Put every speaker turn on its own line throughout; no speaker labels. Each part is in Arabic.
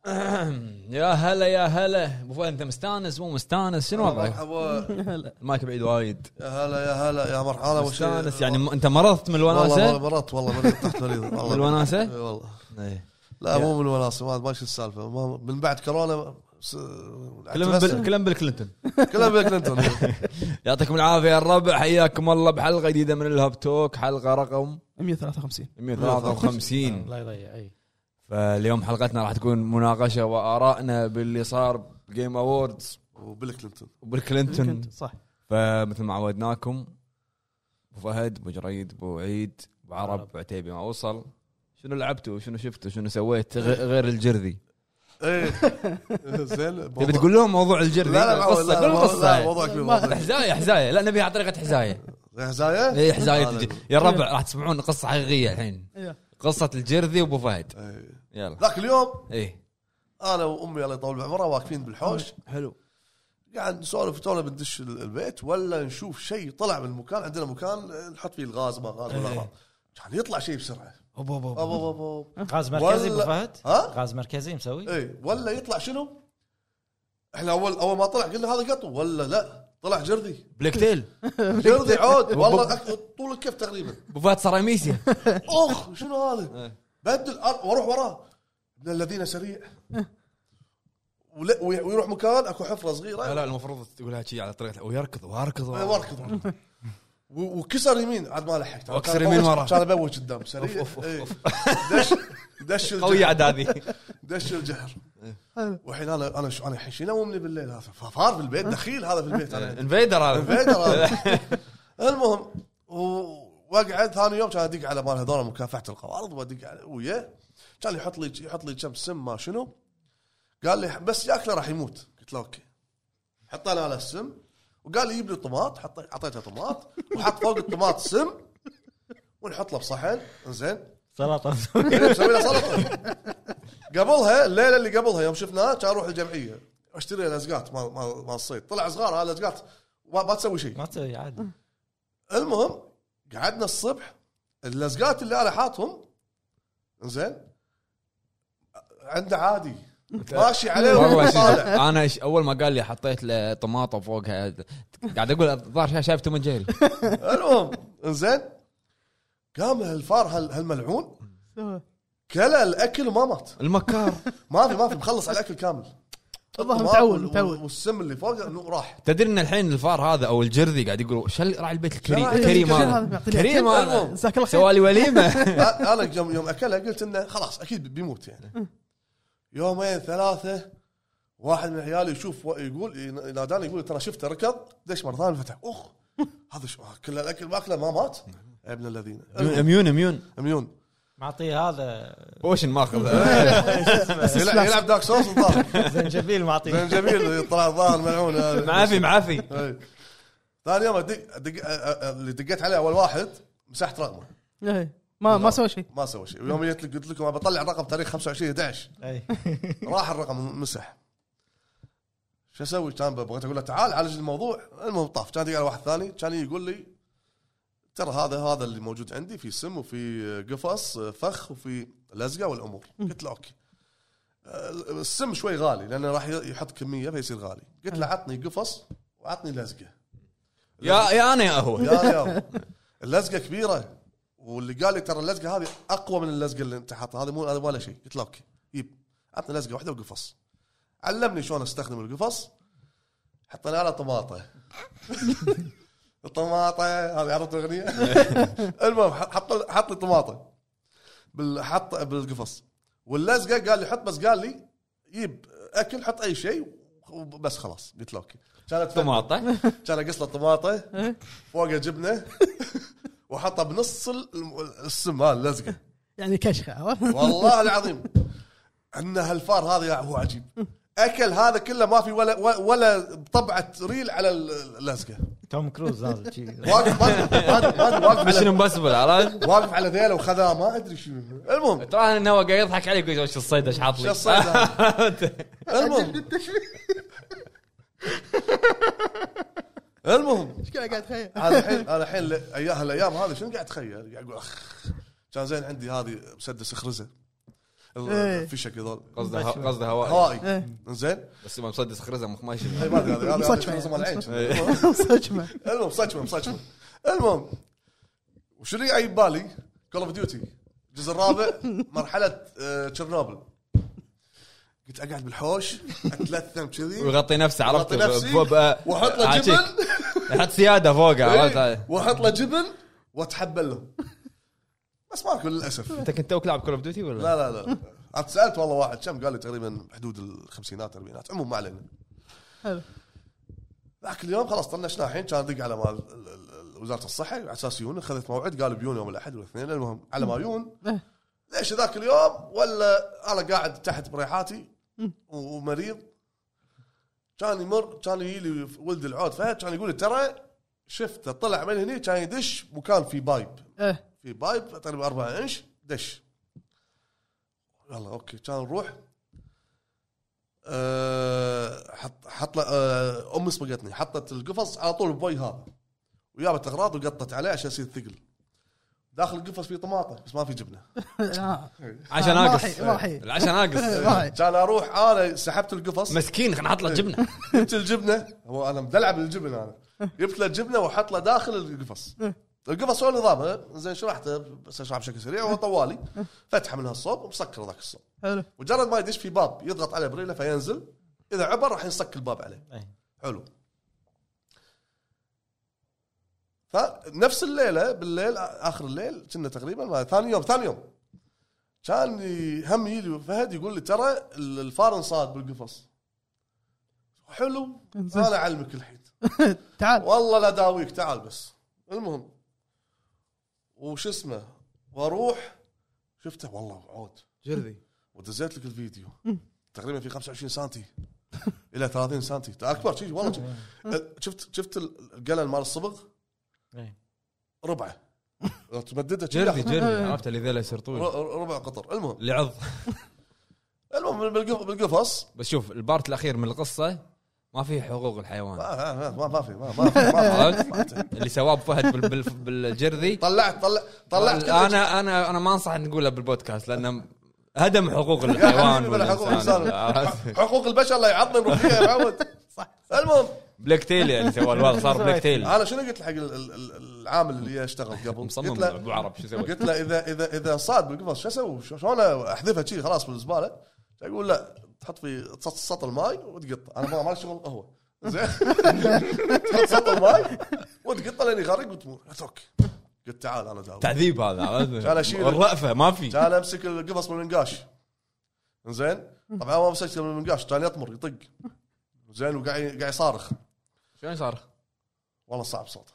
يا هلا يا هلا ابو فهد انت مستانس مو مستانس شنو وضعك؟
مرحبا
المايك بعيد وايد
يا هلا يا هلا يا مرحبا وش-
مستانس يعني م- انت مرضت من
والله
الوناسه؟
مرات والله مريض تحت مريض والله
من الوناسة؟
إي والله
إيه.
لا مو من الوناسه ما ما شو السالفه ما- من بعد كورونا س-
كلهم بال- كلهم بالكلينتون
كلها بيل كلينتون
يعطيكم العافيه يا الربع حياكم الله بحلقه جديده من الهاب توك حلقه رقم
153
153
الله يضيع اي
فاليوم حلقتنا راح تكون مناقشه وارائنا باللي صار بجيم اووردز
وبيل كلينتون
وبالكلينتون
صح
فمثل ما عودناكم ابو فهد ابو جريد ابو عيد ابو عرب ابو عتيبي ما اوصل شنو لعبتوا شنو شفتوا شنو سويت غ- غير الجرذي
ايه زين
تبي تقول لهم موضوع الجرذي
لا لا
قصه
لا،
كل
لا، لا،
قصه
موضوع كبير موضوع
حزايه حزايه لا نبيها على طريقه حزايه
حزايه؟
اي حزايه الج- إيه، يا الربع راح تسمعون قصه حقيقيه الحين
إيه.
قصه الجرذي وابو فهد
إيه.
يلا
ذاك اليوم
إيه.
ايه
انا وامي الله يطول بعمرها واقفين بالحوش
حلو
قاعد نسولف تونا بندش ال- البيت ولا نشوف شيء طلع من المكان عندنا مكان آه، نحط فيه الغاز ما غاز ولا
إيه.
غاز كان يطلع شيء بسرعه
أوب أوب أوب.
أوب أوب أوب.
غاز مركزي ابو
ولا-
فهد
ها؟
غاز مركزي مسوي
إيه.
اي ولا يطلع شنو؟ احنا اول اول ما طلع قلنا هذا قطو ولا لا طلع جرذي
بلاك تيل
جرذي عود والله أك- طول الكف تقريبا
ابو فهد صار اميسيا
اخ شنو هذا؟ بدل أر- واروح وراه من الذين سريع ولا- وي- ويروح مكان اكو حفره صغيره
لا المفروض تقولها شي على طريقه ويركض واركض
إيه، واركض و- وكسر يمين عاد ما لحقت
وكسر
كان
يمين
أبوج-
وراه.
كان ابوج قدام سريع
أوف، أوف،
إيه. دش دش الجحر.
قوية عاد هذه
دش الجحر إيه. والحين انا انا شو- انا الحين شنو أمني بالليل هذا فار بالبيت دخيل هذا بالبيت انا
انفيدر هذا
فيدر هذا. المهم و- واقعد ثاني يوم كان ادق على مال هذول مكافحه القوارض وادق على وياه كان يحط لي يحط لي كم سم ما شنو قال لي بس ياكله راح يموت قلت له اوكي حطينا على السم وقال لي جيب لي طماط حطيت اعطيته طماط وحط فوق الطماط سم ونحط له بصحن زين
سلطه
مسوي له سلطه قبلها الليله اللي قبلها يوم شفناه كان اروح الجمعيه اشتري لزقات مال مال مال الصيد طلع صغار هذا لزقات ما ما تسوي شيء
ما تسوي عادي
المهم قعدنا الصبح اللزقات اللي انا حاطهم زين عنده عادي ماشي عليه
إيه، والله
وهو إيه، طالع
شوف، انا ش- اول ما قال لي حطيت له طماطه فوقها قاعد اقول الظاهر شا- شايف توم أند جيري
المهم زين قام الفار هال- هالملعون كلا الاكل وما مات
المكار
ما في ما في مخلص على الاكل كامل
الظاهر
الطماط
متعود-
وال-
متعود.
والسم اللي فوقه انه راح
تدري ان الحين الفار هذا او الجرذي قاعد يقول شل راعي البيت الكريم
شل راعي
كريم
البيت
الكريم
هذا.
هذا يعطي لي
كريم
أكل.
هذا
جزاك الله خير
سوالي وليمه
أ- انا يوم يوم اكلها قلت انه خلاص اكيد بيموت يعني يومين ثلاثه واحد من عيالي يشوف و- يقول يناداني يقول ترى شفته ركض دش مره ثانيه فتح اخ هذا شو كل الاكل ماكله ما مات يا ابن الذين
اميون اميون
اميون
معطيه هذا
بوشن ماخذ
يلعب يلعب دارك سورس الظاهر
زنجبيل معطيه
جميل طلع الظاهر ملعون
معافي معافي
إيه. ثاني يوم أدق- أدق- أ- أ- اللي دقيت عليه اول واحد مسحت رقمه
إيه. ما ما سوى شيء
ما سوى شيء يوم جيت لك- قلت لكم أنا بطلع رقم تاريخ 25 11
أي.
راح الرقم مسح شو اسوي؟ كان بغيت اقول له تعال عالج الموضوع المهم طاف كان يدق على واحد ثاني كان يقول لي ترى هذا هذا اللي موجود عندي في سم وفي قفص فخ وفي لزقه والامور قلت له اوكي أه، السم شوي غالي لانه راح يحط كميه فيصير غالي قلت له عطني قفص وعطني لزقه
يا يا انا يا هو
يا يا اللزقه كبيره واللي قال لي ترى اللزقه هذه اقوى من اللزقه اللي انت حاطها هذه مو هذا ولا شيء قلت له اوكي جيب عطني لزقه واحده وقفص علمني شلون استخدم القفص حطينا على طماطه الطماطه هذه عرفت الاغنيه المهم حط حط لي طماطه بال- حط بالقفص واللزقه قال لي حط بس قال لي جيب اكل حط اي شيء وبس خلاص قلت له اوكي كانت
طماطه
كان اقص له طماطه فوقه جبنه وحطها بنص الم- السم هذا اللزقه
يعني كشخه عرفت؟
والله العظيم ان هالفار هذا هو عجيب اكل هذا كله ما في ولا ولا بطبعه ريل على اللزقه
توم كروز نازل شي.
واقف واقف- واقف واقف
مش
على-
امبسبل عرفت
واقف على ذيله وخذاه ما ادري شو المهم
ترى انه هو قاعد يضحك علي يقول وش الصيد ايش حاط
شو
لي
الصيد هذا؟ المهم المهم
ايش قاعد قاعد تخيل
انا الحين انا الحين ل- أي- هالايام هذه شنو قاعد اتخيل؟ قاعد اقول اخ كان زين عندي هذه مسدس خرزه ال-
إيه.
فيشك هذول
قصده
مبشر.
قصده هوائي
هوائي
ايه
زين
بس ما مسدس خرزه مخ ما إيه.
إيه،
يشوف
ما أدري، هذا- هذا- هذا
يعني،
مصدفة.
شخص مال عين. المهم-
صدمه
إيه. المهم صدمه صدمه المهم وشنو جاي ببالي كول اوف ديوتي الجزء الرابع مرحله آه، تشيرنوبل قلت اقعد بالحوش اتلثم كذي
ويغطي نفسه عرفت
أغطي نفسي
فوق- آه،
واحط له
عاشق.
جبن
يحط سياده فوقه
إيه،
عرفت
واحط له جبن واتحبل له بس ماكو للاسف
انت كنت توك لاعب كول اوف ديوتي ولا؟
لا لا لا عاد سالت والله واحد كم قال لي تقريبا حدود الخمسينات الاربعينات عموما ما علينا
حلو.
ذاك اليوم خلاص طنشنا الحين كان ادق على ما ال- ال- ال- وزاره الصحه على اساس يون اخذت موعد قالوا بيون يوم الاحد والاثنين المهم على ما يون
إيه.
ليش ذاك اليوم ولا انا قاعد تحت بريحاتي و- ومريض كان يمر كان يجي لي ولد العود فهد كان يقول لي ترى شفته طلع من هني كان يدش مكان في بايب
ايه
في بايب تقريبا 4 انش دش يلا اوكي كان نروح أه حط حط له- أه امي سبقتني حطت القفص على طول بوي هذا وجابت اغراض وقطت عليه عشان يصير ثقل داخل القفص فيه طماطه بس ما في جبنه
آه.
عشان آه،
ما
ناقص
راح- ما راح يجي.
العشاء ناقص
راح.
كان اروح انا سحبت القفص إيه.
مسكين خلينا نحط له جبنه
جبت الجبنه هو انا مدلع بالجبن انا جبت له الجبنه واحط له داخل القفص
إيه.
القفص هو نظامه زين شرحته بس اشرح بشكل سريع هو طوالي فتحه من هالصوب ومسكر ذاك الصوب
حلو
مجرد ما يدش في باب يضغط عليه بريله فينزل اذا عبر راح ينصك الباب عليه
إيه.
حلو فنفس الليله بالليل اخر الليل كنا تقريبا ما- ثاني يوم ثاني يوم كان ي- هم يجي فهد يقول لي ترى ال- الفار انصاد بالقفص حلو
انزين.
انا اعلمك الحين
تعال
والله لا داويك تعال بس المهم وش اسمه واروح شفته والله عود
جرذي
ودزيت لك الفيديو تقريبا في 25 سنتي الى 30 سنتي اكبر شيء والله شي. أه، شفت شفت ال- القلم مال الصبغ
إيه.
ربعه لو تمددها شي،
جرذي
ر-
جرذي عرفت اللي ذيله يصير طويل
ر- ربع قطر المهم
اللي عض
المهم بالقف- بالقفص
بس شوف البارت الاخير من القصه ما فيه حقوق الحيوان
ما- ما آه، ما- ما في ما ما في ما في- ما في
اللي سواه أبو فهد بال- بال- بالجرذي
طلعت طلع طلعت كل شي.
انا انا انا ما انصح نقولها بالبودكاست لانه هدم حقوق
يا
الحيوان
حبيبي، بلا حقوق الانسان
والإنسان.
حقوق البشر لا يعضن روحيه يا معود
صح
المهم
بلاك تيل يعني سوى الوضع صار بلاك تيل
انا شنو قلت حق ال- ال- ال- العامل اللي اشتغل قبل قلت
مصمم
له
ابو عرب شو سوى
قلت له اذا اذا اذا صاد بالقفص شو اسوي؟ شو- شلون احذفها شي خلاص بالزباله؟ يقول لا تحط في تحط سطل ماي وتقط انا ما- ما لي شغل هو زين تحط سطل ماي وتقطه لين يغرق وتموت قلت اوكي قلت تعال انا داوي
تعذيب هذا عرفت؟
كان أشيل-
الرأفه ما في
كان امسك القفص من المنقاش زين طبعا ما مسكته من المنقاش كان يطمر يطق زين وقاعد قاعد يصارخ
شلون صار؟
والله صعب صوته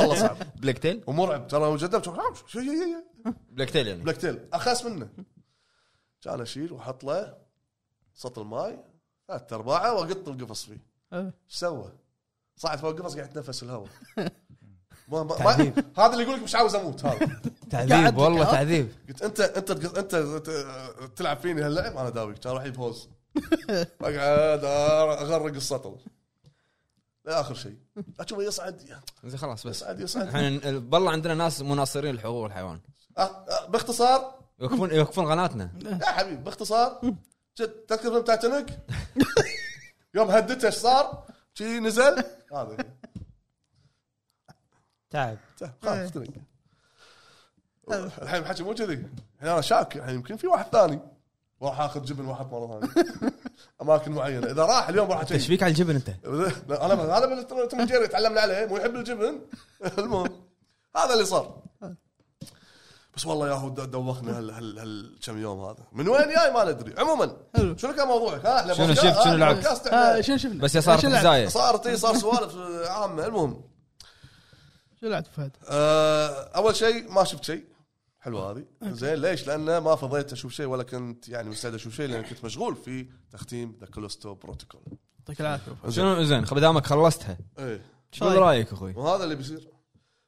والله صعب
بلاك تيل
ومرعب ترى وجدب شو- شو- شو-
بلاك تيل يعني
بلاك تيل اخس منه كان اشيل واحط له سطل ماي ثلاث ارباعه واقط القفص فيه
حلو.
ايش سوى؟ صعد فوق القفص قاعد يتنفس الهواء ما ما ما هذا اللي يقول لك مش عاوز اموت هذا
تعذيب والله
قاعد-
تعذيب
قلت انت انت تق- انت ت- تلعب فيني هاللعب انا داويك كان راح يجيب هوز اقعد اغرق السطل لاخر شيء اشوفه يصعد
زين خلاص بس
يصعد يصعد
احنا والله عندنا ناس مناصرين لحقوق الحيوان
أه، أه، باختصار
يوقفون يوقفون قناتنا
يا حبيبي باختصار جد تذكر فيلم تايتانيك يوم هدته ايش صار؟ شي نزل هذا
تعب
هي. خلاص اختنق. الحين الحكي مو كذي الحين انا شاك الحين يمكن في واحد ثاني راح اخذ جبن واحط مره ثانيه اماكن معينه اذا راح اليوم راح
ايش
أشيك.
فيك على الجبن انت؟
انا هذا من توم جيري تعلمنا عليه مو يحب الجبن المهم هذا اللي صار بس والله يا هو د- دوخنا هال هال هال كم يوم هذا من وين جاي ما ندري عموما
حلو.
شنو كان موضوعك ها احنا
شنو
بودكاست-
شفت، شنو
آه،
لعبت؟
بودكاست إحنا.
آه، شنو شفنا؟
بس يا صارت
شنو لعبت؟
الزاية
صارت اي صار سوالف آه، عامه المهم
شنو لعبت فهد؟
آه، اول شيء ما شفت شيء حلوه هذه زين ليش؟ لان ما فضيت اشوف شيء ولا كنت يعني مستعد اشوف شيء لان كنت مشغول في تختيم ذا كولوستو بروتوكول
يعطيك العافيه
شنو زين خ- دامك خلصتها
ايه
طيب.
قول رايك اخوي
وهذا اللي بيصير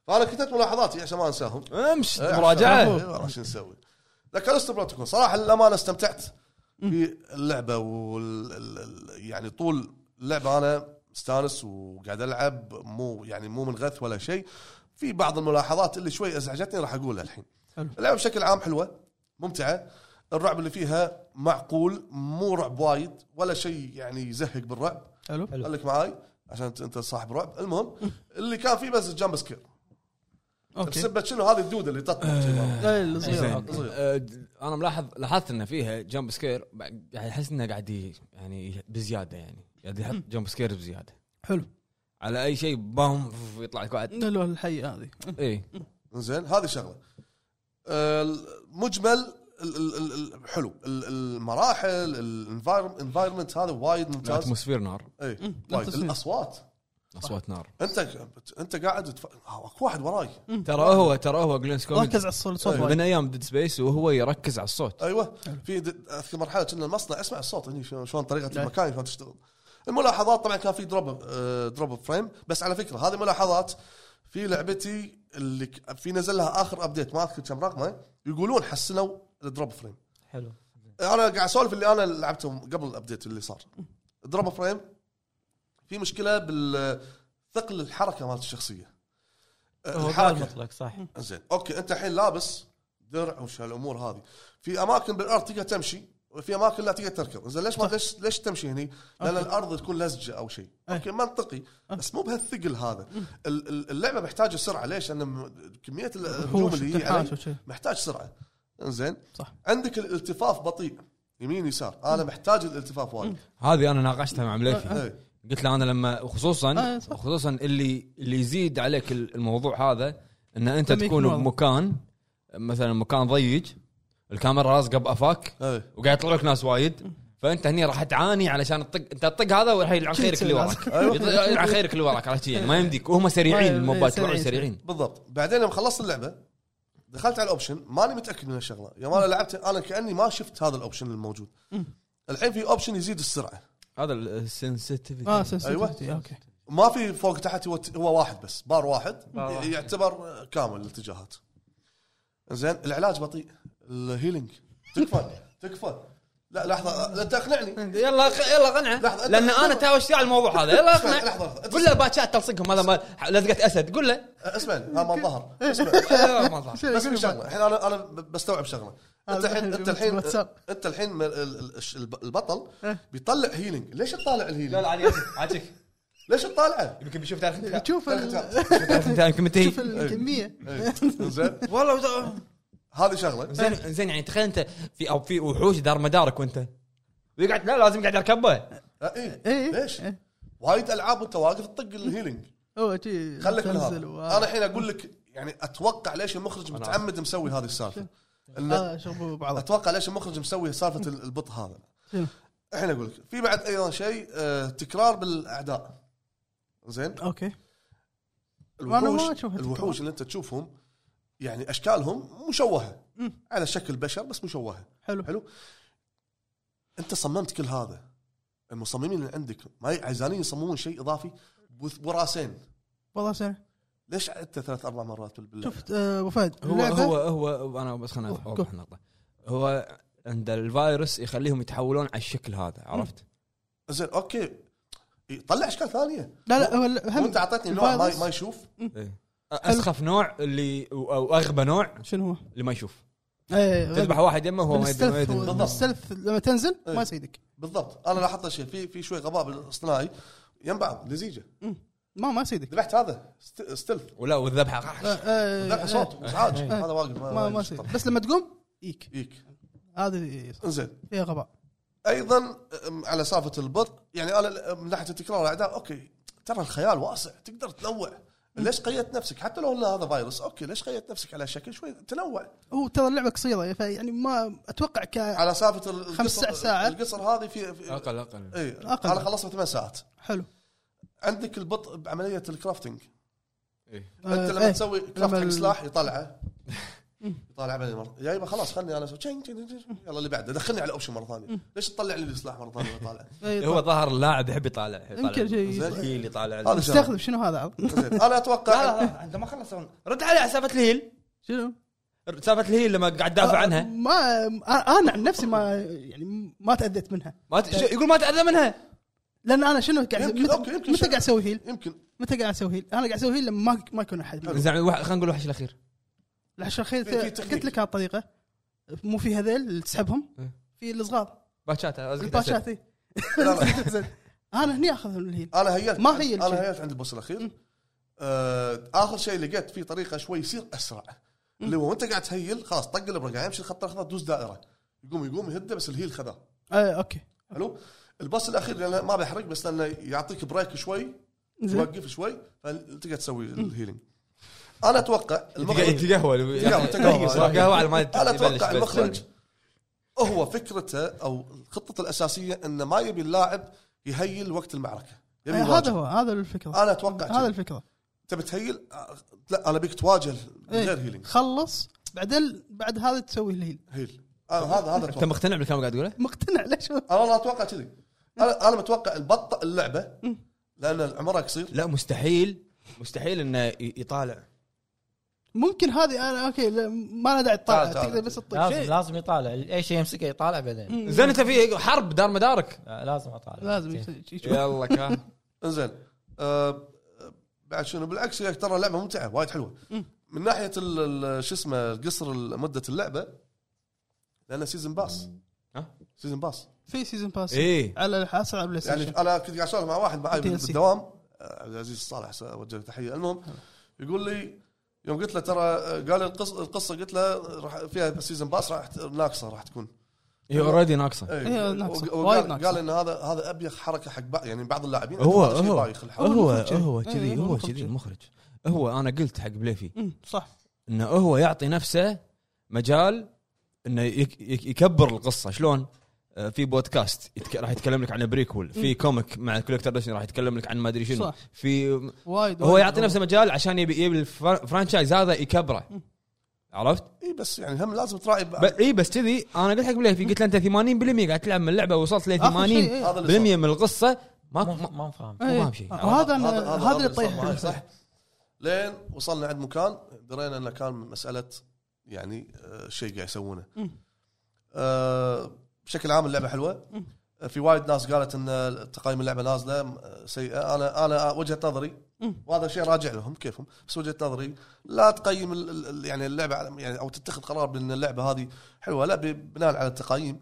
فانا كتبت ملاحظاتي عشان ما انساهم
امش
إيه،
مراجعه
عشان- إيه، شو نسوي ذكرت بروتوكول صراحه للامانه استمتعت في اللعبه وال ال- ال- يعني طول اللعبه انا مستانس وقاعد العب مو يعني مو منغث ولا شيء في بعض الملاحظات اللي شوي ازعجتني راح اقولها الحين
حلو.
اللعبه بشكل عام حلوه ممتعه الرعب اللي فيها معقول مو رعب وايد ولا شيء يعني يزهق بالرعب
حلو
حلو.
خليك معاي عشان انت- انت صاحب رعب المهم اللي كان فيه بس الجامب سكير
اوكي
بسبه شنو هذه الدوده اللي تطلع شي مرة.
لا، لا،
زين.
صغير.
صغير.
آه، انا ملاحظ لاحظت انه فيها جمب سكير بعد- يعني احس انه قاعد ي- يعني بزياده يعني قاعد يحط جمب سكير بزياده
حلو
على اي شيء بام يطلع لك واحد
لا، لا، الحيه هذه
اي
زين هذه شغله آه، مجمل ال- ال- ال- ال- حلو ال- المراحل الانفايرمنت هذا وايد ممتاز إيه. طيب،
الاتموسفير نار
اي
مم،
وايد
التصوير.
الاصوات
اصوات نار
انت انت قاعد تف... اكو واحد وراي
ترى هو ترى هو جلين سكوميد
ركز على الصوت الصوت وايد.
من ايام ديد سبيس وهو يركز على الصوت
ايوه في د- اذكر مرحله كنا المصنع اسمع الصوت هني شلون شلون طريقه المكان شلون تشتغل الملاحظات طبعا كان في دروب آه، دروب فريم بس على فكره هذه ملاحظات في لعبتي اللي ك- في نزل لها اخر ابديت ما اذكر كم رقمه يقولون حسنوا الدروب فريم
حلو
انا قاعد اسولف اللي انا لعبته قبل الابديت اللي صار دروب فريم في مشكله بالثقل الحركه مالت الشخصيه
أه،
آه،
هو قال مطلق صح
زين اوكي انت الحين لابس درع وش هالامور هذه في اماكن بالارض تقدر تمشي وفي اماكن لا تقدر تركض زين ليش ما ليش ليش تمشي هني؟ لان
أوكي. إيه.
الارض تكون لزجه او شيء
أي.
اوكي منطقي بس مو بهالثقل هذا
إيه.
ال- ال- اللعبه محتاجه سرعه ليش؟ لان م- كميه ال- الهجوم
وحوش
اللي هي عليه
تنحاش وشي.
محتاج سرعه زين
صح. إيه.
عندك الالتفاف بطيء يمين يسار انا محتاج الالتفاف وايد
هذه انا ناقشتها مع مليفي
إي.
قلت له انا لما خصوصا
آه، صح.
خصوصا اللي اللي يزيد عليك ال- الموضوع هذا ان انت
لما
تكون
يكون
بمكان مثلا مكان ضيق الكاميرا رازقه بقفاك
آه.
إي.
وقاعد يطلع لك ناس وايد فانت هني راح تعاني علشان تطق انت تطق هذا وراح يلعن خيرك اللي وراك
أيوة.
يطلع- يلعن خيرك اللي وراك عرفت شي يعني ما يمديك وهم سريعين
ما-
الموبات
أيوة، سريعين.
طلعوا سريعين
إيه، بالضبط بعدين لما خلصت اللعبه دخلت على الاوبشن ماني متاكد من الشغله يوم انا لعبت انا كاني ما شفت هذا الاوبشن الموجود الحين في اوبشن يزيد السرعه
هذا السنسيتيفيتي
اه
أيوة.
sensitivity. اوكي
ما في فوق تحت هو هو واحد بس بار واحد
بار واحد.
يعتبر كامل الاتجاهات زين العلاج بطيء الهيلينج تكفى تكفى لا لحظه لا تقنعني
يلا يلا
لحظة،
قنعه
أنت-
لان انا
لحظة.
تاوشت على الموضوع هذا يلا
اسمع،
اقنع
لحظة، لحظة.
قول له باتشات تلصقهم هذا مال لزقه اسد قول له
اسمعني ها ما الظهر اسمع
يلا، ما صار.
بس في شغله الحين انا انا بستوعب شغله انت الحين انت الحين
بالواتساب.
انت الحين م- ال- ال- الش- الب- البطل
إيه.
بيطلع هيلينج ليش تطالع
لا
الهيلينج؟
لا علي اسف عاتيك
ليش تطالعه؟
يمكن بيشوف تعرف انت
شوف ال-
تعرف انت يمكن متهي
شوف الكميه
إيه. يعني زين
والله
هذه شغله
زين زين يعني تخيل انت في او في وحوش دار مدارك وانت ويقعد لا لازم قاعد اركبه
آه، ايه
إيه.
ليش؟
إيه.
وايد العاب وانت واقف تطق الهيلينج
هو شي
خليك من هذا
تنزل و-
انا الحين اقول لك يعني اتوقع ليش المخرج متعمد مسوي هذه السالفه انه
آه، شوفوا بعض
اتوقع ليش المخرج مسوي سالفه ال- البط هذا
شنو؟
الحين اقول لك في بعد ايضا شيء آه، تكرار بالاعداء زين
اوكي وأنا ما
الوحوش
أشوفها
الوحوش اللي انت تشوفهم يعني اشكالهم مشوهه
مم.
على شكل بشر بس مشوهه
حلو
حلو انت صممت كل هذا المصممين اللي عندك ما ي- عايزين يصممون شيء اضافي بث- براسين
والله سنة
ليش انت ثلاث اربع مرات بالله
شفت آه، ابو فهد
هو
اللعبة-
هو هو انا بس خلنا
أوه،
اوضح نقطه هو عند الفيروس يخليهم يتحولون على الشكل هذا عرفت؟
زين اوكي إي، طلع اشكال ثانيه
لا لا هو ال-
وانت
هل
اعطيتني نوع ما,
الفيروس؟
ما يشوف
إيه. اسخف نوع اللي او أو اغبى نوع
شنو هو؟
اللي ما يشوف
ايه
تذبح واحد يمه وهو ما يدري- ما
بالستلث
يدري
بالضبط.
بالستلث لما تنزل
إيه.
ما يسيدك
بالضبط انا لاحظت شيء في في شوي غباء اصطناعي يم بعض لزيجه
ما ما يسيدك
ذبحت هذا ست- ستلف
ولا والذبحه
آه، آه،
ذبح صوت وازعاج هذا واقف طيب. ما-
ما ما
ما
يصير بس لما تقوم يك
يجيك
هذه
زين
فيها غباء
ايضا أم، على سالفه البط يعني انا من ناحيه تكرار الاعداء اوكي ترى الخيال واسع تقدر تنوع ليش قيدت نفسك حتى لو ان هذا فيروس اوكي ليش قيدت نفسك على شكل شوي تنوع
هو ترى اللعبه قصيره فيعني يعني ما اتوقع ك
على سالفه ال-
خمس
القصر-
ساعات.
القصر هذه في, إيه، في
اقل اقل
اي
أقل.
انا خلصت ثمان ساعات
حلو
عندك البط بعمليه الكرافتنج انت
آه،
لما
إيه.
تسوي كرافت حق
ال- آه،
سلاح يطلعه يطلع بعدين مرة جايبه خلاص خلني انا اسوي تشينج- تشينج- تشينج. يلا اللي بعده دخلني على الاوبشن مره ثانيه ليش تطلع لي السلاح مره ثانيه وأنا طالع
إيه،
هو ظهر اللاعب يحب يطالع يطالع
يمكن شيء-
الهيل يطالع
هذا شغل.
استخدم شنو هذا عرض؟
زين، انا اتوقع
انت ما خلصون رد عليه على سالفه الهيل
شنو؟
سالفه الهيل لما قاعد دافع عنها
ما أ- انا عن نفسي ما يعني ما تاذيت منها
ما ت... شو- يقول ما تاذى منها
لان انا شنو قاعد
يمكن- أوكي،
متى,
يمكن
متى
شنو.
قاعد اسوي هيل؟
يمكن
متى قاعد اسوي هيل؟ انا قاعد اسوي هيل لما ما, ما يكون احد
زين واحد- خلينا نقول الوحش الاخير
الحشر خير
في- في
قلت
تكنيك.
لك هالطريقه مو في هذيل اللي تسحبهم
إيه.
في الصغار
باتشات أزكي
الباشات إيه.
لا، لا.
زين. انا هني اخذ من الهيل
انا هيأت
ما هي الشيء.
انا هيأت عند البوس الاخير آه اخر شيء لقيت فيه طريقه شوي يصير اسرع اللي هو وانت قاعد تهيل خلاص طق الابره قاعد يمشي الخط الاخضر دوس دائره يقوم يقوم يهده بس الهيل خذاه
آه اوكي
حلو الباص الاخير لأنه ما بحرق بس لانه يعطيك بريك شوي
زين
يوقف شوي فتقدر تسوي الهيلينج انا اتوقع المخرج
تقهوى
تقهوى- تقهوى.
قهوه على ما
انا
يبلش
اتوقع
بس.
المخرج هو فكرته او خطته الاساسيه انه ما يبي اللاعب يهيل وقت المعركه
آه،
يبي
هذا
يواجه
هو هذا الفكره
انا اتوقع
هذا
كذا.
الفكره
تبي تهيل آه، لا انا بيك تواجه من
إيه.
غير هيلينج
خلص بعدين بعد هذا تسوي الهيل
هيل آه، هذا هذا
انت
اتوقع
مقتنع بالكلام قاعد تقوله؟
مقتنع ليش هو-
انا والله اتوقع كذي انا انا متوقع البطء اللعبه
مم.
لان عمرها قصير
لا مستحيل مستحيل انه ي- يطالع
ممكن هذه انا اوكي لا، ما لها داعي تطالع
تعال، تعال.
تقدر بس تطير
لازم لازم يطالع اي شيء يمسكه يطالع بعدين
زين انت في حرب دار مدارك
لا، لازم اطالع
لازم يش- يشوف
يلا كان
انزين آه، بعد شنو بالعكس هي ترى لعبه ممتعه وايد حلوه
مم.
من ناحيه ال- ال- شو اسمه قصر ال- مده اللعبه لانها سيزون باس
ها؟
سيزون باس
في سيزون باس
ايه
على الحاسه على البلاي
يعني
ستيشن
انا كنت قاعد اسولف مع واحد معي
DLC.
بالدوام آه، عبد العزيز الصالح س- اوجه له تحيه المهم يقول لي يوم قلت له ترى آه، قال لي القص- القصه قلت له راح فيها سيزون باس راح ت- ناقصه راح تكون
هي اوريدي ناقصه
إيه.
إيه، ناقصة.
وق-
وايد
وقال
ناقصة.
قال ان هذا هذا ابيخ حركه حق بعض يعني بعض اللاعبين
هو
هذا شيء
هو
بايخ الحق.
هو
المخرج كذي.
هو
إيه،
كذي
هو
هو
المخرج
كذي
كذي.
المخرج هو انا قلت حق بليفي
أمم، صح
انه هو يعطي نفسه مجال انه يك- يك- يكبر القصه شلون؟ آه، في بودكاست يتك... راح يتكلم لك عن بريكول في كوميك مع كوليكتر ديشن راح يتكلم لك عن ما ادري شنو
صح.
في
وايد
هو
وايد.
يعطي نفسه مجال عشان يبي يبي الفرانشايز هذا يكبره عرفت؟
اي بس يعني هم لازم تراعي
ب... اي بس كذي انا قلت حق بليفي قلت له انت 80% قاعد تلعب من اللعبه وصلت ل 80%
آخر شيء، إيه.
هذا اللي صار.
من القصه ما,
ما
ما...
ما نفهم
إيه.
ما في نعم. شيء.
آه، هذا أنا- هذا اللي
صار معاي،
طيح
صح لين وصلنا عند مكان درينا انه كان مساله يعني آه، شيء قاعد يسوونه
مم.
آه، بشكل عام اللعبه حلوه
مم.
آه، في وايد ناس قالت ان تقايم اللعبه نازله آه، سيئه انا انا وجهه نظري
مم.
وهذا شيء راجع لهم كيفهم بس وجهه نظري لا تقيم ال- ال- ال- يعني اللعبه على- يعني او تتخذ قرار بان اللعبه هذه حلوه لا ب- بناء على التقايم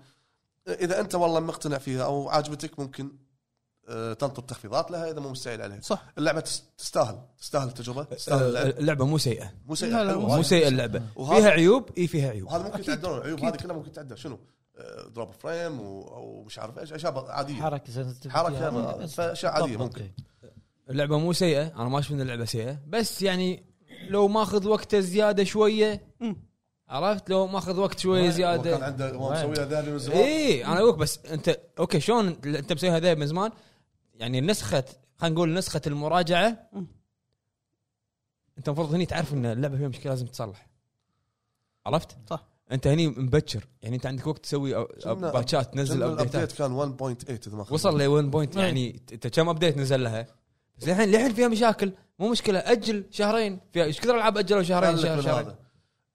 آه، اذا انت والله مقتنع فيها او عاجبتك ممكن آه، تنطر تخفيضات لها اذا مو مستعجل عليها
صح
اللعبه تس- تستاهل تستاهل التجربه تستاهل
آه،
اللعبه
اللعبه مو سيئه
مو سيئه
لا، لا،
حلوة
مو
وايد.
مو سيئه اللعبه
وهذا-
فيها عيوب اي فيها عيوب
وهذا ممكن تعدلون العيوب
أكيد.
هذه كلها ممكن تعدل شنو آه، دروب فريم و- ومش عارف ايش اشياء عاديه
حركه sensitivity.
حركة،
آه،
بس أشياء عادية
بالضبط.
ممكن.
اللعبه مو سيئه انا ما اشوف ان اللعبه سيئه بس يعني لو ماخذ وقته زياده شويه
مم.
عرفت لو ماخذ وقت شويه
وين-
هو كان
زياده
عنده هو
وين؟
مسويها ذهبي من زمان
اي انا اقولك بس انت اوكي شلون انت مسويها ذا من زمان يعني نسخه خلينا نقول نسخه المراجعه
مم.
انت المفروض هني تعرف ان اللعبه فيها مشكله لازم تصلح عرفت؟
صح.
انت هني مبكر يعني انت عندك وقت تسوي أو- أو
جملة-
باتشات تنزل
جنب
ابديتات
الابديت كان 1.8 اذا ما خاب.
وصل ل 1. يعني انت كم ابديت نزل لها؟ بس الحين الحين فيها مشاكل مو مشكله اجل شهرين فيها ايش كثر العاب اجلوا شهرين
خلك
شهر
من
شهرين
هذا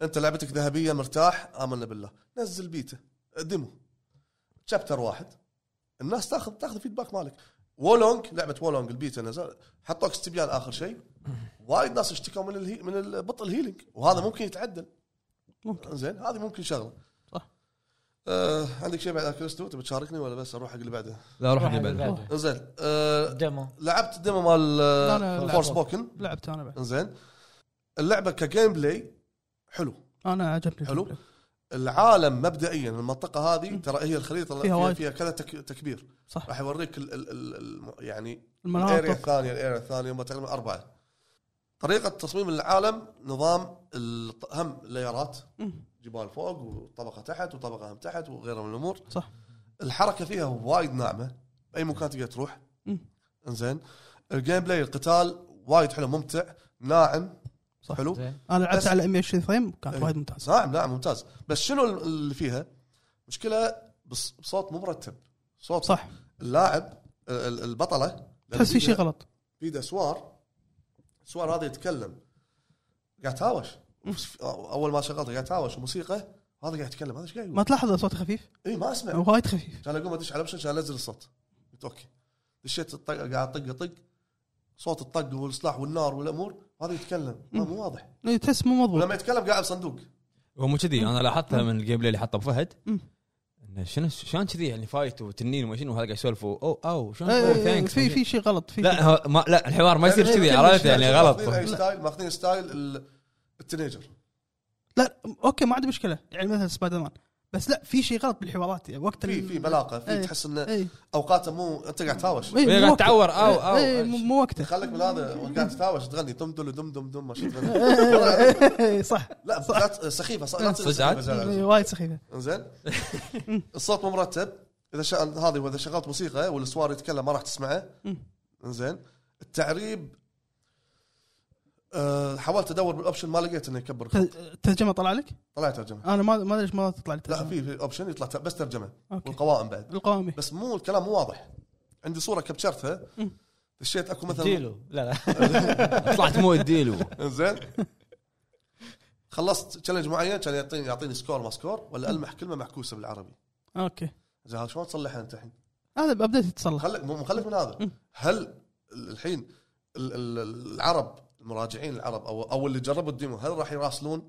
انت لعبتك ذهبيه مرتاح امنا بالله نزل بيته ديمو شابتر واحد الناس تاخذ تاخذ فيدباك مالك وولونج لعبه وولونج البيتا نزل حطوك استبيان اخر شيء وايد ناس اشتكوا من الهي من ال- بطء الهيلينج وهذا ممكن يتعدل
نعم. ممكن.
زين هذه ممكن شغله
صح.
آه عندك شيء بعد كريستو تبي تشاركني ولا بس اروح حق اللي بعده؟
لا روح
روح
اللي
اللي
بعده
بعده.
زين آه
ديمو
لعبت ديمو مال
لا، لا، لا.
فور سبوكن
لعبت انا بعد
زين اللعبه كجيم بلاي حلو
انا عجبني
حلو.
الفكرة.
العالم مبدئيا المنطقه هذه ترى هي الخريطه اللي
فيها
فيها,
وايد.
فيها كذا تك تكبير
صح
راح يوريك ال ال ال ال يعني الاريا
المناطق
الثانيه الاريا الثانيه هم تقريبا اربعه طريقه تصميم العالم نظام ال- هم ليرات
مم.
جبال فوق وطبقه تحت وطبقه هم تحت وغيرها من الامور
صح.
الحركه فيها وايد ناعمه اي مكان تقدر تروح
مم.
انزين الجيم بلاي القتال وايد حلو ممتع ناعم
صح.
حلو
زين
انا لعبت
بس-
على 120 فريم كانت
إيه.
وايد ممتازه
ناعم ناعم ممتاز بس شنو اللي فيها مشكله بص- بصوت مو مرتب صوت
صح
اللاعب ال- ال- البطله
تحس في شيء غلط
في إيده سوار السوار هذا يتكلم قاعد تهاوش اول ما شغلته قاعد تهاوش وموسيقى هذا قاعد يتكلم هذا ايش قاعد
ما
يقول؟
تلاحظ صوت خفيف
اي ما اسمع
وايد خفيف
كان اقوم ادش على اوبشن عشان انزل الصوت قلت اوكي دشيت الطق قاعد اطق اطق صوت الطق والسلاح والنار والامور هذا يتكلم ما مو واضح
إيه، تحس مو مضبوط
ولما يتكلم قاعد بصندوق
هو مو كذي انا لاحظتها من الجيم بلاي اللي حطه ابو فهد
مم.
انه شنو شلون كذي يعني فايت وتنين وما شنو وهذا قاعد يسولف او او شلون
إيه،
أوه،
إيه،
thanks.
في في شيء غلط في إيه،
لا هو ما لا الحوار ما يصير كذي عرفت يعني
ماخذين
غلط
أي ستايل ماخذين ستايل ال- التينيجر
لا اوكي ما عندي مشكله يعني مثلا سبايدر مان بس لا في شيء غلط بالحوارات يعني وقت إيه.
في في بلاقه في تحس انه
اي
اوقاته مو انت قاعد تهاوش
إيه،
هي إيه، قاعد تعور او
اي إيه، مو
او
مو وقته
خليك من هذا قاعد تتهاوش تغني دم دل دم دم دم ما شو تغني
إيه، صح
لا بصات سخيفه صح لا تصير
صدق عاد؟
سخيفة، زين،
إيه،
زين.
وايد سخيفه
انزين الصوت مو مرتب اذا شا... هذه واذا شغلت موسيقى والسوار يتكلم ما راح تسمعه
مم.
انزين التعريب أه حاولت ادور بالاوبشن ما لقيت انه يكبر الخط.
الترجمه طلع لك؟
طلع ترجمه
انا ما ما ادري ليش ما تطلع لي
لا
الترجمة.
في في اوبشن يطلع ت- بس ترجمه
اوكي
والقوائم بعد
القوامي
بس مو الكلام مو واضح عندي صوره كبشرتها
مم.
دشيت اكو مثلا
جيلو لا لا
طلعت مو الديلو
انزين خلصت تشالنج معين كان يعطيني يعطيني سكور ما سكور ولا المح كلمه معكوسه بالعربي
اوكي
زين هذا شلون تصلحها انت الحين؟
هذا بابديت يتصلح
خلك مو خلك من هذا هل الحين ال- ال- العرب المراجعين العرب او او اللي جربوا الديمو هل راح يراسلون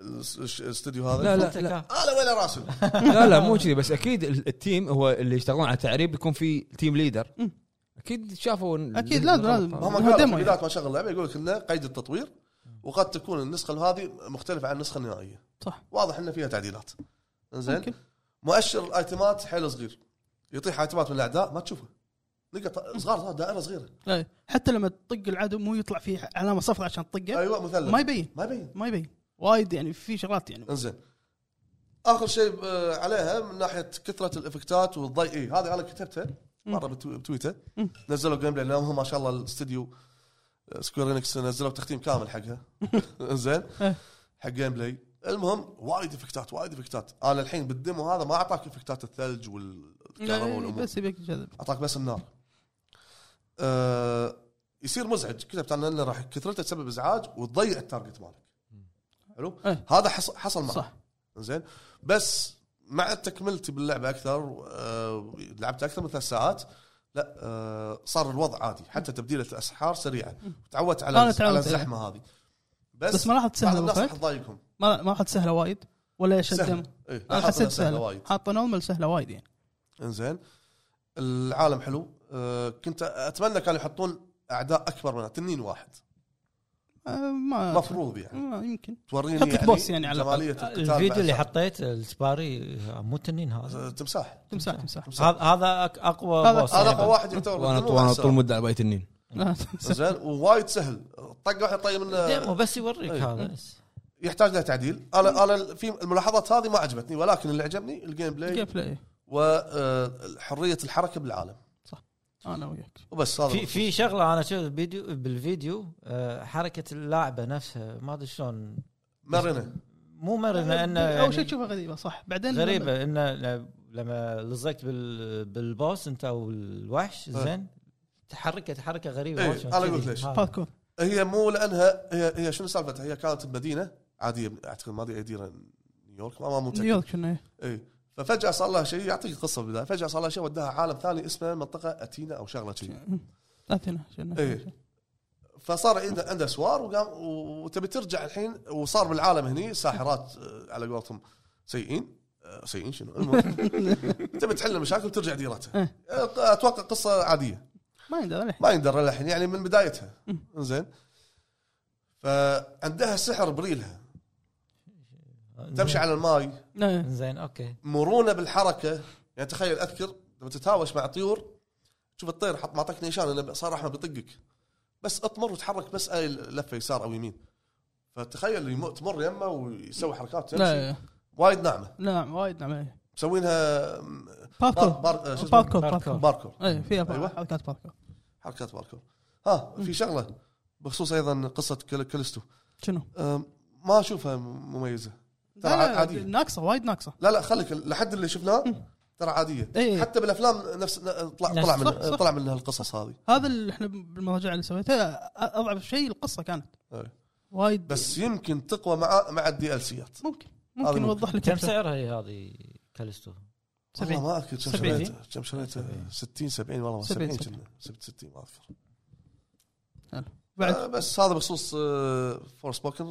الاس- الش- الاستوديو هذا؟
لا، لا.
أنت كا-
انا ولا راسل
لا لا مو كذي بس اكيد ال- التيم هو اللي يشتغلون على التعريب يكون في تيم ليدر
مم.
اكيد شافوا إن-
أكيد لازم- لازم.
هم
هو
قالوا في
ديمو يعني.
بدايه ما شغل اللعبه يقول لك انه قيد التطوير وقد تكون النسخه هذه مختلفه عن النسخه النهائيه
صح.
واضح ان فيها تعديلات زين
ممكن.
مؤشر الايتمات حيل صغير يطيح ايتمات من الاعداء ما تشوفه نقط صغار صغار، دائره صغيره
إيه. حتى لما تطق العدو مو يطلع فيه علامه صفراء عشان تطقه
ايوه مثلث
ما يبين
ما يبين
ما يبين وايد يعني في شغلات يعني
انزين اخر شيء آه، عليها من ناحيه كثره الافكتات والضي اي إيه، هذه انا كتبتها مره بتو- بتويتر
مم.
نزلوا جيم بلاي لانهم ما شاء الله الاستديو سكوير انكس نزلوا تختيم كامل حقها انزين
إيه.
حق جيم بلاي المهم وايد افكتات وايد افكتات انا الحين بالديمو هذا ما اعطاك افكتات الثلج والكهرباء
لا،
والامور
إيه، بس يبيك جذب
اعطاك بس النار أه يصير مزعج كتبت عنه انه راح كثرته تسبب ازعاج وتضيع التارجت مالك حلو
إيه.
هذا حصل حصل معي
صح
زين بس مع تكملتي باللعبه اكثر آه، لعبت اكثر من ثلاث ساعات لا آه، صار الوضع عادي حتى تبديله الاسحار سريعه تعودت على
أنا تعودت
على
عليها.
الزحمه هذه بس,
بس ما راح
بعض
تسهل أبو
الناس راح
فهد
تضايقهم
ما ما راح تسهله وايد ولا يشدم
سهل إيه،
انا
حاطة
حسيت
سهلة وايد
سهله حاطه نورمال سهله وايد يعني
انزين العالم حلو آه، كنت اتمنى كانوا يحطون اعداء اكبر من تنين واحد
آه، ما
مفروض يعني
ما آه، يمكن
توريني
حط بوس يعني على الأقل.
جماليه القتال
الفيديو اللي
بعد
حطيت السباري مو تنين هذا
ساعة. تمساح
تمساح تمساح
تمساح
هذا هذا أك- اقوى
هذا-
بوس يعني
هذا
تقريباً.
اقوى واحد يعتبر
وانا
بالدنيا
وانا
وأحسن.
طول المده على باقي تنين
لا، تمساح.
زين ووايد سهل طق واحد طيب منه
ديمو بس يوريك
إيه.
هذا بس.
يحتاج له تعديل انا انا في الملاحظات هذه ما عجبتني ولكن اللي عجبني الجيم بلاي
كيف لا
وحريه الحركه آه، بالعالم
انا وياك
وبس هذا
في في شغله انا شفت الفيديو بالفيديو آه، حركه اللاعبه نفسها ما ادري شلون
مرنه
مو مرنه انه
اول شيء
يعني
تشوفها غريبه صح بعدين
غريبه انه ل- لما لزقت بال- بالبوس انت او الوحش زين تحركه تحركه غريبه
آه. إيه،
وايد شلون
أنا
كذي.
قلت ليش.
هذا.
باركور
هي مو لانها هي هي شنو سالفتها هي كانت بمدينه عاديه اعتقد ما ادري أي ديره نيويورك ما ما متاكد
نيويورك شنو هي؟
اي ففجاه صار لها شيء يعطيك القصه بالبدايه فجاه صار لها شيء وداها عالم ثاني اسمه منطقه اتينا او شغله كذي
اثينا شنو
إيه. فصار عنده عنده سوار وقام وتبي ترجع الحين وصار بالعالم هني ساحرات آه، على قولتهم سيئين آه، سيئين شنو المهم تبي تحل المشاكل وترجع ديرتها
إيه.
آه، اتوقع قصه عاديه
ما يندرى ليه
ما يندر الحين يعني من بدايتها
مم.
زين فعندها سحر بريلها تمشي على الماي
لا،
زين اوكي
مرونه بالحركه يعني تخيل اذكر لما تتهاوش مع طيور تشوف الطير حط معطيك نيشان انه صار احمد بيطقك بس اطمر وتحرك بس اي لفه يسار او يمين فتخيل يم- تمر يمه ويسوي حركات تمشي
لا
وايد ناعمه
نعم وايد نعم إيه.
مسوينها م- بار
باركور
بار آه، شو اسمه؟
باركور باركور
باركور
اي فيها بار-
أيوة.
حركات باركور
حركات باركور ها في شغله بخصوص ايضا قصه كل- كلستو
شنو؟
أم، ما اشوفها م- مميزه ترى
لا، لا،
عادية.
ناقصه وايد ناقصه
لا لا خليك لحد اللي شفناه ترى عاديه
إيه.
حتى بالافلام نفس طلع
نفس-
طلع من
صح، صح.
طلع منها القصص هذه
هذا اللي احنا بالمراجعه اللي سويتها أ- اضعف شيء القصه كانت
إيه.
وايد
بس يمكن تقوى مع مع الدي ال سيات
ممكن
هذا
ممكن
ممكن.
يوضح لك
كم
أكثر.
سعرها هي هذه كالستو؟
والله
70
ما اذكر كم
70.
شريته كم شريته 60 70 والله ما 70
70.
كنا 60 ما اذكر
حلو. بعد
آه، بس هذا بخصوص آه، فور سبوكن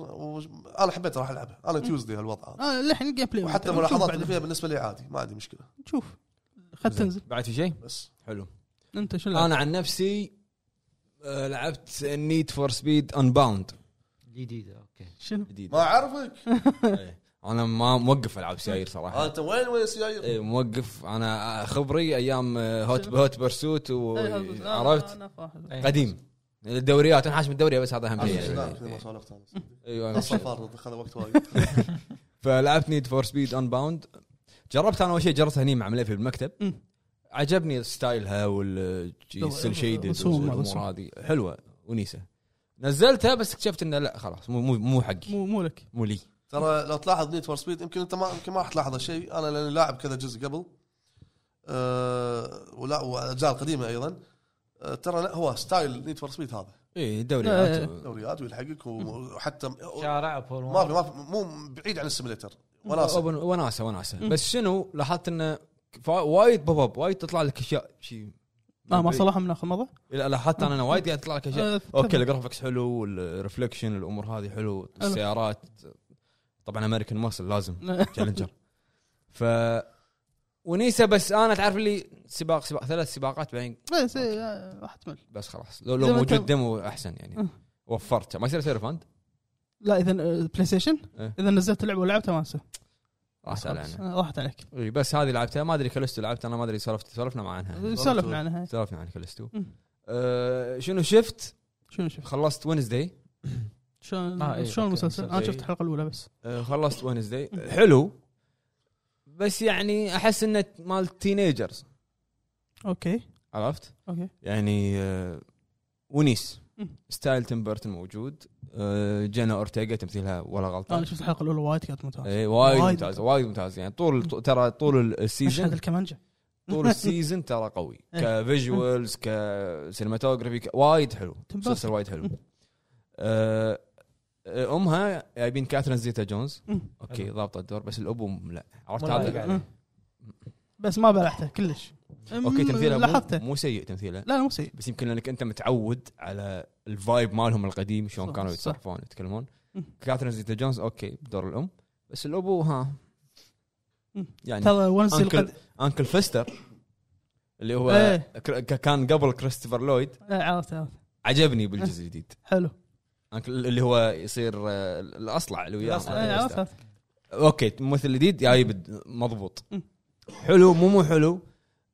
انا حبيت راح العبها انا تيوزدي هالوضع هذا
آه للحين الجيم بلاي
وحتى
نشوف
الملاحظات
بعد.
اللي فيها بالنسبه لي عادي ما عندي مشكله
نشوف خلت تنزل
بعد في شيء
بس
حلو
انت شو لعبت؟
انا عن نفسي آه، لعبت نيد فور سبيد انباوند
جديده اوكي
شنو؟
جديد
ما اعرفك
إيه. انا ما موقف العب سيايير صراحه
انت آه، وين وين سيايير
إيه، موقف انا خبري ايام آه، هوت هوت برسوت
إيه،
وعرفت قديم الدوريات انا حاشم الدوريه بس هذا اهم شيء يعني.
ما سولفت انا
ايوه
السفر اخذ وقت وايد
فلعبت نيد فور سبيد ان باوند جربت انا اول شيء جربتها هني مع مليفي بالمكتب
مم.
عجبني ستايلها والسيل شيدد
رسوم- رسوم.
والامور هذه حلوه ونيسه نزلتها بس اكتشفت انه لا خلاص مو مو مو حقي
مو مو لك
مو لي
ترى لو تلاحظ نيد فور سبيد يمكن انت ما يمكن ما راح تلاحظ هالشيء انا لاني لاعب كذا جزء قبل أه ولا واجزاء قديمه ايضا أه ترى لا هو ستايل نيد فور سبيد هذا
اي
إيه،
دوريات
إيه.
و-
دوريات ويلحقك وحتى ما
شارع فور
في ما في مو بعيد عن السيميليتر وناسه
وناسه وناسه وناسه
مم.
بس شنو لاحظت انه فا- وايد بوب اب وايد تطلع لك اشياء شيء
اه ما صلاح من اخر مره؟
لا لاحظت انا أنا وايد قاعد تطلع لك اشياء
آه،
اوكي الجرافكس حلو والرفلكشن الامور هذه حلو السيارات طبعا امريكان ماسل لازم تشالنجر ف ونيسا بس انا تعرف اللي سباق سباق ثلاث سباقات بعدين
بس إيه، آه، راح تمل
بس خلاص لو لو
زي ما
موجود
أنت-
ديمو احسن يعني
أه.
وفرته ما يصير يصير فند
لا اذا آه، بلاي ستيشن
إيه.
اذا نزلت اللعبه ولعبتها ما انسى
راح علينا
آه، راحت عليك
اي بس هذه لعبتها ما ادري كالستو لعبت انا ما ادري سولفت سولفنا مع عنها
سولفنا عنها
سولفنا عن كالستو
مم.
أه شنو شفت
شنو شوف
خلصت وينزداي
آه، إيه،
شلون شلون
أوكي،
المسلسل؟ انا
مسلسل.
شفت الحلقه الاولى بس
أه، خلصت وينزداي حلو بس يعني احس انه مال تينيجرز
اوكي
عرفت
اوكي
يعني أه، ونيس
مم.
ستايل تيم بيرتون موجود أه، جينا اورتيغا تمثيلها ولا غلطه
انا شفت الحلقه الاولى وايد كانت ممتازه
اي وايد
وايد
ممتاز وايد ممتاز يعني طول طو- ترى طول
مشهد
السيزون
الكمانجه
طول السيزون ترى قوي
إيه.
كفيجوالز كسينماتوجرافي ك- وايد حلو
تنبسط.
مسلسل وايد حلو
مم.
أه، امها جايبين آه، كاثرين زيتا جونز
مم.
اوكي ضابطه الدور بس الابو م- لا عرفت
ملاحق
هذا
عليه.
مم. أه. بس ما بلعته كلش
اوكي
مم،
تمثيله
لاحظته
مو, مو سيء تمثيله
لا لا مو سيء
بس يمكن لانك انت متعود على الفايب مالهم القديم شلون
صح،
كانوا
صح.
يتصرفون يتكلمون
مم.
كاثرين زيتا جونز اوكي بدور الام بس الابو ها
مم.
يعني
ترى ونسي
أنكل-
القد
انكل فيستر اللي هو
إيه.
ك- كان قبل كريستوفر لويد
آه، عرفت عرفت
عجبني بالجزء الجديد
حلو
أنكل اللي هو يصير آه، الاصلع اللي وياه
الأصلع.
أنكل
آه، عرفت
فيستر.
عرفت
اوكي ممثل جديد جايب الد- مضبوط
مم.
حلو مو مو حلو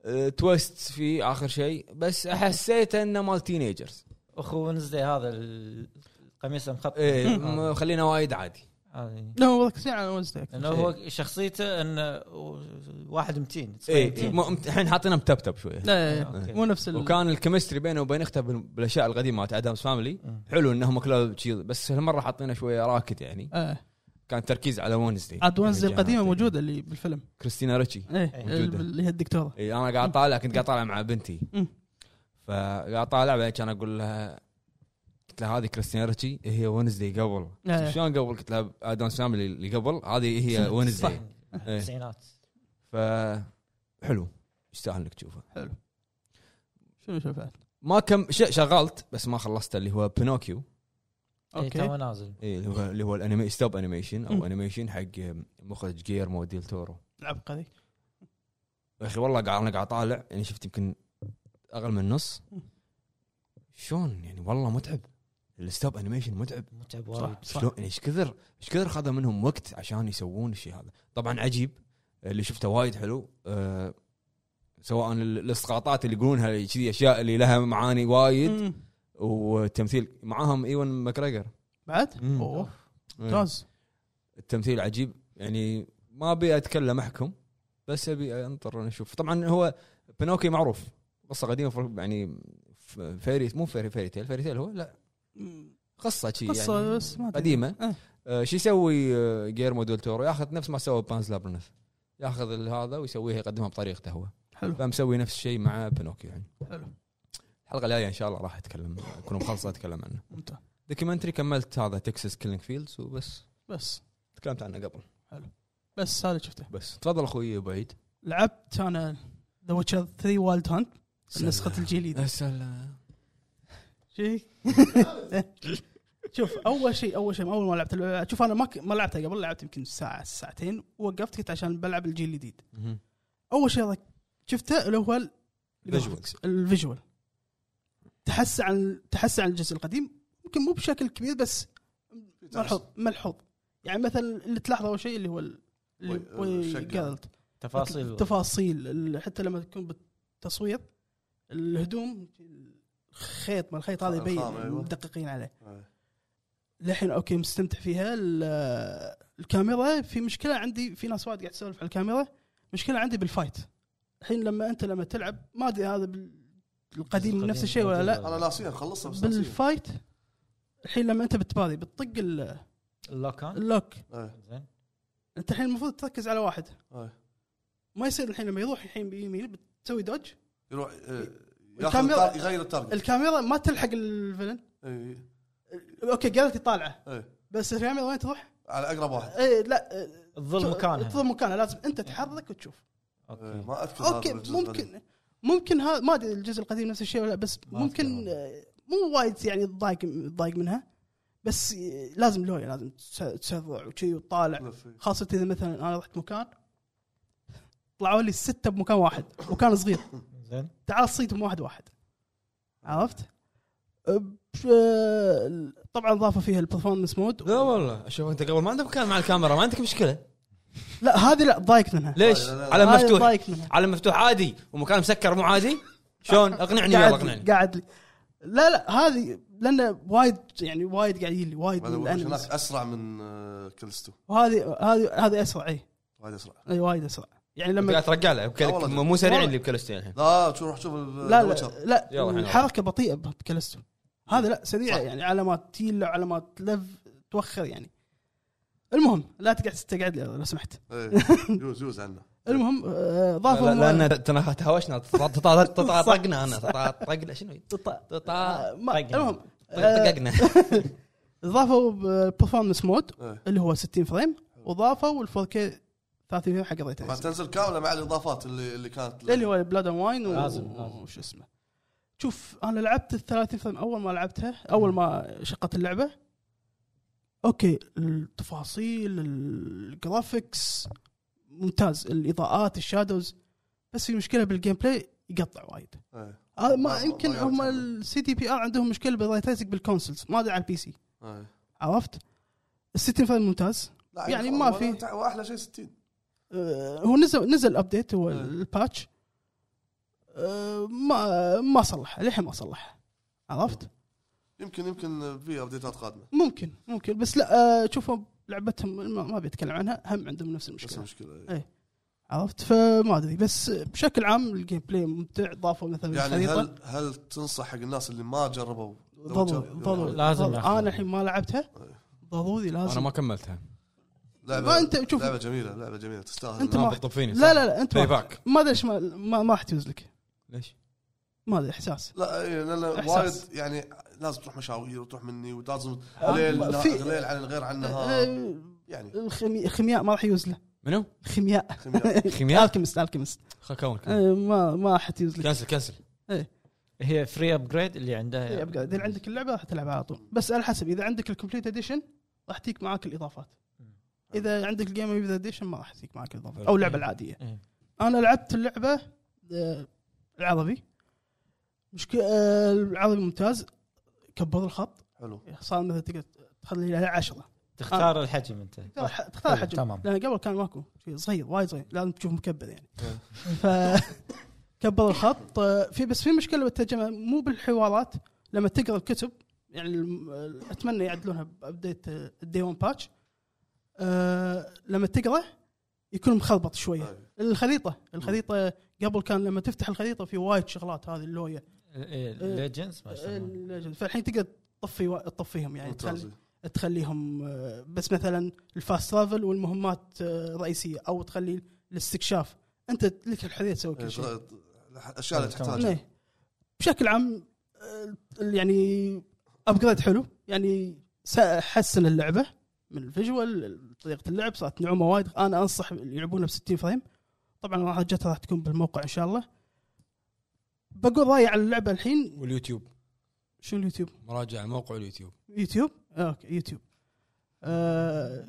أه، تويست في اخر شيء بس حسيته انه مال تينيجرز
اخو ونزدي هذا القميص المخطط
إيه،
هذا.
م- خلينا وايد عادي
هذه.
لا هو مركزين على ونسي
انه هو شخصيته انه واحد
إيه،
متين
اي إيه، الحين حاطينه متبتب شويه
إيه. لا لا، لا.
أوكي.
إيه، مو نفس ال-
إيه. وكان الكيمستري بينه وبين اخته بال- بالاشياء القديمه مالت ادمز فاميلي
إيه.
مم.
حلو انهم كلهم شي- بس هالمره حاطينه شويه راكد يعني
آه.
كان تركيز على وينزداي
عاد ونسي
الجهات.
القديمه موجوده اللي بالفيلم
كريستينا ريتشي
ايه
موجودة.
اللي هي الدكتوره
اي انا قاعد طالع كنت قاعد طالع مع بنتي
مم.
فقاعد طالع بعدين كان اقول لها قلت لها هذه كريستينا ريتشي هي وينزداي قبل
إيه.
شلون قبل قلت لها ادم سامبل اللي قبل هذه هي
صح
وينزداي إيه.
التسعينات
ف حلو يستاهل انك تشوفه
شنو شفت؟
ما كم ش- شغلت بس ما خلصته اللي هو بينوكيو
اي تو
اوكي
نازل
إيه، اللي هو اللي هو الانمي ستوب انيميشن
مم.
او انيميشن حق مخرج جير موديل تورو
العبقه ذي
يا اخي والله قاعد انا قاعد طالع يعني شفت يمكن اقل من النص شلون يعني والله متعب الستوب انيميشن متعب
متعب
صح.
وايد
شلون يعني ايش كثر ايش كثر خذ منهم وقت عشان يسوون الشيء هذا طبعا عجيب اللي شفته وايد حلو أه سواء ال- الاسقاطات اللي يقولونها كذي اشياء اللي لها معاني وايد
مم.
والتمثيل معاهم ايون ماكريجر
بعد؟
مم.
اوه ممتاز
إيه. التمثيل عجيب يعني ما ابي اتكلم احكم بس ابي انطر نشوف طبعا هو بنوكي معروف قصه قديمه فر- يعني ف- فيري مو فيري فيري تيل فيري تيل هو لا
مم.
قصه شي
قصه
يعني
بس ما أدري.
قديمه
إيه.
آه، شو يسوي آه، جيرمو دول تورو ياخذ نفس ما سوى بانز لابرنث ياخذ ال- هذا ويسويها يقدمها بطريقته هو
حلو
فمسوي نفس الشيء مع بنوكي يعني
حلو
الحلقه الجايه ان شاء الله راح اتكلم اكون مخلص اتكلم عنه
ممتاز
دوكيومنتري كملت هذا تكساس كيلينج فيلدز وبس
بس
تكلمت عنه قبل
بس هذا اللي شفته
بس تفضل اخوي ابو عيد
لعبت انا ذا ويتشر 3 وايلد هانت نسخه الجيل الجديد
الجديد
شيك شوف اول شيء اول شيء اول ما لعبت اللعبة- شوف انا ما ك- ما لعبتها قبل لعبت يمكن ساعه ساعتين ووقفت كنت عشان بلعب الجيل الجديد
مهم.
اول شيء ذاك- شفته اللي هو ال-
Visuals.
الفيجوال تحسن عن تحسن عن الجزء القديم يمكن مو بشكل كبير بس ملحوظ ملحوظ يعني مثلا اللي تلاحظه اول شيء اللي هو ال- اللي
وي- الشكل.
قالت
تفاصيل
تفاصيل ال- حتى لما تكون بالتصوير الهدوم الخيط ما الخيط هذا يبين
الخام، أيوة.
مدققين عليه للحين اوكي مستمتع فيها ال- الكاميرا في مشكله عندي في ناس وايد قاعد تسولف على الكاميرا مشكله عندي بالفايت الحين لما انت لما تلعب ما ادري هذا بال- القديم
القديم
نفس الشيء ولا لا
انا ناسيها مخلصها بس ناسيها.
بالفايت الحين لما انت بتباري بتطق ال-
اللوكان
اللوك
إيه،
زين
انت الحين المفروض تركز على واحد
إيه.
ما يصير الحين لما يروح الحين بيمين بتسوي دوج
يروح إيه، ياخذ
الكاميرا-
التار- يغير التارجت
الكاميرا ما تلحق الفلن
إيه،
اوكي قالت طالعه
إيه،
بس الكاميرا وين تروح؟
على اقرب واحد
اي لا آه،
تظل مكانها
تظل مكانها لازم انت تحرك وتشوف
إيه،
اوكي
ما اذكر هذا
اوكي
بالجزء القديم.
ممكن ممكن ها ما ادري الجزء القديم نفس الشيء ولا لا، بس
ما
ممكن
أذكر
آه، مو وايد يعني تضايق تضايق منها بس آه، لازم لويا لازم تس- تسرع وشي وتطالع
لف، إيه.
خاصه اذا مثلا انا رحت مكان طلعوا لي سته بمكان واحد مكان صغير
زين
تعال صيدهم واحد واحد عرفت؟ أب- آه، طبعا ضافوا فيها البرفورمنس مود
لا والله شوف انت قبل ما عندك مكان مع الكاميرا ما عندك مشكله
لا هذه لا ضايق منها
ليش؟
لا، لا، لا.
علم
هذه
مفتوح
ضايق منها
علم مفتوح عادي ومكان مسكر مو عادي شلون اقنعني يلا
قاعد
اقنعني
لي قاعد لي لا لا هذه لان وايد يعني وايد قاعد يجي لي وايد
هذا
من
وش
الانمس
هناك اسرع من آه، كلستو
وهذه هذه هذه اسرع اي
وايد اسرع
اي وايد اسرع يعني
أنت
لما
قاعد ترجع له
لا والله.
بكل- مو سريع
والله.
اللي بكلستين الحين
لا شو روح شوف ال-
إيه. لا
الوجه.
لا لا
يلا الحين.
الحركه بطيئه بكلستو هذا لا سريعه
صح.
يعني علامات تيل علامات لف توخر يعني المهم لا تقعد تقعد لي لو سمحت
إيه، يوز يوز عنه
المهم آه، ضافوا
لا-
هو-
لان تنا- تهاوشنا تط- تط- تطاطقنا انا تطاطقنا شنو
طط-
تطا-
ما-
طقنا.
المهم آه،
طققنا
ضافوا برفورمنس مود
إيه.
اللي هو 60 فريم وضافوا ال 4K 30 فريم حق الريت
طبعا تنزل كامله مع الاضافات اللي اللي كانت
اللي هو بلاد اند واين و-
لازم، لازم.
وش اسمه شوف انا لعبت ال 30 فريم اول ما لعبتها اول ما شقت اللعبه اوكي التفاصيل الجرافكس ممتاز الاضاءات الشادوز بس في مشكله بالجيم بلاي يقطع وايد
إيه،
هذا
ما-
ما
ما-
يمكن
ما
هم
يعتبر.
السي دي بي ار عندهم مشكله بالريت ريسنج بالكونسولز ما ادري على البي سي
إيه.
عرفت؟ ال 60 فريم ممتاز
لا،
يعني
عاد
ما
هو-
في.
واحلى شيء 60
أه، هو نزل نزل ابديت هو
إيه.
الباتش أه، ما ما صلحها للحين ما صلحها عرفت؟
يمكن يمكن في ابديتات قادمه
ممكن ممكن بس لا أه، شوفوا لعبتهم ما- ما بيتكلم عنها هم عندهم نفس
بس
المشكله
المشكله إيه.
عرفت فما ادري بس بشكل عام الجيم بلاي ممتع ضافوا مثلا
يعني
الخريطة.
هل هل تنصح حق الناس اللي ما جربوا
ضروري ضروري
لازم
ضروري.
ياخذها.
انا الحين ما لعبتها ضروري آه، لازم
انا ما كملتها
لعبه
ما أنت- شوف-
لعبه جميله لعبه جميله تستاهل
أنت
ما
ما-
بتطب فيني
لا طيب، لا لا انت
باي
ما
باك
ما ادري ليش ما ما, ما راح تجوز لك
ليش؟
ما ادري احساس
لا إيه، لان وايد
إحساس.
يعني لازم تروح مشاوير وتروح مني ولازم
آه،
ليل
في-
ليل عن الغير عن النهار
آه،
يعني
الخمي- خمياء ما راح يجوز له
منو؟
خمياء
خمياء.
خمياء؟
الكيمست الكيمست
خل كون
آه، ما ما راح يجوز لك
كنسل كنسل
هي فري ابجريد اللي يعني عندها
إيه، أبقى. اذا عندك اللعبه راح تلعبها على طول بس على حسب اذا عندك الكومبليت اديشن راح تجيك معاك الاضافات اذا عندك الجيم اوف اديشن ما راح تجيك معاك الاضافات او اللعبه العاديه
إيه.
انا لعبت اللعبه آه، العربي مشكله آه، العربي ممتاز كبر الخط
حلو
صار مثلا تقدر تخلي لها 10
تختار الحجم انت
تختار آه، تختار حجم
تمام.
لان قبل كان ماكو شيء صغير وايد صغير لازم تشوف مكبر يعني
إيه.
ف كبر الخط آه، في بس في مشكله بالترجمه مو بالحوارات لما تقرا الكتب يعني الم- اتمنى يعدلونها بابديت الدي 1 باتش آه، لما تقرا يكون مخربط شويه
إيه.
الخريطه الخريطه قبل كان لما تفتح الخريطه في وايد شغلات هذه آه، اللويه
ليجندز ما يسمونها.
ال- فالحين تقدر تطفي وا- تطفيهم يعني
ممتاز.
تخلي تخليهم آه، بس مثلا الفاست ترافل والمهمات آه، الرئيسيه او تخلي الاستكشاف انت لك الحريه تسوي
إيه،
كل شيء
الاشياء اللي
تمام.
تحتاجها
إيه. بشكل عام آه، يعني ابجريد حلو يعني س- حسن اللعبه من الفيجوال طريقه اللعب صارت نعومه وايد انا انصح اللي يلعبونها ب 60 فريم طبعا راح جتها راح تكون بالموقع ان شاء الله بقول رايي على اللعبه الحين
واليوتيوب
شو اليوتيوب؟
مراجعه موقع اليوتيوب
يوتيوب؟ آه، اوكي يوتيوب آه،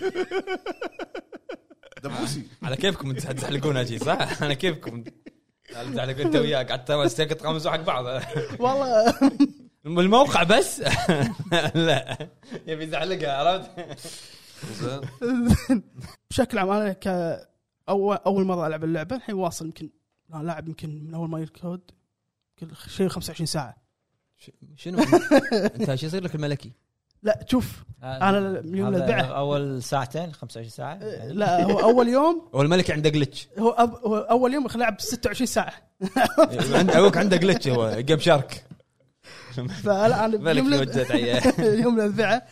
دبوسي
على كيفكم انتم تزحلقونها شي صح؟ على كيفكم تزحلقون انت وياه قعدت ساكت تقامزوا حق بعض
والله
الموقع بس لا يبي يزعلقها عرفت؟
زين
بشكل عام انا ك اول اول مره العب اللعبه الحين واصل يمكن أنا لاعب يمكن من اول ما يركود كل شيء 25 ساعه
شنو انت شو يصير لك الملكي؟
لا شوف أنا يوم
هذا
الأربعاء.
اول ساعتين 25 ساعه
آه، لا هو اول يوم
هو الملكي عنده جلتش
هو, أب... هو اول يوم خلينا نلعب 26 ساعه
عند ابوك عنده جلتش هو جيم شارك
فلا انا
ملك
يوم الأرب-
وجهت عياه
يوم الاربعاء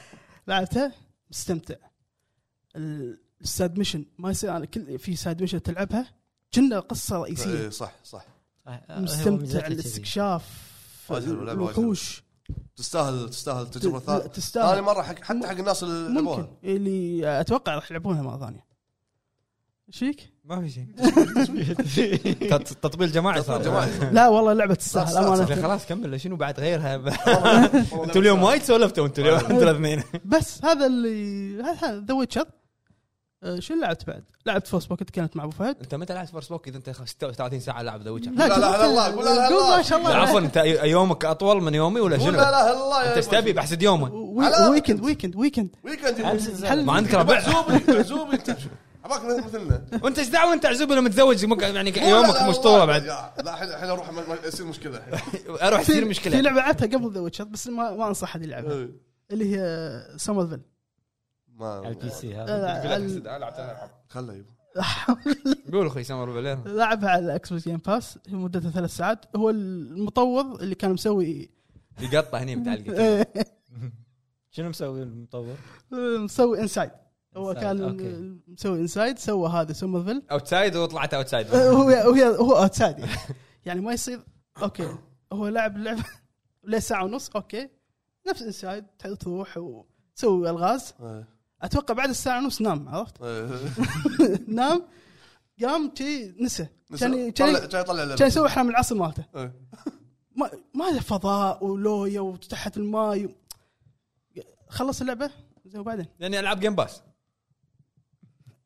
لعبتها مستمتع ال- الساد ميشن ما يصير انا كل في ساد ميشن تلعبها كنا قصه رئيسيه
إيه، صح صح
آه،
آه،
مستمتع الاستكشاف
وايد حلو، لعبة وايد
الوحوش
تستاهل تستاهل
ت-
تجربه
لا،
ثانيه
تستاهل
ثاني مره حق حتى حق الناس اللي
ممكن
لعبوها
اللي اتوقع راح يلعبونها مره ثانيه ايش فيك؟
ما في شيء تطبيل جماعي صار
جماعي
لا والله لعبه تستاهل
لا،
يا أخي
امانه
خلاص كمل شنو بعد غيرها انتم اليوم وايد سولفتوا انتم اليوم انتم الاثنين
بس هذا اللي هذا ذا ويتشر آه، شو لعبت بعد؟ لعبت فوس بوكيت كانت مع ابو فهد
انت متى لعبت فورس بوك اذا انت 36 ساعه لاعب ذا ويتشر؟
لا، لا، لا، الله، قول لا، لا،
قول
الله.
ما شاء الله
عفوا انت يومك اطول من يومي ولا
قول
شنو؟
لا اله الا الله يا
انت ايش
إبراهيم.
تبي بحسد يومك؟
و-
على-
ويكند ويكند ويكند
ويكند
حل
ما عندك ربع
عزوبي عزوبي انت عباك مثلنا
وانت ايش دعوه انت عزوبه لما متزوج مك- يعني يومك مشطوره بعد
لا الحين الحين اروح ما- ما- يصير مشكله الحين
اروح يصير
في
مشكله
لعبه لعبتها قبل ذا ويتشر بس ما, ما انصح احد يلعبها
إيه.
اللي هي سمرفيل
ما
على البي سي هذا
آه، ال-
خله يبا.
قول اخوي سمر بالليل
لعبها على الاكس بوكس جيم باس هي مدتها ثلاث ساعات هو المطور اللي كان مسوي
يقطع هني متعلقه
شنو مسوي المطور؟
مسوي انسايد هو
Inside،
كان
أوكي.
مسوي انسايد سوى هذا سمرفيل
اوتسايد وطلعت اوتسايد
هو هو هو اوتسايد يعني. يعني ما يصير اوكي هو لعب اللعبه له ساعه ونص اوكي نفس انسايد تروح وتسوي الغاز
إيه.
اتوقع بعد الساعه ونص نام عرفت
إيه.
نام قام شي نسى كان
طلع-
كان
كان يطلع
كان
لعبة.
يسوي احلام العصر مالته
إيه.
ما ما له فضاء ولويا وتحت الماي و... خلص اللعبه زين وبعدين
لاني العب جيم باس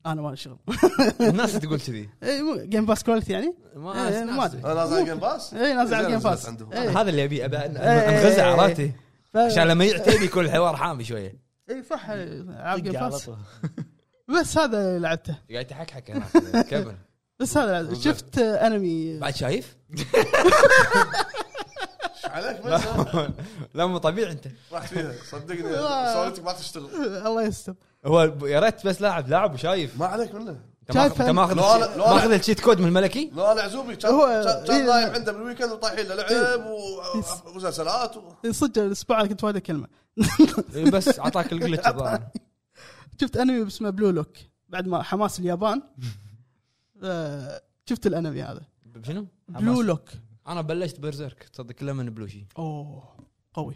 انا ما لي شغل
الناس تقول كذي
إي، مو- جيم باس كواليتي يعني
ما
إيه، ما
ناس-
أدري. إيه،
انا نازل على جيم باس
اي نازل على إيه.
زين
إيه،
الجيم
نزلت
باس
عندهم.
إي،
هذا اللي ابي ابى أن-
إيه،
انغزع
إيه،
عرفتي
ف-
عشان لما يعتني يكون الحوار حامي شويه
اي صح العاب جيم
طق على
باس
طول.
بس هذا لعبته
قاعد تحكحك هناك كمل
بس هذا لعبته.
زين.
شفت آه، انمي
بعد شايف؟
إيش عليك ما
لا مو طبيعي انت
راح فيها صدقني
لا.
سوالتك ما تشتغل
آه، الله يستر
هو ب- يا ريت بس لاعب لاعب وشايف
ما عليك منه
انت ماخذ
شايف
انت
أنا-
ماخذ
لو أنا- لو أنا-
ماخذ الشيت كود من الملكي؟
لو انا عزوبي كان
هو-
كان-
إيه.
كان نايم عنده بالويكند وطايحين له لعب و-
يس.
ومسلسلات و-
إيه، صدق الاسبوع أنا كنت وايد كلمه
إيه، بس اعطاك الجلتش الظاهر
شفت انمي اسمه بلو لوك بعد ما حماس اليابان آه، شفت الانمي هذا
شنو؟
بلو لوك
انا بلشت برزيرك تصدق كله من بلوشي
اوه قوي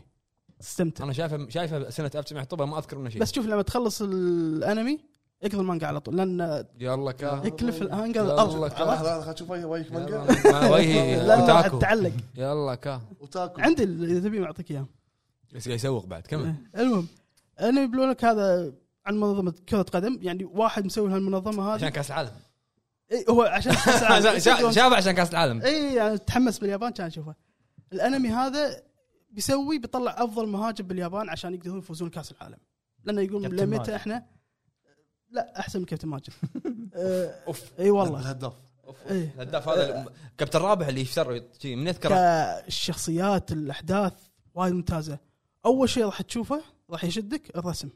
استمتع
انا شايفه شايفه سنه 1900 ما اذكر منها شيء
بس شوف لما تخلص الانمي اقرا المانجا على طول لان
يلا كا
يكلف الانجا
يلا
الارض
كا.
لحظه لحظه خليني اشوف وجه- وجهك مانجا
يلا ما وجهي
لان
اوتاكو
تعلق
يلا كا
وتاكل
عندي ال- اذا تبي بعطيك اياه
بس قاعد يسوق بعد كمل
المهم انمي بلو لوك هذا عن منظمه كره قدم يعني واحد مسوي هالمنظمه
عشان
هذه
كاس العالم
إي، هو عشان
عشان- شا- شافه عشان كاس العالم
اي يعني تحمس باليابان كان اشوفه الانمي هذا بيسوي بيطلع افضل مهاجم باليابان عشان يقدرون يفوزون كاس العالم لانه يقول
كابتن ماجد.
لمتى احنا لا احسن من كابتن ماجد آه،
اوف
اي والله
الهداف
إيه.
الهداف هذا الم- كابتن رابح اللي يشتر شي من يذكره
كالشخصيات الاحداث وايد ممتازه اول شيء راح تشوفه راح يشدك الرسم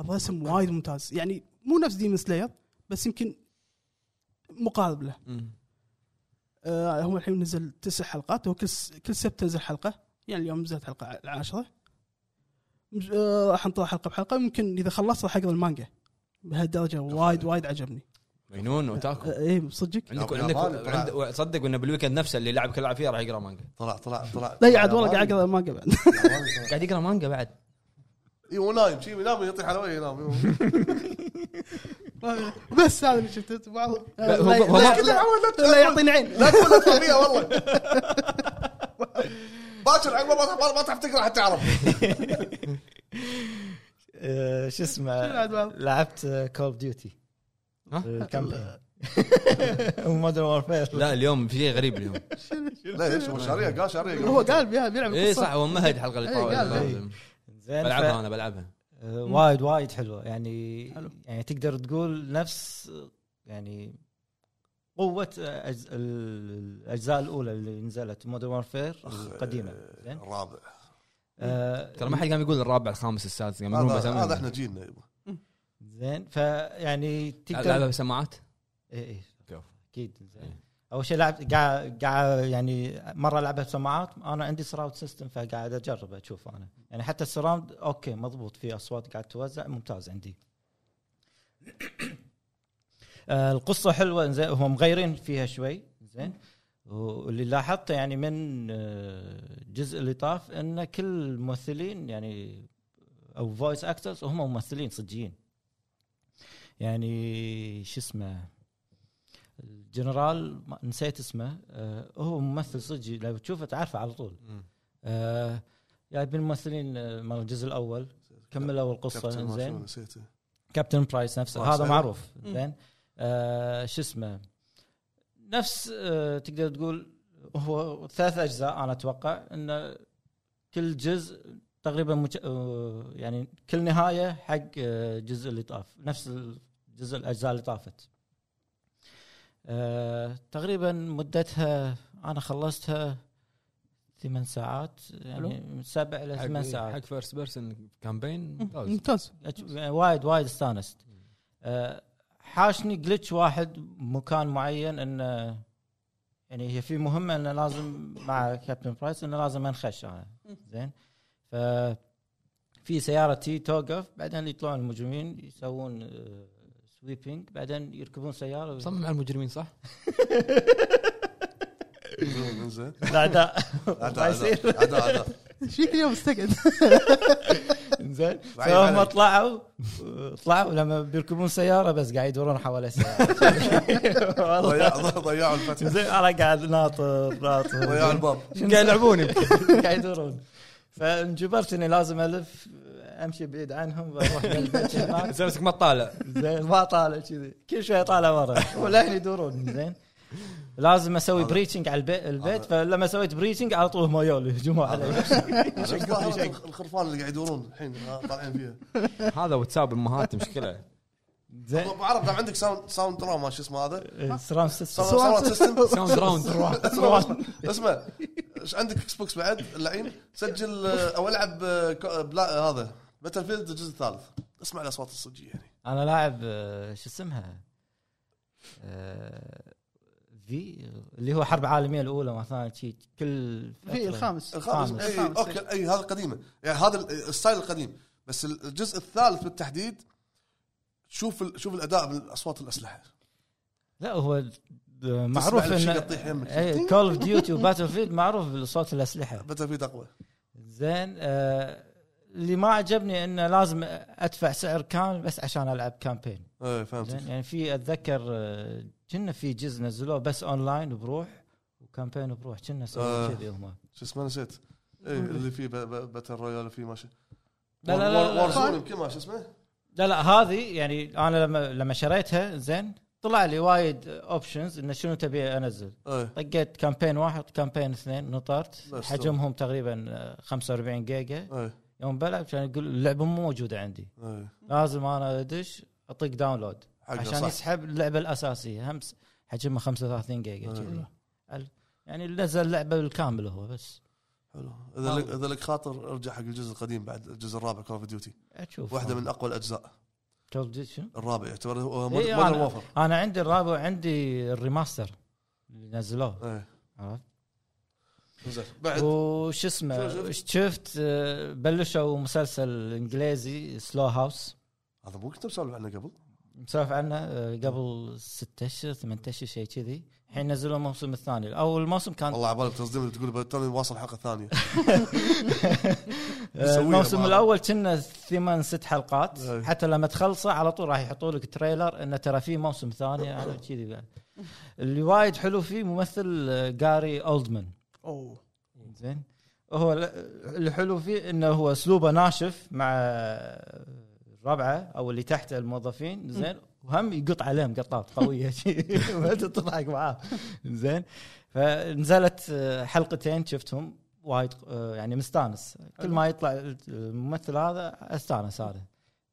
الرسم وايد ممتاز يعني مو نفس ديمون سلاير بس يمكن مقارب له
مم.
آه، هو الحين نزل تسع حلقات هو كل س- كل سبت تنزل حلقه يعني اليوم نزلت حلقه ع- العاشره مج- آه، راح انطلع حلقه بحلقه يمكن اذا خلصت راح اقرا المانجا بهالدرجه وايد وايد عجبني
مجنون اوتاكو
اي صدقك
عندك
لا،
عندك
بالياباني طلع.
عند- صدق انه بالويكند نفسه اللي لعب كل لعب فيه راح يقرا مانجا
طلع طلع طلع
لا عاد والله قاعد اقرا المانجا بعد
قاعد يقرا مانجا بعد
اي هو نايم إيه، شي ينام يطيح على وجهه ينام
بس هذا اللي شفته بعض-
لا، هو-
لا-
هو-
لا-
هو-
لا- لا يعطيني عين
لا تقول لك طبيعي والله باكر عقب ما ما- ما تعرف تقرا حتى تعرف
آه، شو اسمه
شنو الألعاب؟
لعبت كول اوف ديوتي
ها؟
آه، الكامبين مودرن وورفير
لا اليوم في شيء غريب اليوم
لا ليش هو شاريه قال شاريه
هو قال بيها- بيلعب
اي
القصة.
إيه، صح هو مهد حلقه اللي
إيه،
طافت.
قال
إيه. زين
بلعبها
ف-
انا بلعبها
آه، وايد وايد حلوه يعني
حلو.
يعني تقدر تقول نفس آه، يعني قوه آه، أجز- ال- الاجزاء الاولى اللي نزلت مودرن وورفير القديمه زين
الرابع
آه،
ترى ما حد قام يقول الرابع الخامس السادس يعني قام يقولون
هذا هذا
بسمع
احنا جيلنا يبا.
زين فيعني
لعبها
تقدر
بسماعات
إيه، إيه.
كفو. إيه.
اكيد زين اول شيء لعب قاعد قاعد يعني مره العبها بسماعات انا عندي سراوند سيستم فقاعد اجرب اشوف انا يعني حتى السراوند اوكي مضبوط في اصوات قاعد توزع ممتاز عندي آه، القصه حلوه زين هم مغيرين فيها شوي زين واللي لاحظته يعني من آه، الجزء اللي طاف ان كل الممثلين يعني او فويس اكترز هم ممثلين صجيين يعني شو اسمه الجنرال ما- نسيت اسمه آه، هو ممثل صجي لو تشوفه تعرفه على طول آه، جايبين ممثلين آه، مال الجزء الاول كملوا
كابتن
القصه
ما شنو
زين
نسيته
كابتن برايس نفسه
برايس،
هذا
أيوة.
معروف
مم.
زين آه، شو اسمه نفس آه، تقدر تقول هو ثلاث اجزاء انا اتوقع ان كل جزء تقريبا مج... آه، يعني كل نهايه حق آه، الجزء اللي طاف نفس الجزء الاجزاء اللي طافت آه، تقريبا مدتها انا خلصتها ثمان ساعات يعني من سبع الى ثمان ساعات
حق فيرست بيرسون كامبين ممتاز
ممتاز
أج- وايد وايد استانست أه، حاشني جلتش واحد مكان معين انه يعني هي في مهمه انه لازم مع كابتن برايس انه لازم انخش انا زين ف في سياره تي توقف بعدين يطلعون المجرمين يسوون سويبنج بعدين يركبون سياره
صمم على المجرمين صح؟
زين، زين
الاعداء
عدا
ما يصير
عدا عدا عدا
ايش فيك اليوم مستقعد؟
زين
بعيد
فهم
عليك.
طلعوا طلعوا لما بيركبون سياره بس قاعد يدورون حوالي السياره والله
ضيع- ضيعوا الفتح
زين انا قاعد ناطر
ضيعوا
ناطر
الباب
قاعد يلعبون يمكن
قاعد يدورون فانجبرت اني لازم الف امشي بعيد عنهم واروح للبيت هناك.
نفسك ما تطالع
زين ما طالع كذي كل شوي طالع ورا وللحين يدورون زين لازم اسوي
هذا-
بريتشنج على البيت, البيت
هذا-
فلما سويت بريتشنج على طول هم يولوا يهجموا علي
الظاهر الخرفان اللي قاعد يدورون الحين آه، طالعين فيها
هذا واتساب امهات مشكله
زين
ابو عرب لو عندك ساوند ساوند ترا ما شو اسمه هذا
سرام سيستم
ساوند- ساوند سيستم
ساوند راوند
سرام.
اسمع ايش عندك اكس بوكس بعد اللعين سجل آه، او العب آه، كو- بلا آه، هذا باتل فيلد الجزء الثالث اسمع الاصوات الصجيه يعني
انا لاعب آه، شو اسمها آه، في اللي هو حرب عالميه الاولى مثلا شي كل
في
فترة.
الخامس
الخامس
خامس.
اي
الخامس. إيه.
اوكي اي هذا قديمه يعني هذا ال- الستايل القديم بس الجزء الثالث بالتحديد شوف ال- شوف الاداء بالاصوات الاسلحه
لا هو د- معروف
تسمع الشيء
ان
يطيح يمك.
كول اوف ديوتي وباتل فيلد معروف بصوت الاسلحه
باتل فيلد اقوى
زين آه، اللي ما عجبني انه لازم ادفع سعر كامل بس عشان العب كامبين
ايه
زين
فهمت
يعني في اتذكر آه، كنا في جزء نزلوه بس اونلاين بروح وكامبين بروح كنا
آه.
سووا كذي هم
شو اسمه نسيت اي اللي فيه ب- ب- باتل رويال فيه ماشي
لا، لا، لا، آه. لا، لا.
وارزون يمكن ما شو اسمه
لا لا هذه يعني انا لما لما شريتها زين طلع لي وايد اوبشنز انه شنو تبي انزل
ايه
طقيت كامبين واحد كامبين اثنين نطرت
بس
حجمهم تقريبا آه، 45 جيجا
ايه
يوم بلعب كان يقول اللعبه مو موجوده عندي
ايه
لازم انا ادش اطق داونلود
حقه
عشان
صح
يسحب اللعبه الاساسيه همس حجمها 35 جيجا
آه.
كذي ال- يعني نزل اللعبه بالكامل هو بس
حلو اذا لك اذا لك خاطر ارجع حق الجزء القديم بعد الجزء الرابع كول اوف ديوتي
اشوف
واحده من اقوى الاجزاء
Call of Duty شنو؟
الرابع يعتبر هو مود-
إيه،
مودرن
أنا-
ووفر
انا عندي الرابع عندي الريماستر اللي نزلوه
ايه
عرفت
زين بعد
وش اسمه
شو
شفت آه، بلشوا مسلسل انجليزي سلو هاوس
هذا مو كنت مسولف عنه قبل
مسولف عنه آه، قبل ستة اشهر ثمانية اشهر شيء كذي الحين نزلوا الموسم الثاني اول الموسم كان
والله عبالك تصدمني تقول توني واصل الحلقه الثانيه
آه، الموسم
يسويها إيه.
الاول كنا ثمان ست حلقات
أي.
حتى لما تخلصه على طول راح يحطوا لك تريلر انه ترى في موسم ثاني على كذي بعد. اللي وايد حلو فيه ممثل آه، جاري اولدمان
اوه
زين هو ال- الحلو فيه انه هو اسلوبه ناشف مع الربعه او اللي تحته الموظفين زين وهم يقط عليهم قطات قويه شي. ما تضحك معاه زين فنزلت آه، حلقتين شفتهم وايد آه، يعني مستانس كل ما يطلع الممثل هذا استانس هذا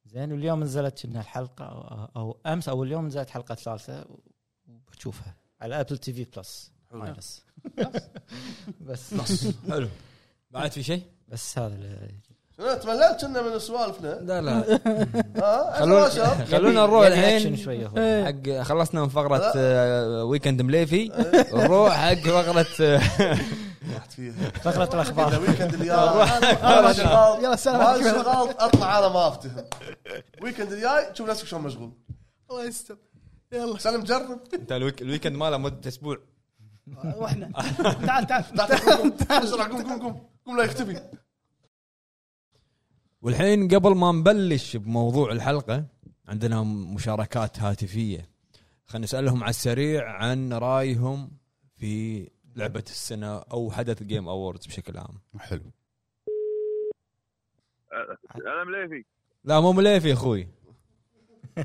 زين واليوم نزلت كنا الحلقه أو- او امس او اليوم نزلت حلقه ثالثه وبتشوفها على ابل تي في بلس ماينس بس
حلو بعد في شيء؟
بس هذا اللي-
شنو تمللت كنا من سوالفنا
لا لا
ها
خلونا-
شباب
خلونا
يبي-
نروح
يبي
الحين
أكشن شويه هو.
إيه.
حق خلصنا من فقره آه، ويكند مليفي نروح حق آه، فقره
رحت إيه. فيها
فقره
إذا آه،
الاخبار
ويكند
آه،
الجاي أنا شغال
يلا سلام
ما أنا شغال اطلع انا ما افتهم ويكند الجاي شوف نفسك شلون مشغول
الله يستر يلا
بس انا مجرب
انت الويك- الويكند ماله مده اسبوع
رحنا تعال تعال
لا تقوم، قوم بسرعه قوم قوم قوم قوم لا يختفي
والحين قبل ما نبلش بموضوع الحلقه عندنا مشاركات هاتفيه خلينا نسالهم على السريع عن رايهم في لعبه السنه او حدث جيم اووردز بشكل عام
حلو
انا مليفي
لا مو مليفي اخوي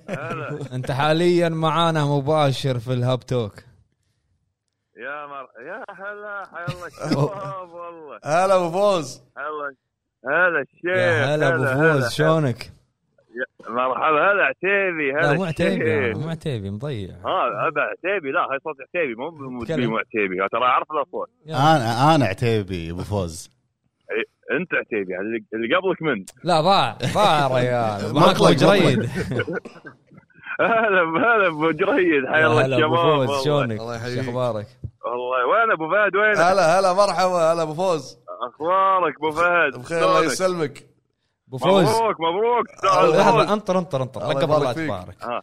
هلا
انت حاليا معانا مباشر في الهاب توك
يا مر يا هلا حيالله شباب والله
هلا ابو فوز
هلا إيه، هلا الشيخ
يا هلا ابو فوز شلونك؟
هلا. مرحبا هلا عتيبي هلا إيه.
لا مو عتيبي يعني
الشيخ.
مو عتيبي مضيع
ها ابا عتيبي لا هاي صوت عتيبي مو مو
تكلم.
مو عتيبي ترى اعرف الاصوات
انا انا عتيبي ابو فوز
انت عتيبي يعني اللي- اللي قبلك من
لا ضاع ضاع يا ريال معك
مطلق،
وجريد
هلا هلا ابو جريد
هلا
حيالله
ابو
الشباب
فوز
والله.
شلونك؟
الله
شو
يحييك.
اخبارك؟
والله وين ابو فهد وين
هلا هلا مرحبا هلا ابو فوز
اخبارك ابو فهد
بخير الله
شلونك؟
يسلمك آه.
ابو فوز
مبروك مبروك أستاذ فوز.
لحظه انطر انطر انطر لا
الله
قبل لا
يبارك فيك.
تبارك
آه.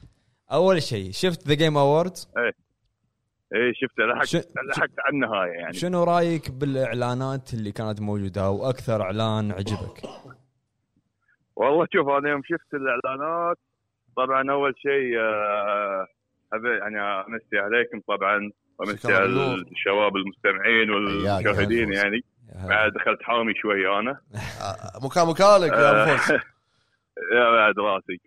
اول شيء شفت ذا جيم اووردز
ايه شفته إيه. لحقت
ش-
لحقت على النهايه يعني
شنو رايك بالاعلانات اللي كانت موجوده واكثر اعلان عجبك؟
والله شوف انا يوم شفت الاعلانات طبعا اول شيء آه، أبي- يعني امسي عليكم طبعا وامسي
شكراً
على
بالنور.
الشباب المستمعين
حياك يا
والمشاهدين
فوز.
يعني
يا هلا.
بعد دخلت حامي شوي انا
آه، مكان مكانك يا ابو فوز
يا بعد راسي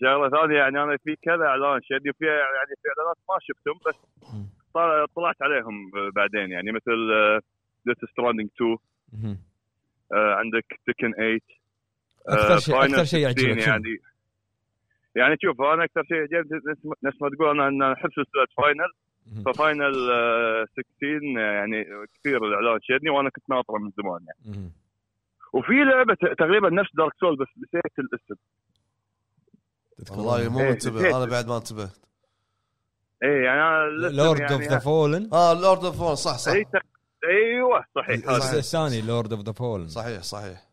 شغله ثانيه يعني انا في كذا اعلان شدني فيها يعني في اعلانات ما شفتهم بس
مم.
طل- طلعت عليهم بعدين يعني مثل ديث ستراندنج 2
مهم.
آه، عندك تكن 8
اكثر شيء
Final
اكثر شيء
16
يعجبك شنو؟
يعني يعني شوف انا اكثر شيء عجبني نفس ما- نفس ما تقول انا انا احب سلسله فاينل
مهم.
ففاينل آه، 16 آه، يعني كثير الاعلان شدني وانا كنت ناطره من زمان يعني
مهم.
وفي لعبه ت- تقريبا نفس دارك سول بس نسيت الاسم
والله مو
إيه،
منتبه
نسيت.
انا بعد ما انتبهت
اي يعني انا الاسم
لورد
يعني
اوف ذا فولن
اه لورد اوف فور صح صح
أي تق- ايوه صحيح هذا
صح.
الثاني لورد اوف ذا فولن
صحيح صحيح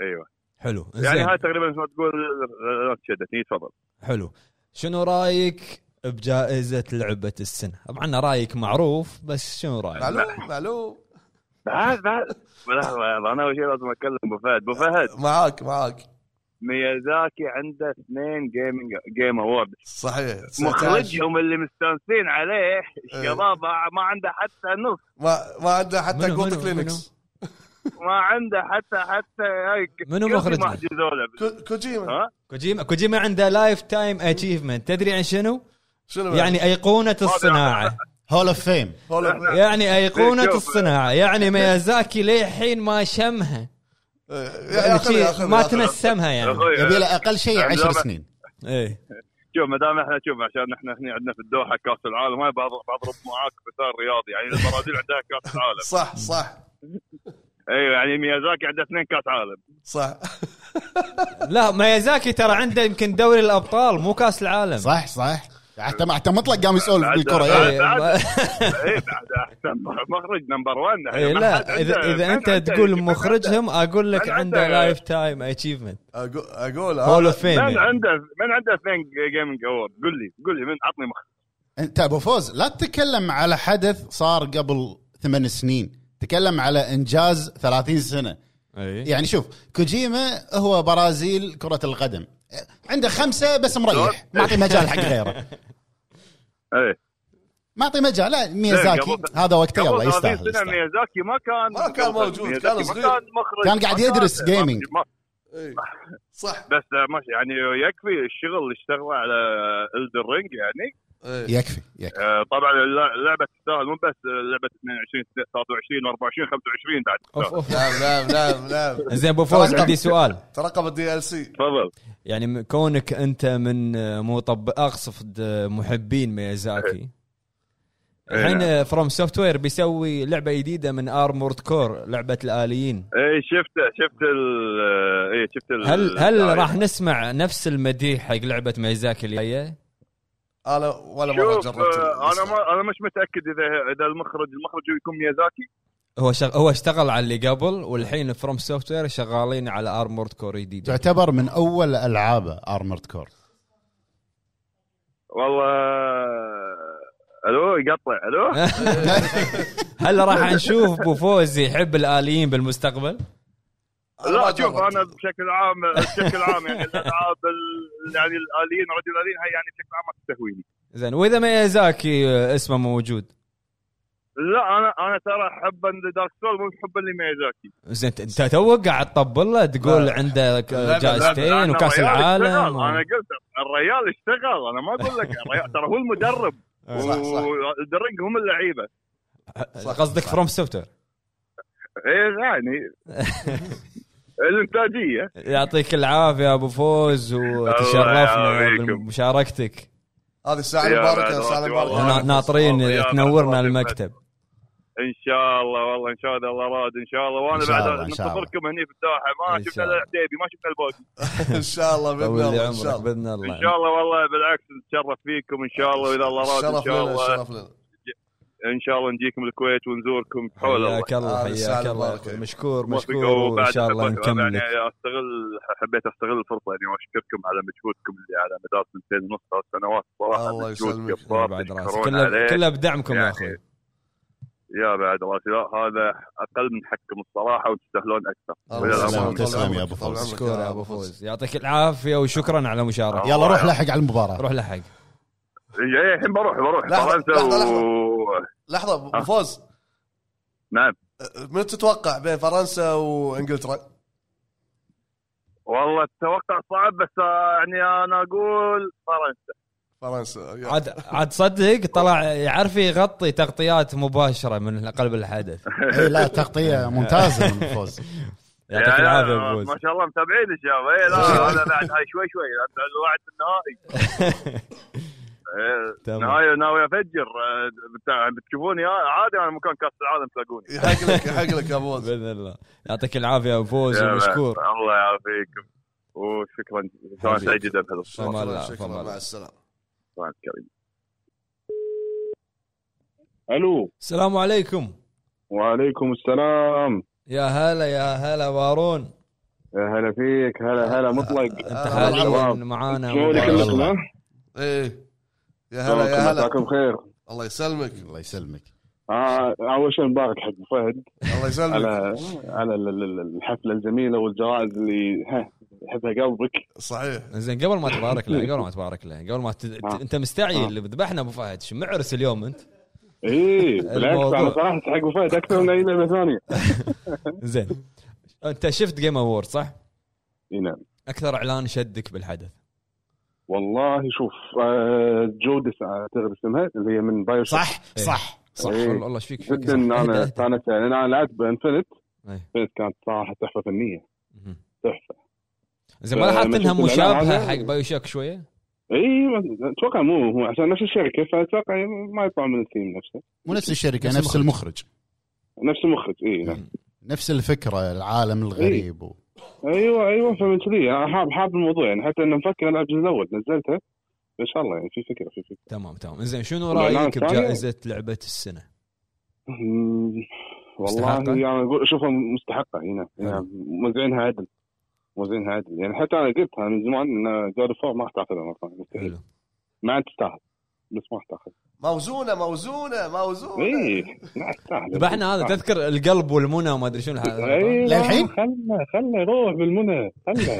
ايوه
حلو
يعني
زين.
هاي تقريبا مثل ما تقول الإعلانات شدتني تفضل
حلو شنو رايك بجائزه لعبه السنه؟ طبعا رايك معروف بس شنو رايك؟
معلوم معلوم
بعد بعد لحظة، انا اول شيء لازم اكلم ابو فهد ابو فهد
معاك معاك
ميازاكي عنده اثنين جيمنج جيم اوورد
صحيح 19.
مخرجهم اللي مستانسين
إيه.
عليه الشباب ما عنده حتى نص
ما ما عنده حتى
منو-
جوت
منو-
كلينكس
ما عنده حتى حتى هاي ك-
منو
كل شيء
مخرجنا؟
ما حجزوا له.
كو- كوجيما
ها؟
كوجيما كوجيما عنده لايف تايم اتشيفمنت تدري عن شنو؟
شنو بعد؟
يعني ايقونه الصناعه
هول اوف فيم
هول أوف-
يعني ايقونه
شوف.
الصناعه يعني ميازاكي للحين ما شمها
إيه، يا
يعني
أخي، يا
شي
أخي،
ما
يا أخي.
تنسمها يعني
أخوي،
يبي له اقل شيء
عم
عشر
لعبة.
سنين
ايه
شوف ما دام احنا شوف عشان احنا هنا عندنا في الدوحه كاس العالم هاي بضرب بضرب معاك مثال رياضي يعني البرازيل عندها كاس العالم
صح صح
ايوه يعني ميازاكي عنده اثنين كاس عالم
صح
لا ميازاكي ترى عنده يمكن دوري الابطال مو كاس العالم
صح صح حتى مع حتى مطلق قام يسولف
بعد-
بالكره
بعد-
إيه.
إيه،
بعد-
ما-
اي بعد احسن مخرج نمبر 1
إيه، لا اذا اذا انت تقول مخرجهم اقول لك
من
عنده
عنده-
لايف تايم اتشيفمنت
أقو- اقول
هول
هذا-
اوف فيم
من عنده من عنده اثنين جيمنج اوورد قول لي قول لي من عطني مخرج
انت ابو فوز لا تتكلم على حدث صار قبل ثمان سنين تكلم على انجاز 30 سنه يعني شوف كوجيما هو برازيل كره القدم
إيه.
عنده خمسه بس مريح معطي مجال حق غيره
اي
ما اعطي مجال لا ميازاكي
إيه، قبل-
هذا وقته يلا
قبل 30
يستاهل
سنه
يستاهل.
ميازاكي ما كان
ما كان موجود،
ميازاكي
كان
ما
صغير.
كان مخرج
كان قاعد
ما
يدرس
ما-
gaming.
ما-
إي. صح
بس آه، ماشي يعني يكفي الشغل اللي اشتغله على الدر رينج يعني
إي.
إيه.
يكفي يكفي
آه، طبعا الل- اللعبه تستاهل مو بس آه، لعبه 22 23 24 25 بعد
اوف اوف
نعم نعم نعم نعم
زين ابو فوز عندي سؤال
ترقب الدي ال سي
تفضل
يعني م- كونك انت من آه، مطب اقصد آه، محبين
إيه.
ميازاكي الحين فروم سوفت وير بيسوي لعبه جديده من ارمورد كور لعبه الاليين
اي إيه، شفت شفت ال اي شفت ال
هل هل راح نسمع نفس المديح حق لعبه ميازاكي اللي جايه؟
انا ولا مره
شوف
جربت
آه، انا ما انا مش متاكد اذا اذا المخرج المخرج يكون ميازاكي
هو شغ... هو اشتغل على اللي قبل والحين فروم سوفت وير شغالين على ارمورد كور جديد
تعتبر من اول العابه ارمرد كور
والله الو يقطع الو
هل راح نشوف ابو فوز يحب الاليين بالمستقبل؟
أنا ما
لا شوف
جربت.
انا بشكل عام بشكل عام يعني الالعاب ال- يعني الاليين رجل الاليين هاي يعني بشكل عام ما تستهويني
زين واذا ميازاكي آه، اسمه موجود
لا انا انا ترى حبا لدارك سول مو حبا لميازاكي
زين ت- انت تو قاعد تطبل له تقول
لا.
عنده
لا،
ك-
لا،
جائزتين
أنا
وكاس
الريال اشتغل.
العالم
انا قلت الريال اشتغل انا ما اقول لك الريال ترى هو المدرب
صح، صح.
والدرج هم اللعيبه
و- قصدك فروم سوفت وير
ايه يعني الانتاجيه
يعطيك العافيه ابو فوز
الله
وتشرفنا
يعافيك.
بمشاركتك
هذه الساعه
يا
المباركه
بعد
الساعه
راسي
المباركه
والله.
ونا- ناطرين
الله
تنورنا
يعافيك.
المكتب
ان شاء الله والله ان شاء الله الله راد ان شاء الله وانا
إن شاء
بعد
الله، إن شاء الله.
ننتظركم هني في الساحه ما
إن شاء
شفنا
الله.
العتيبي ما شفنا الباقي
ان شاء الله باذن
طول لي
الله ان شاء
عمرك
الله
باذن
ان
الله
شاء الله والله بالعكس نتشرف فيكم ان شاء الله واذا الله راد ان
الشرف
شاء
لنا
الله
الشرف لنا
ان شاء الله نجيكم الكويت ونزوركم حول الله
حياك الله
هذه الساعة
حياك الله يا
المباركة.
أخوي. مشكور
موفق.
مشكور
وبعد
وان شاء الله
أحب-
نكمل
يعني استغل حبيت استغل الفرصه يعني واشكركم على مجهودكم اللي على مدار سنتين ونص ثلاث سنوات صراحه
الله
مجهود
يسلمك.
جبار
بعد راسي
تشكرون
كله
عليه.
كله بدعمكم يا
يعني
اخوي
يا بعد راسي لا هذا اقل من حقكم الصراحه وتستاهلون اكثر
الله
وإلى
يسلمك.
الأمان.
يسلمك. طول
تسلم يا
عمرك.
أبو
طول
فوز.
عمرك
مشكور يا ابو فوز يعطيك العافيه وشكرا على المشاركه
يلا روح لحق على المباراه
روح لحق
إيه، الحين بروح بروح
لحظة،
فرنسا
لحظة، لحظة.
و...
لحظه ابو
آه.
فوز
نعم
من تتوقع بين فرنسا وانجلترا؟
والله التوقع صعب بس آه، يعني انا اقول فرنسا
فرنسا يا.
عاد عاد صدق طلع يعرف يغطي تغطيات مباشره من قلب الحدث
إيه، لا تغطيه ممتازه من فوز
يعطيك
يعني
العافيه
أنا-
ابو
ما
فوز
شاء الله متابعين الشباب اي
إيه.
لا انا بعد هاي شوي شوي الوعد النهائي إيه،
تمام.
نهاية ناوي افجر آه، بتاع- بتشوفوني آه، عادي انا مكان كاس العالم تلاقوني
يحق لك يحق لك يا ابو فوز
باذن الله يعطيك العافيه يا ابو فوز
يا
ومشكور
بعد، الله يعافيكم وشكرا كان سعيد جدا بهذا
فما لا، فما
شكرا شكرا
لا.
مع السلامه
السؤال الكريم الو
السلام عليكم
وعليكم السلام
يا هلا يا هلا بارون
يا هلا فيك هلا
آه،
هلا مطلق
انت
هلا
حاليا
شباب.
معانا
شلونك
والله.
كلكم ها؟
ايه يا هلا يا
شلونكم؟
هلا
مساكم بخير
الله يسلمك
الله يسلمك
آه، اول شيء مبارك حق فهد
الله يسلمك
على على ال- ال- الحفله الجميله والجوائز اللي ها يحبها قلبك
صحيح
زين قبل ما تبارك له قبل ما تبارك له قبل ما ت... ت-
آه.
انت مستعجل
آه.
اللي ذبحنا ابو فهد شو معرس اليوم انت
اي إيه، بالعكس
الموضوع.
انا صراحه حق فهد اكثر من اي لعبه ثانيه
زين انت شفت جيم اوورد صح؟
اي نعم
اكثر اعلان شدك بالحدث
والله شوف آه، جودس اعتقد اسمها اللي هي من بايو شوك.
صح صح
صح
إيه.
والله ايش فيك إيش فيك؟ إيه.
جدا
صح.
انا
اهدى، اهدى.
استانست يعني انا لعبت بانفنت
إيه.
انفنت كانت صراحه تحفه فنيه
مهم.
تحفه
زين ما لاحظت
فلما
انها
آه، شفت الإعلان
مشابهه
هذا-
حق بايو شوك شويه؟
اي ما- اتوقع يعني. إيه، مو هو عشان نفس الشركه فاتوقع ما يطلع من الثيم نفسه
مو نفس الشركه
نفس
نفس المخرج
نفس المخرج اي نعم
نفس الفكره العالم
إيه.
الغريب و...
ايوه ايوه فمن كذي انا حاب حاب الموضوع يعني حتى انه مفكر العب الجزء الاول نزلته ان شاء الله يعني في فكره في فكره
تمام تمام زين شنو
والإعلان
رايك
الثاني؟
بجائزه لعبه السنه؟
أمم، والله
مستحقة؟
انا يعني اقول اشوفها مستحقه هنا يعني موزعينها عدل موزعينها عدل يعني حتى انا قلتها من زمان ان جود فور إيه؟ ما راح تاخذها مره ثانيه مستحيل
حلو
ما عاد تستاهل بس ما راح تاخذها
موزونه موزونه موزونه
إيه.
اي لا تستاهل.
ذبحنا هذا تذكر القلب والمنى وما ادري شنو
أيوة،
إي، لا،
للحين؟
خله خله يروح بالمنى خله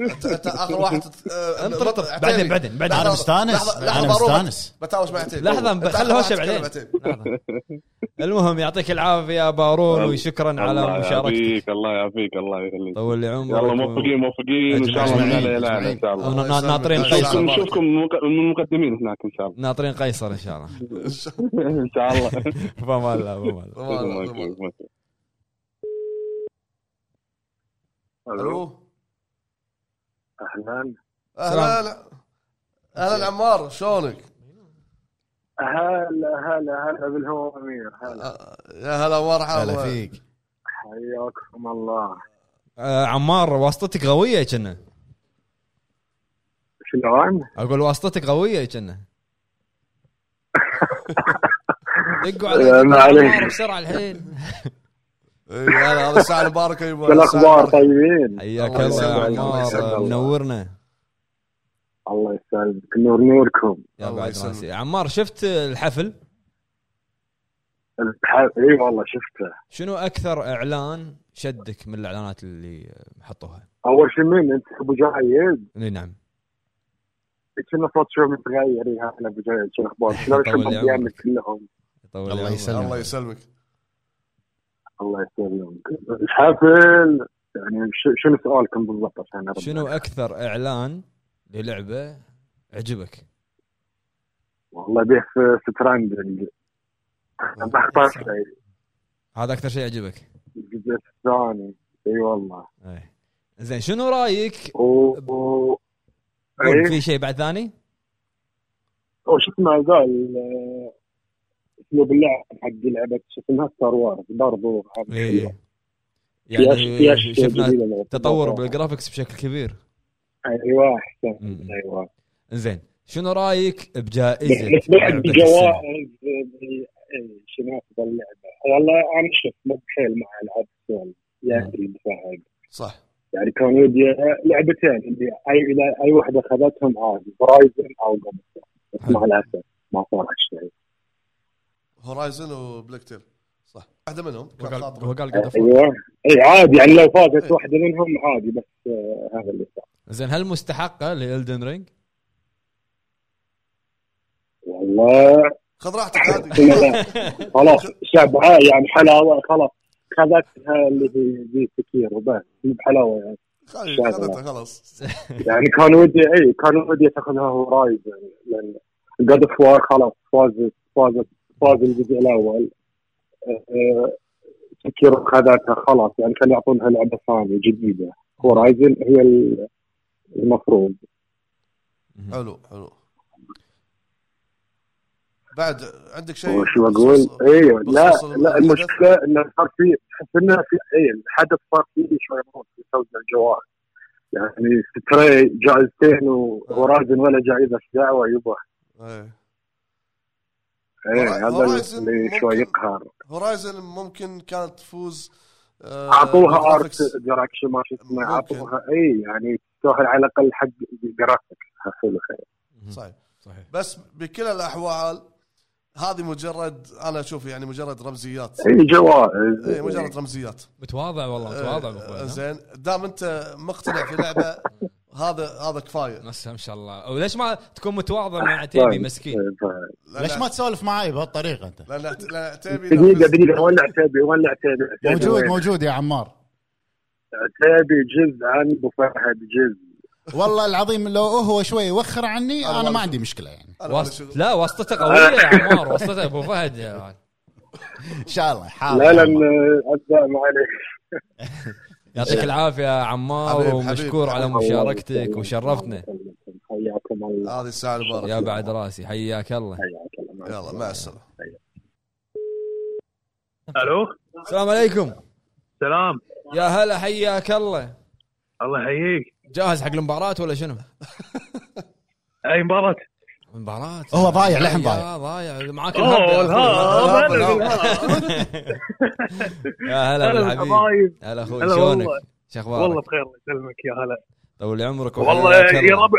انت أنت اخر واحد آه،
انطلق
عتيبي.
بعدين بعدين بعدين
انا
لحظة-
مستانس
لحظة- لحظة
انا
بروح.
مستانس
بتهاوش مع عتيبي
لحظه
أنت
ب-
آخر
خله
واحد
هوشه
تتكلم
بعدين
عتيبي.
لحظة. المهم يعطيك العافيه بارون
الله-
وشكرا
الله
على مشاركتك
يعافيك الله يعافيك الله يخليك
طول لي عمرك
يلا موفقين موفقين وان شاء الله من
أجمعين،
هلا إلى هلا ان شاء الله
ونا- ناطرين
الله يسلمك.
قيصر
نشوفكم
بارك.
نشوفكم مق- من المقدمين هناك ان شاء الله
ناطرين قيصر ان شاء الله
ان شاء الله
فما لا فما لا
الو
الو
اهلا
اهلا اهلا عمار شلونك؟
هلا هلا هلا بالهواء امير هلا
آه، يا هلا مرحبا
هلا فيك
حياكم الله
آه، عمار واسطتك قويه كنا
شلون؟
اقول واسطتك قويه كنا دقوا
لا، ما عليك.
على بسرعه الحين
إي، هلا هذا الساعه المباركه يبا
شو الاخبار
الساعة المباركة.
طيبين؟
حياك
الله
الله
يسلمك،
يا
الله يسلمك.
عمار آه، منورنا
الله يسلمك نور نوركم
يا
الله
بعد
يسلمك.
راسي عمار شفت الحفل
الح- اي والله شفته
شنو اكثر اعلان شدك من الاعلانات اللي حطوها؟
اول شيء مين انت ابو جايد
اي نعم
كنا صوت شو يعني، متغير يا اهلا ابو جايد شو الاخبار؟ شلون
طول لي
اشوفهم
عمرك.
ايامك كلهم؟
يطول
الله
العمر.
يسلمك.
الله يسلمك
الله يسلمك الحفل يعني ش- شنو سؤالكم بالضبط عشان أرد؟
شنو اكثر اعلان للعبه عجبك؟
والله به في ستراندنج ما اختار شيء
هذا اكثر شيء عجبك؟
الجزء الثاني اي والله
أي. زين شنو رايك؟
و... و...
قول،
اي
في شيء بعد ثاني؟
وش اسمه قال آه، اسلوب اللعب حق لعبه شو اسمها ستار وارز برضو
اي
فيها- فيها
إيه. يعني
أشياء
شفنا
جديدة لعبة.
تطور بالجرافكس بشكل كبير
ايوه احسن
م- م.
ايوه
زين شنو رايك بجائزه لعبة
بعد
السنة؟
جوائز ب- إي، شنو افضل لعبه والله انا شفت مو بحيل مع العاب السؤال يعني بفهد
صح
يعني كان ودي لعبتين اللي اي اي واحده اخذتهم عادي برايزن او قبل بس مع الاسف ما صار هالشيء
هورايزن وبلاك تيل صح واحده منهم
هو
كان
قال
خاطر
هو قال God of War.
ايوه
أيوة.
اي عادي يعني لو فازت واحده منهم عادي بس آه، هذا اللي صار
زين هل مستحقه لالدن رينج؟
والله
خذ راحتك عادي
لا، لا. خلاص شبعاء يعني حلاوه خلاص خذتها اللي هي ذي سكير وبس مو بحلاوه يعني
خذ- خذتها خلاص
يعني كان ودي اي كان ودي تاخذها هورايزن لان جاد اوف وار خلاص فازت فازت فاز الجزء الاول أه، سكيرو خذتها خلاص يعني كانوا يعطونها لعبه ثانيه جديده هورايزن هي ال- المفروض
حلو حلو بعد عندك شيء
وش بقول؟ ايوه لا
بخصوص
لا
الحدث؟
المشكله انه صار في تحس انه في اي الحدث صار فيه شوي موت في توزيع الجوائز يعني ستري جائزتين
آه.
وهورايزن ولا جائزه في دعوه يبا
إيه.
ايه هذا
هورايزن
اللي
ممكن-
شوي يقهر
هورايزن ممكن كانت تفوز آه،
اعطوها
بالجرافيكس.
ارت دايركشن ما شو اسمه
ممكن.
اعطوها اي يعني تستاهل على الاقل حق الجرافيك حلو خير
صحيح
صحيح
بس بكل الاحوال هذه مجرد انا اشوف يعني مجرد رمزيات
اي إيه، جوائز
إيه، مجرد رمزيات
متواضع والله متواضع أبو
آه،
فهد، ها؟
زين دام انت مقتنع في لعبه هذا هذا كفايه
بس ان شاء الله وليش ما تكون متواضع مع
طيب.
عتيبي مسكين
إيه، ف-
لأن-
ليش ما تسولف معي بهالطريقه انت؟
لان لأن عتيبي
دقيقه
نفذ-
دقيقه وين عتيبي وين عتيبي عتيبي
موجود
وين؟
موجود يا عمار
عتيبي جزء عن ابو فهد جزء
والله العظيم لو هو شوي يوخر عني
أنا
انا
ولا
ما عندي مشكله يعني
أنا ولا
واسط...
شغل.
لا واسطته
طيب.
قويه إيه، يا عمار واسطته ابو فهد يا عيال.
ان شاء الله حاضر
لا
يا
لان
عمار.
ابدا معليش
يعطيك العافيه يا عمار
حبيب-
ومشكور على
حبيب.
مشاركتك وشرفتنا
حياكم الله
هذه الساعه المباركه
يا بعد راسي حياك الله
حياك الله
يلا مع السلامه
الو
السلام عليكم
سلام
يا هلا حياك الله
الله يحييك
جاهز حق المباراه ولا شنو؟
اي مباراه
مباراه
هو ضايع، لحم
يا
ضايع.
ضايع معاك
اوه
الهب يا أخوي.
الهاب
الهاب،
أنا
الهاب.
بالهاب.
يا هلا
هلا
بالحبيب
بالحبايب
هلا اخوي
آه. هلا
شلونك؟
والله.
شو
والله
اخبارك؟
بخير الله يسلمك يا هلا
طول لي عمرك
والله
وحياك
يا
الله.
ربع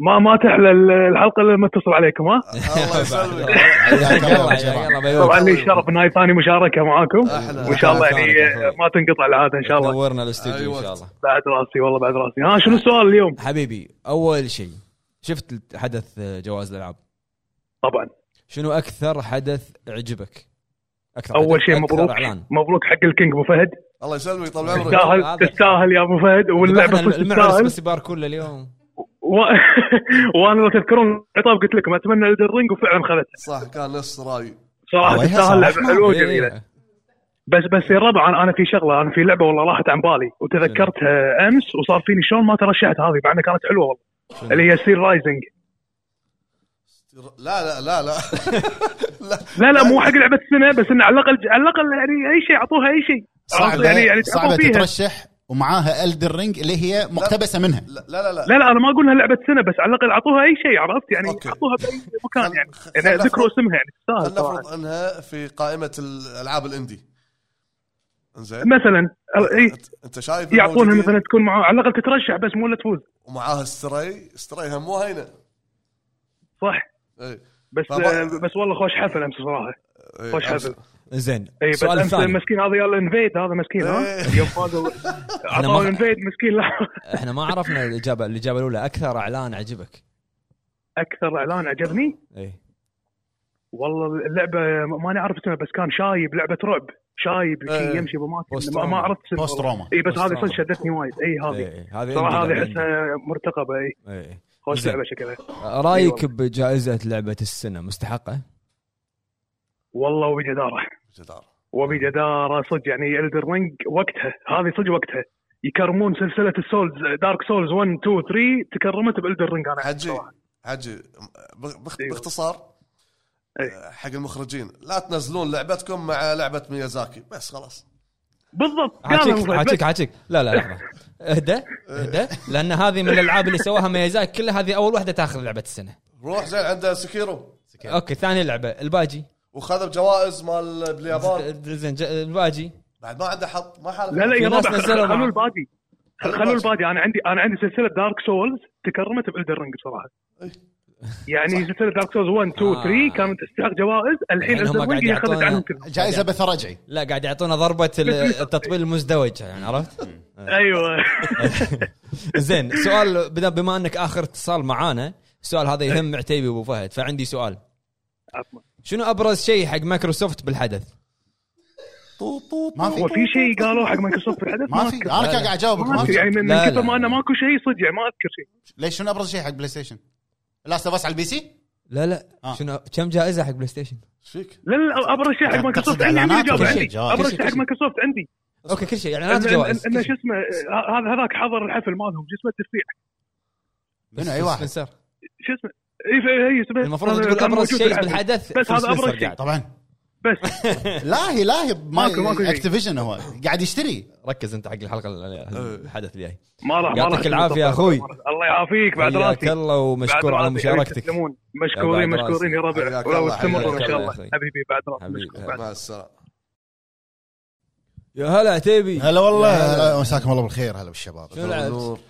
ما ما تحلى الحلقه لما اتصل عليكم ها
الله يسلمك
حياك الله.
يلا يلا بيوك
طبعا لي شرف ان هاي ثاني مشاركه معاكم
أحلى.
وان شاء الله يعني
أحلى، أحلى.
ما تنقطع العاده ان شاء الله
دورنا
أيوة.
الاستديو ان شاء الله
بعد راسي والله بعد راسي ها شنو السؤال اليوم
حبيبي اول شيء شفت حدث جواز الالعاب
طبعا
شنو اكثر حدث عجبك؟ اكثر
اول
حدث-
شيء
أكثر
مبروك
اعلان
مبروك حق الكينج ابو فهد
الله يسلمك طال عمرك
تستاهل
هذا.
تستاهل يا ابو فهد واللعبه
ذبحنا
صدق
المعرس
تستاهل
بس بار كله اليوم
و... وانا لو تذكرون عطاب قلت لكم اتمنى الرينج وفعلا خذتها
صح كان نفس رايي
صراحه
أوه، يا
تستاهل
صراحة.
لعبه حلوه وجميله
إيه.
بس بس يا الربع انا انا في شغله انا في لعبه والله راحت عن بالي وتذكرتها امس وصار فيني شلون ما ترشحت هذه مع انها كانت حلوه والله اللي هي سير رايزنج
لا لا لا لا
لا لا مو حق لعبه السنه بس انه على الاقل على الاقل يعني اي شيء اعطوها اي شيء عرفت؟
صعبه
يعني يعني تعبوا
صعبه
فيها
تترشح ومعاها الدر رينج اللي هي مقتبسه منها
لا لا لا
لا لا انا ما اقول انها لعبه سنه بس على الاقل اعطوها اي شيء عرفت يعني
أوكي.
اعطوها باي مكان
خل-
يعني
خل-
يعني
خل
ذكروا
نفرض-
اسمها يعني تستاهل صراحة.
لنفرض انها في قائمه الالعاب الاندي زين
مثلا أه، اي
أنت- انت شايف
يعطونها
الموجودين
مثلا تكون معاه على الاقل تترشح بس مو لا تفوز
ومعاها استري استري هم مو هينه
صح
إيه.
بس
طبعاً.
آه، بس والله خوش حفل امس صراحه
إيه.
خوش حفل
زين
اي إيه، بس
السؤال
امس
الثاني
مسكين هذا يلا انفيد هذا مسكين ها
إيه.
يوم فازوا
ما-
عطاهم انفيد مسكين لا
احنا ما عرفنا الاجابه الاجابه الاولى اكثر اعلان عجبك إيه.
اكثر اعلان عجبني
اي
والله اللعبه ماني عارف اسمها بس كان شايب لعبه رعب شايب شيء
إيه.
يمشي بأماكن.
بوست
ما ما
تروما.
عرفت اسمها
بوست تروما.
اي بس
بوست
هذه
تروما.
صدق شدتني وايد اي هذه
إي، إيه، هذه إيه.
صراحه
عندي
هذه
لعبة عندي.
احسها مرتقبه اي
إي.
خوش
زين.
لعبه شكلها
رايك
أيوة.
بجائزه لعبه السنه مستحقه؟
والله وبجداره
جدار
وبجداره صدق يعني الدر رينج وقتها هذه صدق وقتها يكرمون سلسله السولز دارك سولز 1 2 3 تكرمت بالدر رينج انا
حجي
صراحة.
حجي بخ- بخ-
أيوة.
باختصار
أي.
حق المخرجين لا تنزلون لعبتكم مع لعبه ميازاكي بس خلاص
بالضبط قالها
حاجيك
مفيد.
حاجيك حاجيك لا لا لحظه اهدى اهدى لان هذه من الالعاب اللي سواها ميازاكي كلها هذه اول واحده تاخذ لعبه السنه
روح زين عند سكيرو
اوكي ثاني لعبه الباجي
وخذ بجوائز مال باليابان
زين ج- الباجي
بعد ما عنده حط ما حالف
لا لا يا
في ناس
ربع
نزلوا معه.
خلوا الباقي خلوا الباقي انا عندي انا عندي سلسله دارك سولز تكرمت بالدرنج صراحه
إيه.
يعني سلسله دارك سولز 1 2
آه.
3 كانت تستحق جوائز الحين
الحين هم
الدر
قاعد
رينج هي خذت
يعطونا-
عنهم كلهم
جائزه بث رجعي
لا قاعد يعطونا ضربه ال- التطبيل المزدوج يعني عرفت؟
ايوه
زين سؤال بدا- بما انك اخر اتصال معانا السؤال هذا يهم عتيبي وابو فهد فعندي سؤال
عفواً.
شنو ابرز شيء حق مايكروسوفت بالحدث؟
ما في
هو في شيء قالوا حق مايكروسوفت في الحدث
ما في
أذكر.
انا كان قاعد اجاوبك
ما
ما
أذكر.
في
يعني من
لا،
من
لا.
كثر ما انا ماكو شيء صدق يعني ما اذكر شيء
ليش شنو ابرز شيء حق بلاي ستيشن؟ لاست اوف اس على البي سي؟
لا لا
آه.
شنو كم جائزه حق بلاي ستيش؟
ايش فيك؟
لا لا ابرز شيء حق
تقصد
مايكروسوفت عندي عندي
إعلانات
الإجابة،
ولا
عندي
شيء؟ جوائز.
ابرز شيء حق مايكروسوft عندي
اوكي كل شيء
إن-
اعلانات جوائز
إن- إن شو اسمه آه، هذا هذاك حضر الحفل مالهم شو اسمه التسريع
منو اي واحد؟
سبنسر.
شو اسمه اي اي اسمه
المفروض
كان-
تقول
كان
ابرز
موجود
شيء
الحفل.
بالحدث
بس هذا أبرز
سبنسر
شيء.
قاعد.
طبعا
بس
لاهي لاهي ما
ماكو- ماكو شيء.
اكتيفيجن هو قاعد يشتري
ركز انت حق الحلقه ال- الحدث الجاي
ما راح ما راح
يعطيك العافية أخوي.
الله يعافيك بعد
حياك
راسي
الله ومشكور
بعد
على
راسي.
مشاركتك
تسلمون. مشكورين
بعد راسي.
مشكورين يا ربع
حياك
ولو
الله،
استمروا
حياك
ان
الله
شاء الله
يا أخوي.
حبيبي بعد راسي
حبيبي.
مشكور. بعد
مع السلامه
يا هلا عتيبي
هلا والله هلا مساكم الله بالخير هلا
شنو
بالشباب
لعبت؟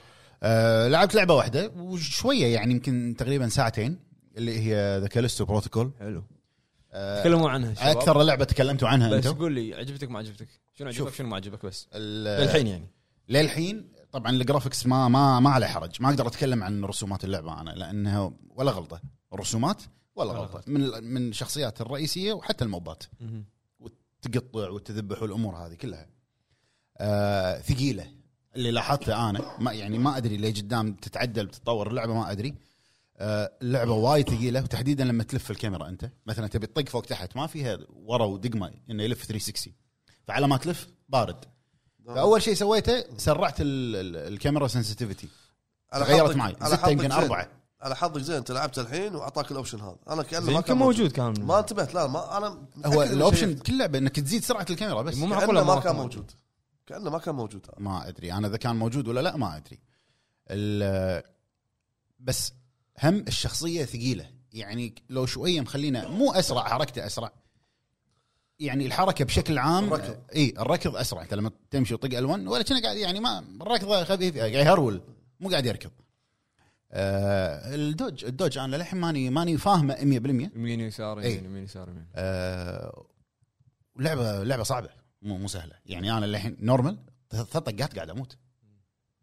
آه، لعبت لعبه واحده وشويه يعني يمكن تقريبا ساعتين اللي هي ذا كاليستو بروتوكول
حلو تكلموا عنها الشباب.
اكثر لعبه آه، أه، تكلمتوا عنها
أه. بس
انتم
قول لي عجبتك ما عجبتك شنو عجبك شنو ما عجبك بس
ال-
للحين يعني
آه، للحين طبعا الجرافكس ما ما ما عليه حرج ما اقدر اتكلم عن رسومات اللعبه انا لانها ولا غلطه رسومات ولا
ولا
غلطه من من الشخصيات الرئيسيه وحتى الموبات
مهم.
تقطع وتذبح والامور هذه كلها آه ثقيله اللي لاحظته انا ما يعني ما ادري ليه قدام تتعدل بتتطور اللعبه ما ادري آه اللعبه وايد ثقيله وتحديدا لما تلف الكاميرا انت مثلا تبي تطق فوق تحت ما فيها ورا ودقمه انه يلف 360 فعلى ما تلف بارد فاول شيء سويته سرعت ال- ال- الكاميرا سنسيتيفيتي
على
تغيرت
حظك-
معي.
على
ستة
حظك
يمكن
زين.
أربعة.
على حظك زين انت لعبت الحين واعطاك الاوبشن هذا انا كانه
زين
ما
يمكن
كان
موجود كان
ما انتبهت لا ما انا متأكد
هو
إني
الاوبشن
شيكت.
بكل لعبه انك تزيد سرعه الكاميرا بس
مو معقوله
كانه ما كان موجود كانه ما كان موجود
ما ادري انا اذا كان موجود ولا لا ما ادري ال- بس هم الشخصيه ثقيله يعني لو شويه مخلينا مو اسرع حركته اسرع يعني الحركه بشكل عام
الركض.
اي الركض اسرع انت لما يعني تمشي وتطق الوان ولا كنا قاعد يعني ما الركضه خفيفه قاعد يهرول مو قاعد يركض آه الدوج الدوج انا للحين ماني ماني فاهمه 100%
يمين يسار
إي.
يمين يمين يسار يمين
آه، لعبه لعبه صعبه مو مو سهله يعني انا الحين نورمال ثلاث طقات قاعد اموت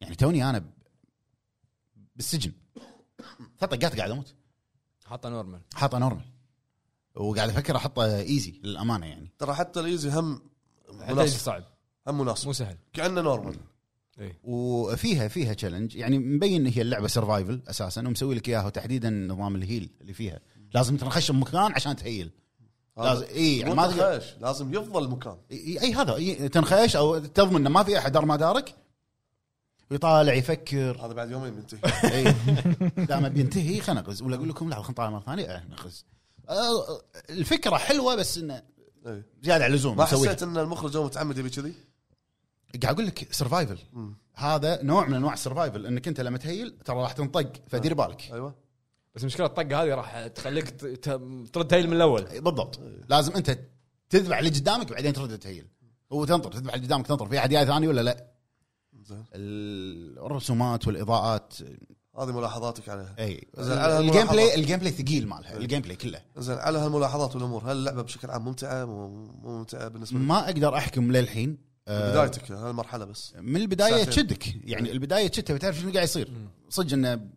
يعني توني انا ب- بالسجن ثلاث طقات قاعد اموت
حاطه نورمال
حاطه نورمال وقاعد افكر احطه ايزي للامانه يعني
ترى حتى الايزي هم
علاج
مناسب
صعب
هم
مو
مناسب
سهل إيه.
كانه نورمال
وفيها فيها تشالنج يعني مبين هي اللعبه سرفايفل اساسا ومسوي لك اياها وتحديدا نظام الهيل اللي فيها لازم تنخش بمكان عشان تهيل لازم اي يعني ما تقدر
ما لازم يفضل مكان
اي أي هذا أي تنخيش او تضمن انه ما في احد دار ما دارك ويطالع يفكر
هذا بعد يومين بنتهي
إي. لا ما بينتهي خلنا نغز ولا اقول لكم لا خلنا نطالع مره ثانيه آه، نغز آه، الفكره حلوه بس انه
إي.
زياده على اللزوم
ما
مسويها.
حسيت ان المخرج هو متعمد يبي كذي
قاعد اقول لك سرفايفل
مم.
هذا نوع من انواع السرفايفل انك انت لما تهيل ترى راح تنطق فدير بالك
ايوه
بس مشكله الطقه هذه راح تخليك ت- ت- ترد هيل من الاول
بالضبط لازم انت تذبح اللي قدامك بعدين ترد تهيل وتنطر تذبح اللي قدامك تنطر في احد جاي ثاني ولا لا
زين
ال- الرسومات والاضاءات
هذه ملاحظاتك عليها
اي
زين، على
الجيم
هالملاحظة.
بلاي الجيم بلاي ثقيل مالها الجيم بلاي كله
زين على هالملاحظات والامور هل اللعبه بشكل عام ممتعه مو مو ممتعه بالنسبه لك؟
ما اقدر احكم للحين آه،
بدايتك هالمرحله بس
من البدايه
ساعتين. إيه.
تشدك يعني البدايه تشدك بتعرف شنو قاعد يصير صدق انه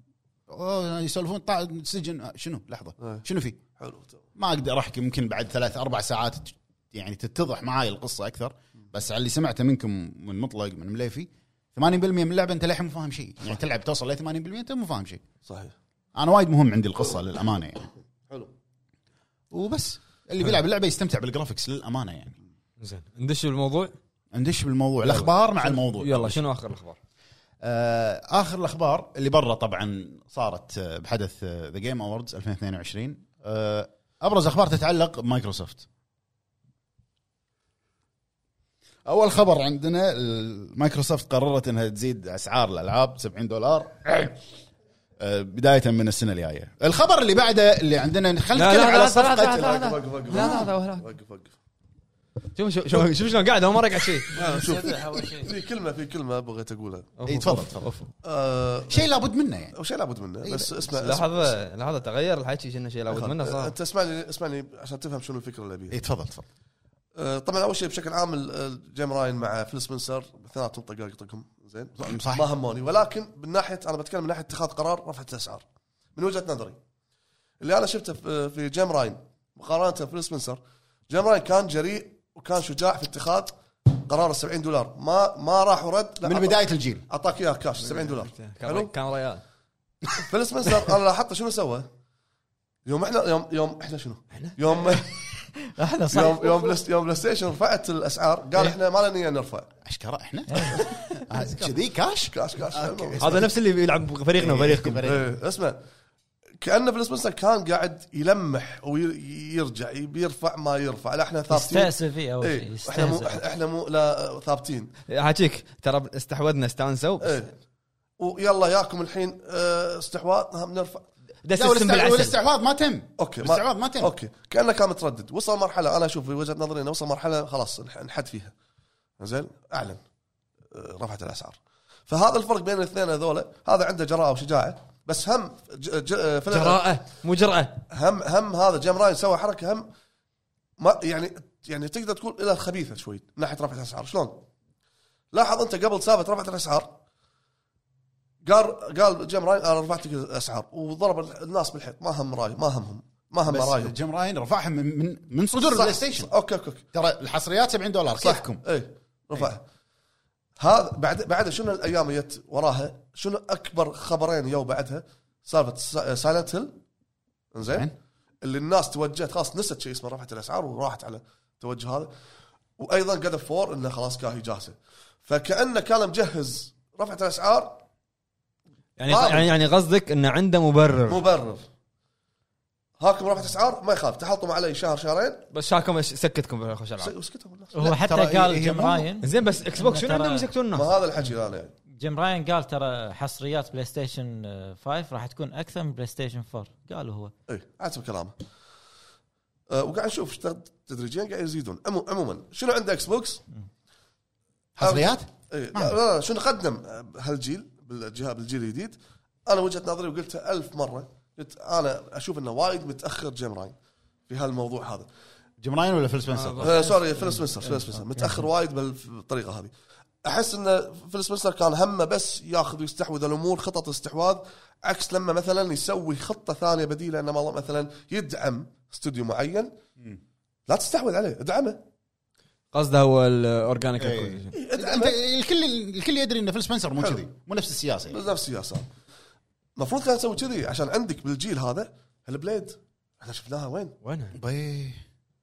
أوه، يسولفون طا- سجن آه، شنو لحظه
إيه.
شنو في
حلو
ما اقدر احكم يمكن بعد ثلاث اربع ساعات ت- يعني تتضح معاي القصه اكثر بس على اللي سمعته منكم من مطلق من مليفي 80% من اللعبه انت للحين مو فاهم شيء يعني تلعب توصل ل 80% انت مو فاهم شيء
صحيح
انا وايد مهم عندي القصه للامانه يعني
حلو
وبس
إيه.
اللي بيلعب اللعبه يستمتع بالجرافكس للامانه يعني
زين ندش بالموضوع
ندش بالموضوع الاخبار مع الموضوع
يلا شنو اخر الاخبار؟
آه، اخر الاخبار اللي برا طبعا صارت آه، بحدث ذا جيم اووردز 2022 آه، ابرز اخبار تتعلق بمايكروسوفت اول خبر عندنا ال- مايكروسوفت قررت انها تزيد اسعار الالعاب 70 دولار آه، بدايه من السنه الجايه الخبر اللي بعده اللي عندنا خلينا
لا،
نتكلم
لا،
على
لا، لا، لا،
صفقه
لا، لا.
وقف وقف وقف
لا، لا، لا.
وقف وقف
شوف شوف شوف شوف شلون قاعد اول مره قاعد شيء
لا، آه، شوف في كلمه في كلمه بغيت اقولها
إي، إيه، تفضل تفضل
آه،
شيء لابد منه يعني
وشيء لابد منه
إيه،
بس اسمع اسمع.
لحظه لحظه تغير الحكي كنا شيء لابد منه صار
انت اسمعني اسمعني عشان تفهم شنو الفكره اللي
اي
ابيها
تفضل تفضل
آه، طبعا اول شيء بشكل عام ال- ال- جيم راين مع فيل سبنسر اثنيناتهم طقاقطهم زين
صح
ما هموني ولكن من ناحيه انا بتكلم من ناحيه اتخاذ قرار رفعه الاسعار من وجهه نظري اللي انا شفته في- في جيم راين مقارنه في سبنسر جيم راين كان جريء وكان شجاع في اتخاذ قرار ال 70 دولار ما ما راح ورد لا
من
أعطى-
بدايه الجيل
اعطاك اياه كاش 70 دولار حلو
كان ريال
فيل سبنسر انا لاحظت شنو سوى يوم احنا يوم يوم احنا شنو؟ يوم
احنا صح
يوم يوم بلاي- يوم بلاي ستيشن رفعت الاسعار قال احنا ما لنا نيه نرفع إيه.
اشكره احنا آه، كذي كاش
كاش كاش
هذا نفس اللي بيلعب فريقنا وفريقكم
إيه، اسمع كانه فيل سبنسر كان قاعد يلمح ويرجع بيرفع ما يرفع لا احنا ثابتين
يستأسف فيه اول شيء
ايه احنا مو
يستأسف
احنا مو لا ثابتين
حاجيك ترى استحوذنا استانسوا وبس
ايه ويلا ياكم الحين اه، استحواذ هم نرفع
دس
لا
السم
والاستع-
بالعسل
والاستحواذ ما تم
اوكي ما-
الاستحواذ ما تم
اوكي كانه كان متردد وصل مرحله انا اشوف في وجهه نظري انه وصل مرحله خلاص انح- انحد فيها زين اعلن اه، رفعت الاسعار فهذا الفرق بين الاثنين هذول هذا عنده جراءه وشجاعه بس هم ج... ج... اه، فيلم-
جراءه مو جرأه
هم هم هذا جيم راين سوى حركه هم ما يعني يعني تقدر تقول الى الخبيثه شوي من ناحيه رفعه الاسعار شلون؟ لاحظ انت قبل سابت رفعت الاسعار قال قال جيم راين انا رفعت لك الاسعار وضرب الناس بالحيط ما هم راي ما همهم ما هم
بس
رايهم
جيم راين رفعها من من, من صدور البلاي ستيشن
اوكي اوكي أوكي.
ترى الحصريات 70 دولار كيفكم
اي رفعها إيه، هذا بعد بعد شنو الايام اللي جت وراها شنو اكبر خبرين يو بعدها آه، سالفه سايلنت هيل زين
زين.
اللي الناس توجهت خلاص نست شيء اسمه رفعت الاسعار وراحت على التوجه هذا وايضا قد فور انه خلاص كاهي جاهزه فكانه كان مجهز رفعت الاسعار
يعني
طيب.
طبعاً.
يعني يعني قصدك انه عنده مبرر
مبرر هاكم رفعت اسعار ما يخاف تحطم علي شهر شهرين
بس شاكم إيش- سكتكم بالخوش العاب
اسكتوا الناس
هو حتى
ترى إيه؟ هي-
قال
هي
جيم
مو-
راين
زين إيه، بس اكس بوكس شنو
ترى-
عندهم يسكتون
ما
الناس؟
هذا الحكي هذا يعني
جيم راين قال ترى حصريات بلاي ستيشن آه، 5 راح تكون اكثر من بلاي ستيشن 4 قالوا هو
اي حسب كلامه إيه، أه وقاعد نشوف اشتغل- تدريجيا قاعد يزيدون عمو- عموما شنو عنده اكس بوكس؟
حصريات
إيه، لا, لا, لا شنو قدم هالجيل بالجهه بالجيل الجديد انا وجهه نظري وقلتها ألف مره قلت انا اشوف انه وايد متاخر جيم راين في هالموضوع هذا
جيم راين ولا فيل سبنسر؟
آه، سوري فيل سبنسر فيل سبنسر متاخر وايد بالطريقه هذه احس ان فيل سبنسر كان همه بس ياخذ ويستحوذ الامور خطط استحواذ عكس لما مثلا يسوي خطه ثانيه بديله انه والله مثلا يدعم استوديو معين لا تستحوذ عليه ادعمه
قصده هو الاورجانيك
إيه.
ادعمه
الكل الكل يدري ان فيل سبنسر مو
حلو.
كذي مو نفس السياسه يعني.
بس نفس السياسه المفروض كان تسوي كذي عشان عندك بالجيل هذا هالبليد احنا شفناها وين؟
وينها؟
بي.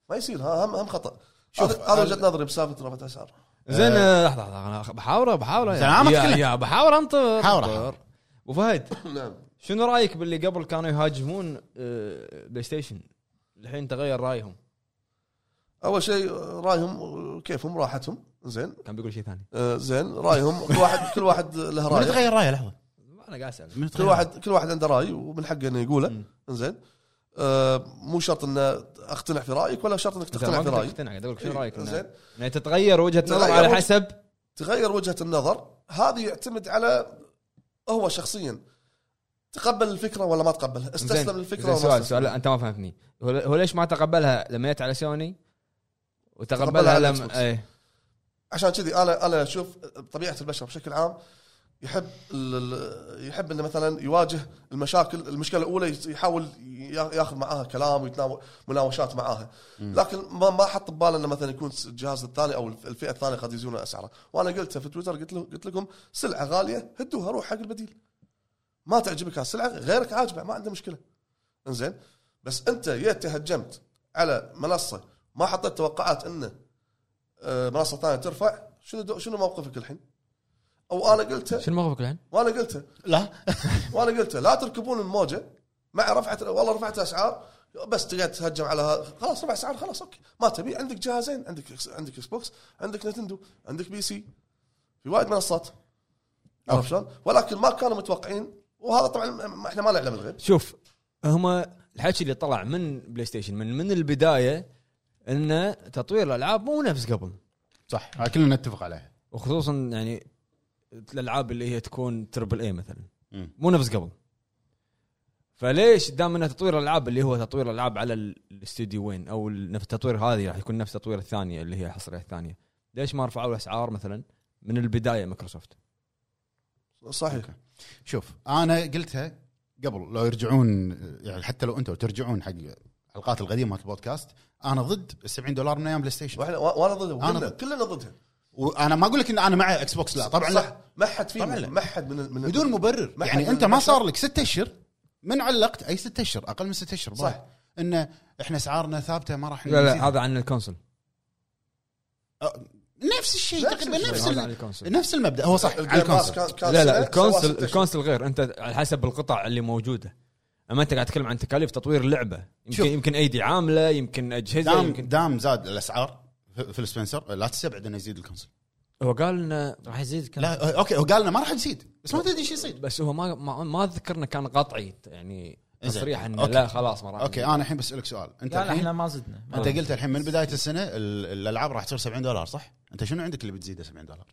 ما يصير ها هم هم خطا
شوف،
هذا هذا
أنا-
وجهه نظري بسالفه رفعت اسعار
زين آه، لحظه لحظه أنا أخ- بحاوره بحاوره يعني.
زين، أنا ما
يا,
أتكلم.
يا بحاور انطر
حاور،
أنطر.
حاور.
ابو فهد
نعم
شنو رايك باللي قبل كانوا يهاجمون آه، بلاي ستيشن الحين تغير رايهم
اول شيء رايهم كيفهم راحتهم زين
كان بيقول شيء ثاني
آه، زين رايهم كل واحد كل واحد له
من
راي
تغير رايه لحظه
انا قاعد اسال
من
كل
تغير
واحد كل واحد عنده راي ومن حقه انه يقوله
مم.
زين آه، مو شرط ان اقتنع في رايك ولا شرط انك تقتنع في رايك
اقتنع قاعد اقول لك
إيه،
شنو رايك
زين
إنه- يعني تتغير وجهه نظر
تتغير
على
وجه-
حسب
تغير وجهه النظر هذه يعتمد على هو شخصيا تقبل الفكره ولا ما تقبلها استسلم
زين،
للفكره
زين،
ولا ما
سؤال
استسلم.
سؤال انت ما فهمتني هو هو ليش ما تقبلها لما جت على سوني
تقبلها
وتقبلها
على
لما
Xbox.
ايه
عشان كذي انا انا اشوف طبيعه البشر بشكل عام يحب ال- ال- يحب انه مثلا يواجه المشاكل المشكله الاولى يحاول يا- ياخذ معاها كلام ويتناول مناوشات معاها لكن ما ما حط بباله انه مثلا يكون الجهاز الثاني او الفئه الثانيه قد يزيدون اسعاره وانا قلتها في تويتر قلت له قلت لكم سلعه غاليه هدوها روح حق البديل ما تعجبك هالسلعه غيرك عاجبه ما عنده مشكله انزين بس انت يا تهجمت على منصه ما حطيت توقعات انه آه، منصه ثانيه ترفع شنو دو شنو موقفك الحين؟ او انا قلتها
شنو موقفك الحين؟
وانا قلتها
لا
وانا قلتها لا تركبون الموجه مع رفعت والله رفعت اسعار بس تقعد تهجم على ها- خلاص رفع اسعار خلاص اوكي ما تبي عندك جهازين عندك إكس- عندك اكس بوكس عندك نتندو عندك بي سي في وايد منصات عرفت شلون؟ ولكن ما كانوا متوقعين وهذا طبعا ما- احنا ما نعلم الغيب
شوف هما الحكي اللي طلع من بلاي ستيشن من من البدايه انه تطوير الالعاب مو نفس قبل
صح هاي كلنا نتفق عليها
وخصوصا يعني الالعاب اللي هي تكون تربل اي مثلا
مم.
مو نفس قبل فليش دام انه تطوير الالعاب اللي هو تطوير الالعاب على ال- الاستوديو وين او ال- نفس التطوير هذه راح يكون نفس التطوير الثانيه اللي هي الحصريه الثانيه ليش ما رفعوا الاسعار مثلا من البدايه مايكروسوفت
صحيح
أوكي. شوف انا قلتها قبل لو يرجعون يعني حتى لو انتم ترجعون حق الحلقات القديمه مال البودكاست انا ضد ال 70 دولار من ايام بلاي ستيشن
واحنا وا- وانا ضدها
أنا
كلنا-
ضد.
كلنا ضدها
وانا ما اقول لك ان انا مع اكس بوكس لا طبعا
صح
لا
ما حد فينا
طبعاً لا.
ما حد من ال- من ال-
بدون مبرر
ما حد
يعني
من
انت ما
البشر.
صار لك ست اشهر من علقت اي ست اشهر اقل من ست اشهر
صح.
انه احنا اسعارنا ثابته ما راح
لا
نزيدها.
لا هذا عن الكونسل
أه، نفس الشيء
نفس
تقريبا
الشيء.
نفس
هذا أه، عن
ال-
الكونسل
نفس المبدا هو صح على
الجيم باس
الكونسل
كان- كان
لا
إيه؟
سنة،
لا
سواء
الكونسل
ست أشهر.
الكونسل غير انت على حسب القطع اللي موجوده اما انت قاعد تتكلم عن تكاليف تطوير اللعبه يمكن
شوف.
يمكن ايدي عامله يمكن اجهزه
دام
يمكن
دام زاد الاسعار في في السبنسر لا تستبعد انه يزيد الكونسل
هو قال انه
راح يزيد كم
لا أه، اوكي هو قال لنا ما راح تزيد بس ما تدري ايش يصير
بس هو ما ما, ما اذكر انه كان قطعي يعني
إنزين.
تصريح انه
أوكي.
لا خلاص ما راح
اوكي انا الحين بسالك سؤال انت
لا لا،
الحين
احنا ما زدنا ما
انت قلت الحين من بدايه السنه ال- الالعاب راح تصير 70 دولار صح؟ انت شنو عندك اللي بتزيده 70 دولار؟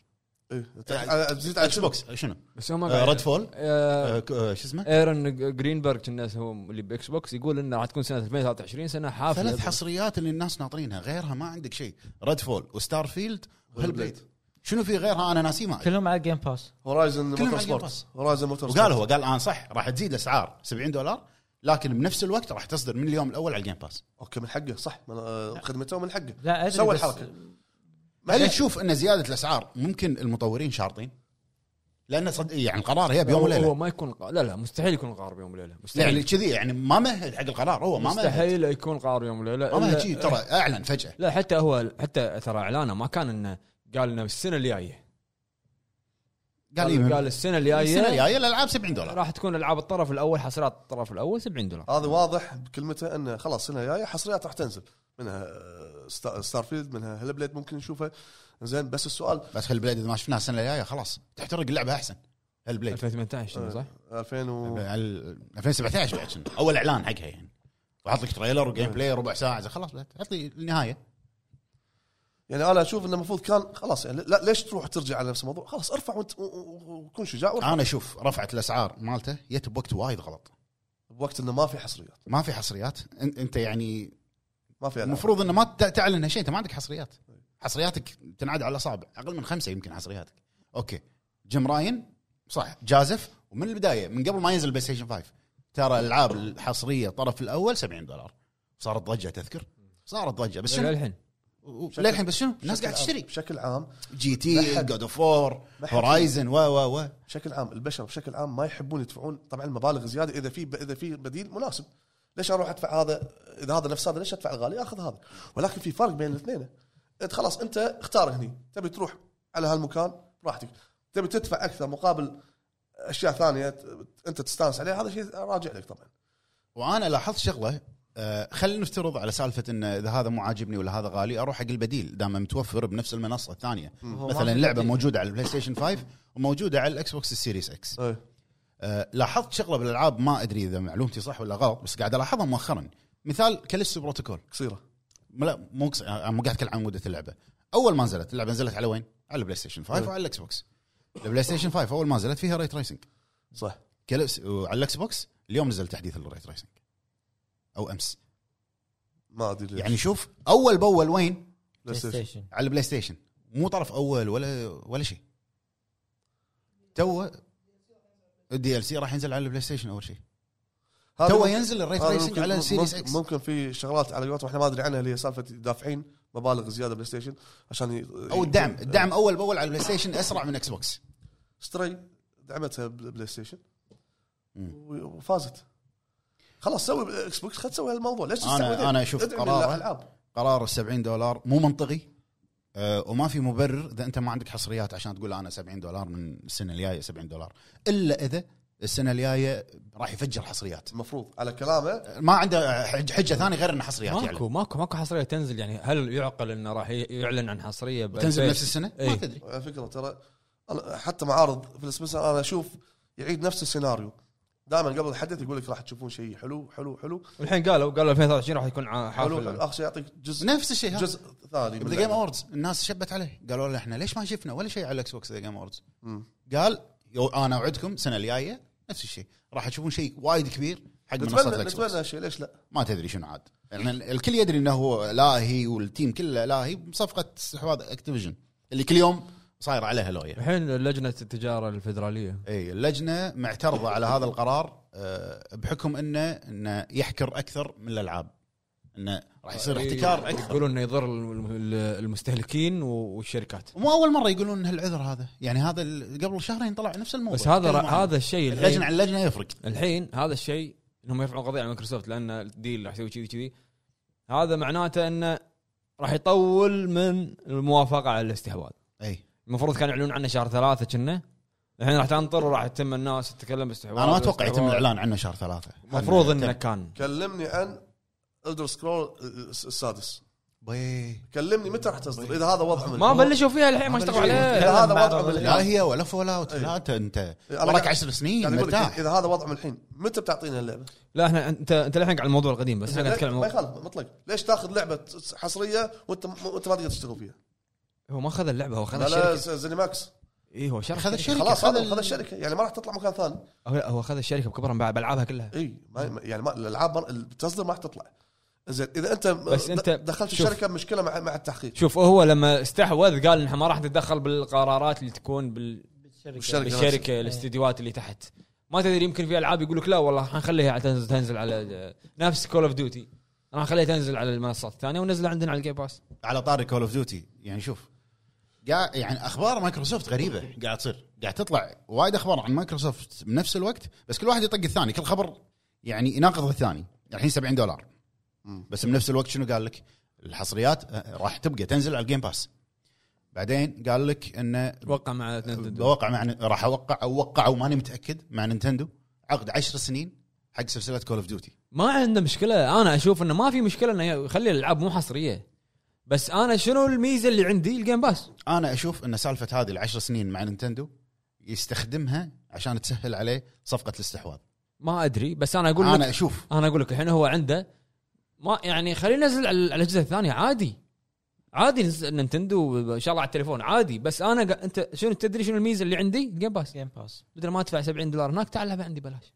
إيه، أنت-
أه،
أنا زدت على
اكس بوكس شنو؟
بس هو ما قال-
ريد فول
آه،
آه، ك- آه، شو اسمه؟
ايرون جرينبرغ الناس هو اللي باكس بوكس يقول انه راح تكون سنه 2023 سنه حافله
ثلاث حصريات اللي الناس ناطرينها غيرها ما عندك شيء ريد فول وستار فيلد وهالبليد شنو في غيرها انا ناسي ما أدري.
كلهم على الجيم باس
هورايزن
على
موتور
الجيم
سبورت
باس.
هورايزن موتور
وقال هو قال انا صح راح تزيد الاسعار 70 دولار لكن بنفس الوقت راح تصدر من اليوم الاول على الجيم باس
اوكي من حقه صح من آه، خدمته من حقه
لا ادري
سوى
بس-
الحركه
هل تشوف ان زياده الاسعار ممكن المطورين شارطين؟ لان صد... يعني القرار هي بيوم
هو- هو
وليله
ما يكون قا- لا لا مستحيل يكون قار بيوم وليله
يعني
مستحيل
كذي يعني ما مهد حق القرار هو ما مهد
مستحيل يكون قار بيوم وليله
ما
إلا- إيه.
مهد شي، ترى اعلن فجاه
لا حتى هو حتى ترى اعلانه ما كان انه قال انه السنه الجايه
قال
قال,
إيه
قال السنه
السنه
الجايه
الجايه الالعاب 70 دولار
راح تكون العاب الطرف الاول حصريات الطرف الاول 70 دولار
هذا واضح بكلمته انه خلاص السنه الجايه حصريات راح تنزل منها آه، ستا- ستار فيلد منها هيل بليد ممكن نشوفها زين بس السؤال
بس هالبليد اذا ما شفناها السنه الجايه خلاص تحترق اللعبه احسن هالبليد
2018 صح؟
2000 آه، و...
ال- 2017 بعد شنو اول اعلان حقها يعني وحط لك تريلر وجيم بلاي ربع ساعه زي خلاص بعد حط لي النهايه
يعني انا اشوف انه المفروض كان خلاص يعني لا ليش تروح ترجع على نفس الموضوع خلاص ارفع وانت و- و- وكن شجاع وارفع
انا اشوف رفعت الاسعار مالته جت بوقت وايد غلط
بوقت انه ما في حصريات
ما في حصريات أن- انت يعني
ما في ألعاب.
المفروض انه ما تع- تعلن شيء انت ما عندك حصريات حصرياتك تنعد على الاصابع اقل من خمسه يمكن حصرياتك اوكي جيم راين صح جازف ومن البدايه من قبل ما ينزل بلاي ستيشن 5 ترى الالعاب الحصريه الطرف الاول 70 دولار صارت ضجه تذكر صارت ضجه بس شنو
للحين
بشكل-
للحين بس شنو الناس
بشكل
قاعد
عام-
تشتري
بشكل عام
جي تي
ما حد-
جود اوف وور
ما حد-
هورايزن و و و
بشكل عام البشر بشكل عام ما يحبون يدفعون طبعا مبالغ زياده اذا في اذا في بديل مناسب ليش اروح ادفع هذا اذا هذا نفس هذا ليش ادفع الغالي اخذ هذا ولكن في فرق بين الاثنين انت خلاص انت اختار هني تبي تروح على هالمكان براحتك تبي تدفع اكثر مقابل اشياء ثانيه ت- انت تستانس عليها هذا شيء راجع لك طبعا
وانا لاحظت شغله آه، خلينا نفترض على سالفه ان اذا هذا مو عاجبني ولا هذا غالي اروح حق البديل دام متوفر بنفس المنصه الثانيه
هو ما
مثلا
في
لعبه
بديل.
موجوده على البلاي ستيشن 5 وموجوده على الاكس بوكس السيريس اكس
ايه
آه، لاحظت شغله بالالعاب ما ادري اذا معلومتي صح ولا غلط بس قاعد الاحظها مؤخرا مثال كاليستو بروتوكول
قصيره
لا مو قص- أنا مو قاعد اتكلم عن مده اللعبه اول ما نزلت اللعبه نزلت على وين؟ على البلاي ستيشن 5 وعلى الاكس بوكس البلاي ستيشن 5 اول ما نزلت فيها ري تريسنج
صح
كاليس- وعلى الاكس بوكس اليوم نزل تحديث للري تريسنج او امس
ما ادري ليش.
يعني شوف اول باول وين؟
بلاي
بلاي
ستيشن.
ستيشن
على البلاي ستيشن مو طرف اول ولا ولا شيء تو الدي ال سي راح ينزل على البلاي ستيشن اول شيء
هذا
تو
ممكن-
ينزل الري
هذا
تريسنج
ممكن-
على السيريس
ممكن-
اكس
ممكن في شغلات على قولتهم احنا ما ادري عنها اللي هي سالفه دافعين مبالغ زياده بلاي ستيشن عشان ي- آه.
او الدعم الدعم اول باول على البلاي ستيشن اسرع من اكس بوكس
ستري دعمتها بل- بلاي ستيشن
مم.
و- وفازت خلاص سوي اكس بوكس خلينا تسوي هالموضوع ليش
أنا- أنا أشوف قراره.
قرار
قرار ال 70 دولار مو منطقي أه وما في مبرر اذا انت ما عندك حصريات عشان تقول انا 70 دولار من السنه الجايه 70 دولار الا اذا السنه الجايه راح يفجر حصريات
المفروض على كلامه
ما عنده حج- حجه ثانيه غير ان حصريات
ماكو
يعني
ماكو ماكو حصريه تنزل يعني هل يعقل انه راح ي- يعلن عن حصريه ب
تنزل
2000؟
نفس السنه ما
إيه.
تدري
على فكره ترى أنا حتى معارض في السبيسر انا اشوف يعيد نفس السيناريو دائما قبل الحدث يقول لك راح تشوفون شيء حلو حلو حلو
والحين قالوا قالوا 2023 راح يكون ع-
حلو, حلو
حافل
اخر شيء يعطيك جزء
نفس الشيء هذا
جزء ثاني من
ذا جيم
اللعبة.
اووردز الناس شبت عليه قالوا له احنا ليش ما شفنا ولا شيء على الاكس بوكس ذا جيم اووردز
مم.
قال يو انا اوعدكم السنه الجايه نفس الشيء راح تشوفون شيء وايد كبير حق منصات
نتمنى
الاكس بوكس
نتمنى هالشيء ليش لا
ما تدري شنو عاد يعني الكل يدري انه هو لاهي والتيم كله لاهي بصفقه استحواذ اكتيفيجن اللي كل يوم صاير عليها لويا
الحين لجنه التجاره الفدراليه
اي اللجنه معترضه على هذا القرار آه، بحكم انه انه يحكر اكثر من الالعاب انه راح يصير احتكار اكثر
يقولون انه يضر الم- الم- المستهلكين و- والشركات
ومو اول مره يقولون هالعذر هذا يعني هذا ال- قبل شهرين طلع نفس الموضوع
بس هذا
تكلموا
را-
عنه.
هذا الشيء
اللجنه
الحين
عن اللجنه يفرق
الحين هذا الشيء انهم يرفعون قضيه على مايكروسوفت لان الديل راح يسوي كذي كذي هذا معناته انه راح يطول من الموافقه على الاستحواذ
اي
المفروض كان يعلنون عنه شهر ثلاثة كنا الحين راح تنطر وراح تتم الناس تتكلم باستحواذ
انا ما اتوقع يتم
باستحواذ.
الاعلان عنه شهر ثلاثه
المفروض انه كان
كلمني عن الدر سكرول السادس
بي.
كلمني متى راح تصدر اذا هذا وضع من
ما بلشوا فيها الحين ما اشتغلوا
اذا
عليه
هذا
بعد
وضع من
ولا-
لا
الحين
هي ولا فول اوت لا انت انت
أنا
وراك
قاعد-
10 سنين
يعني أقول لك
مرتاح
اذا هذا وضع من الحين متى بتعطينا اللعبه؟
لا احنا انت انت الحين على الموضوع القديم بس احنا قاعد نتكلم
ما يخالف مطلق ليش تاخذ لعبه حصريه وانت وانت ما تقدر تشتغل فيها؟
هو ما اخذ اللعبه هو اخذ
لا لا
الشركه
ز- زيني ماكس
اي هو شركه
خذ الشركه
خلاص
خذ
هذا
ال-
هذا الشركه يعني ما راح تطلع مكان ثاني
هو- هو اخذ الشركه بكبرها باع- بالعابها كلها
اي ما- ما- يعني ما الالعاب ما- التصدير ما راح تطلع زين اذا انت
بس أنت
د- دخلت
شوف.
الشركه بمشكله مع مع التحقيق
شوف هو لما استحوذ قال انها ما راح تتدخل بالقرارات اللي تكون بال...
الشركة
بالشركه الاستديوهات اللي تحت ما تدري يمكن في العاب يقول لك لا والله حنخليها على- تنزل تنزل على نفس كول اوف ديوتي راح نخليها تنزل على المنصات الثانيه ونزلها عندنا على الجيم باس
على طاري كول اوف ديوتي يعني شوف قاعد يعني اخبار مايكروسوفت غريبه قاعد تصير قاعد تطلع وايد اخبار عن مايكروسوفت بنفس الوقت بس كل واحد يطق الثاني كل خبر يعني يناقض الثاني الحين 70 دولار
مم.
بس بنفس الوقت شنو قال لك الحصريات آه، راح تبقى تنزل على الجيم باس بعدين قال لك انه
توقع مع نينتندو
بوقع مع راح اوقع او وقعوا ماني متاكد مع نينتندو عقد 10 سنين حق سلسله كول اوف ديوتي
ما عنده مشكله انا اشوف انه ما في مشكله انه يخلي الالعاب مو حصريه بس انا شنو الميزه اللي عندي الجيم باس
انا اشوف ان سالفه هذه العشر سنين مع نينتندو يستخدمها عشان تسهل عليه صفقه الاستحواذ
ما ادري بس انا اقول لك
انا اشوف
انا اقول لك الحين هو عنده ما يعني خليه ينزل على على الاجهزه الثانيه عادي عادي نز- نينتندو ان شاء الله على التليفون عادي بس انا قا- انت شنو تدري شنو الميزه اللي عندي؟ جيم باس
جيم باس
بدل ما ادفع 70 دولار هناك تعال لعبها عندي ببلاش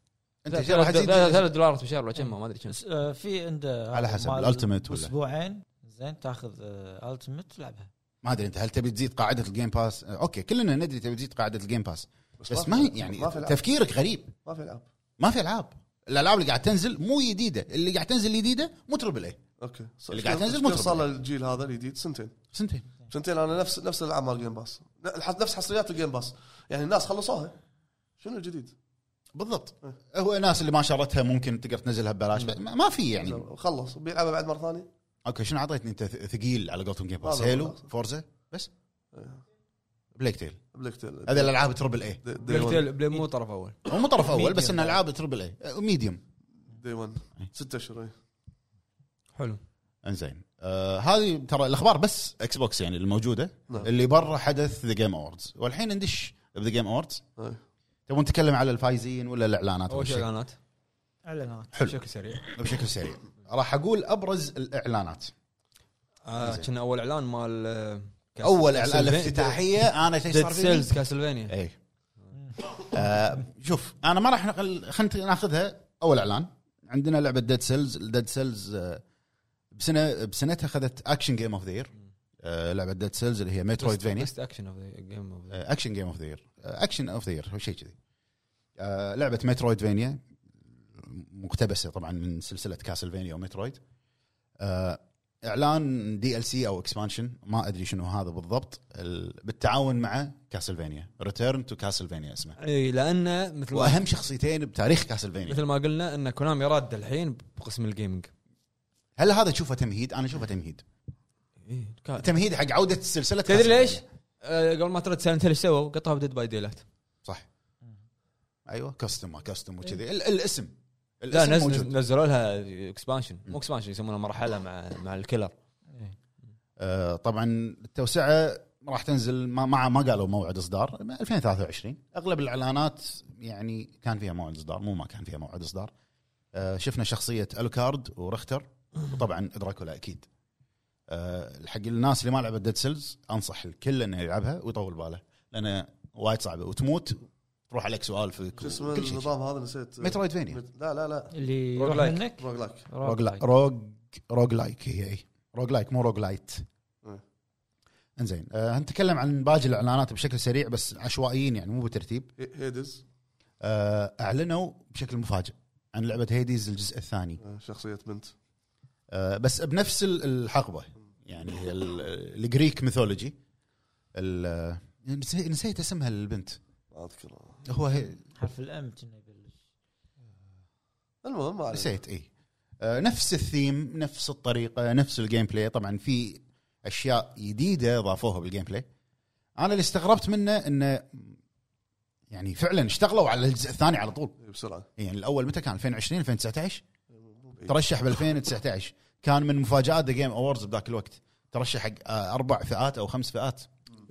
انت إن شاء الله حتزيد-
3 دولار في شهر ولا كم ما ادري كم
س- آه، في عنده
على حسب،
مال
الألتيميت ولا؟
اسبوعين زين تاخذ التيمت تلعبها
ما ادري انت هل تبي تزيد قاعده الجيم باس آه، اوكي كلنا ندري تبي تزيد قاعده الجيم باس بس
في
ما هي
ألعاب.
يعني
ما في العاب
تفكيرك غريب
ما في العاب
ما في العاب الالعاب اللي قاعد تنزل مو جديده اللي قاعد تنزل جديده مو تربل اي
اوكي
اللي قاعد تنزل
شنو
مطرب.
صار للجيل هذا الجديد سنتين
سنتين
سنتين انا نفس نفس الالعاب مال جيم باس نفس حصريات الجيم باس يعني الناس خلصوها شنو الجديد؟ إيه،
بالضبط هو الناس اللي ما شرتها ممكن تقدر تنزلها ببلاش بعد. ما ما في يعني
خلص بيلعبها بعد مره ثانيه
اوكي شنو اعطيتني انت ث- ثقيل على قولتهم جيم باس
هذا هو
هيلو
الأصل.
فورزا بس بليك تيل
بلاك تيل
هذه الالعاب تربل اي
دي- دي
بلاك
1
تيل بلاي مو طرف اول
هو مو طرف اول بس
Medium.
ان العاب تربل اي آه، ميديوم
دي 1 ست اشهر إيه.
حلو
انزين آه هذه ترى الاخبار بس اكس بوكس يعني الموجوده
نعم.
اللي برا حدث ذا جيم اووردز والحين ندش بذا جيم اووردز
إيه.
تبون نتكلم على الفايزين ولا الاعلانات ولا
اول شيء
شيء؟
اعلانات
اعلانات
بشكل سريع
بشكل سريع راح اقول ابرز الاعلانات
آه،
زين.
كان اول اعلان مال آه، كاس-
اول اعلان
كاسلفي-
الافتتاحيه انا ايش
ديد
صار فيني؟ إيه.
سيلز كاسلفينيا
اي آه، شوف انا ما راح نقل خلينا ناخذها اول اعلان عندنا لعبه ديد سيلز ديد سيلز بسنه آه، بسنتها اخذت اكشن جيم اوف ذا لعبه ديد سيلز اللي هي آه، مترويد فينيا
بيست اكشن اوف ذا جيم اوف ذا
اكشن جيم اوف ذا يير اكشن اوف ذا يير شيء كذي آه، لعبه مترويد فينيا مقتبسه طبعا من سلسله كاسلفينيا ومترويد آه، اعلان دي ال سي او اكسبانشن ما ادري شنو هذا بالضبط ال- بالتعاون مع كاسلفينيا ريتيرن تو كاسلفينيا اسمه
اي لانه مثل ما
واهم شخصيتين بتاريخ كاسلفينيا
مثل ما قلنا ان كونامي راد الحين بقسم الجيمنج
هل هذا تشوفه تمهيد انا اشوفه تمهيد
إيه، كا-
تمهيد حق عوده سلسله
تدري
Castlevania.
ليش؟ آه، قبل ما ترد سالنت ايش سووا؟ قطعوا ديد باي ديلات
صح ايوه كاستم ما كاستم وكذي ال- الاسم
لا
الاسم
نز-
موجود.
نز- نزلوا لها اكسبانشن مو اكسبانشن يسمونها مرحله مع مع الكيلر
آه، طبعا التوسعه راح تنزل ما ما, ما قالوا موعد اصدار 2023 اغلب الاعلانات يعني كان فيها موعد اصدار مو ما كان فيها موعد اصدار آه، شفنا شخصيه الوكارد ورختر وطبعا دراكولا اكيد آه، حق الناس اللي ما لعبت ديد سيلز انصح الكل انه يلعبها ويطول باله لان وايد صعبه وتموت تروح عليك سؤال في
شو اسمه
كل شيء
النظام هذا نسيت
مترويد فينيا
لا لا لا
اللي يروح
لايك.
منك
روج لايك
روج لا- روج روج لايك هي هي. روج لايك مو روج لايت
مم.
انزين أه هنتكلم عن باقي الاعلانات بشكل سريع بس عشوائيين يعني مو بترتيب
هي- هيدز
أه اعلنوا بشكل مفاجئ عن لعبه هيديز الجزء الثاني
آه، شخصيه بنت
أه بس بنفس ال- الحقبه يعني هي ال- الجريك ميثولوجي ال- آه، نسي- نسيت اسمها البنت
ما اذكر
هو هي
حرف الام كنا يبلش
المهم ما علينا.
نسيت اي آه، نفس الثيم نفس الطريقه نفس الجيم بلاي طبعا في اشياء جديده ضافوها بالجيم بلاي انا اللي استغربت منه انه يعني فعلا اشتغلوا على الجزء الثاني على طول
بسرعه
يعني الاول متى كان 2020 2019
مو بعيد.
ترشح ب 2019 كان من مفاجات ذا جيم اووردز بذاك الوقت ترشح حق آه، اربع فئات او خمس فئات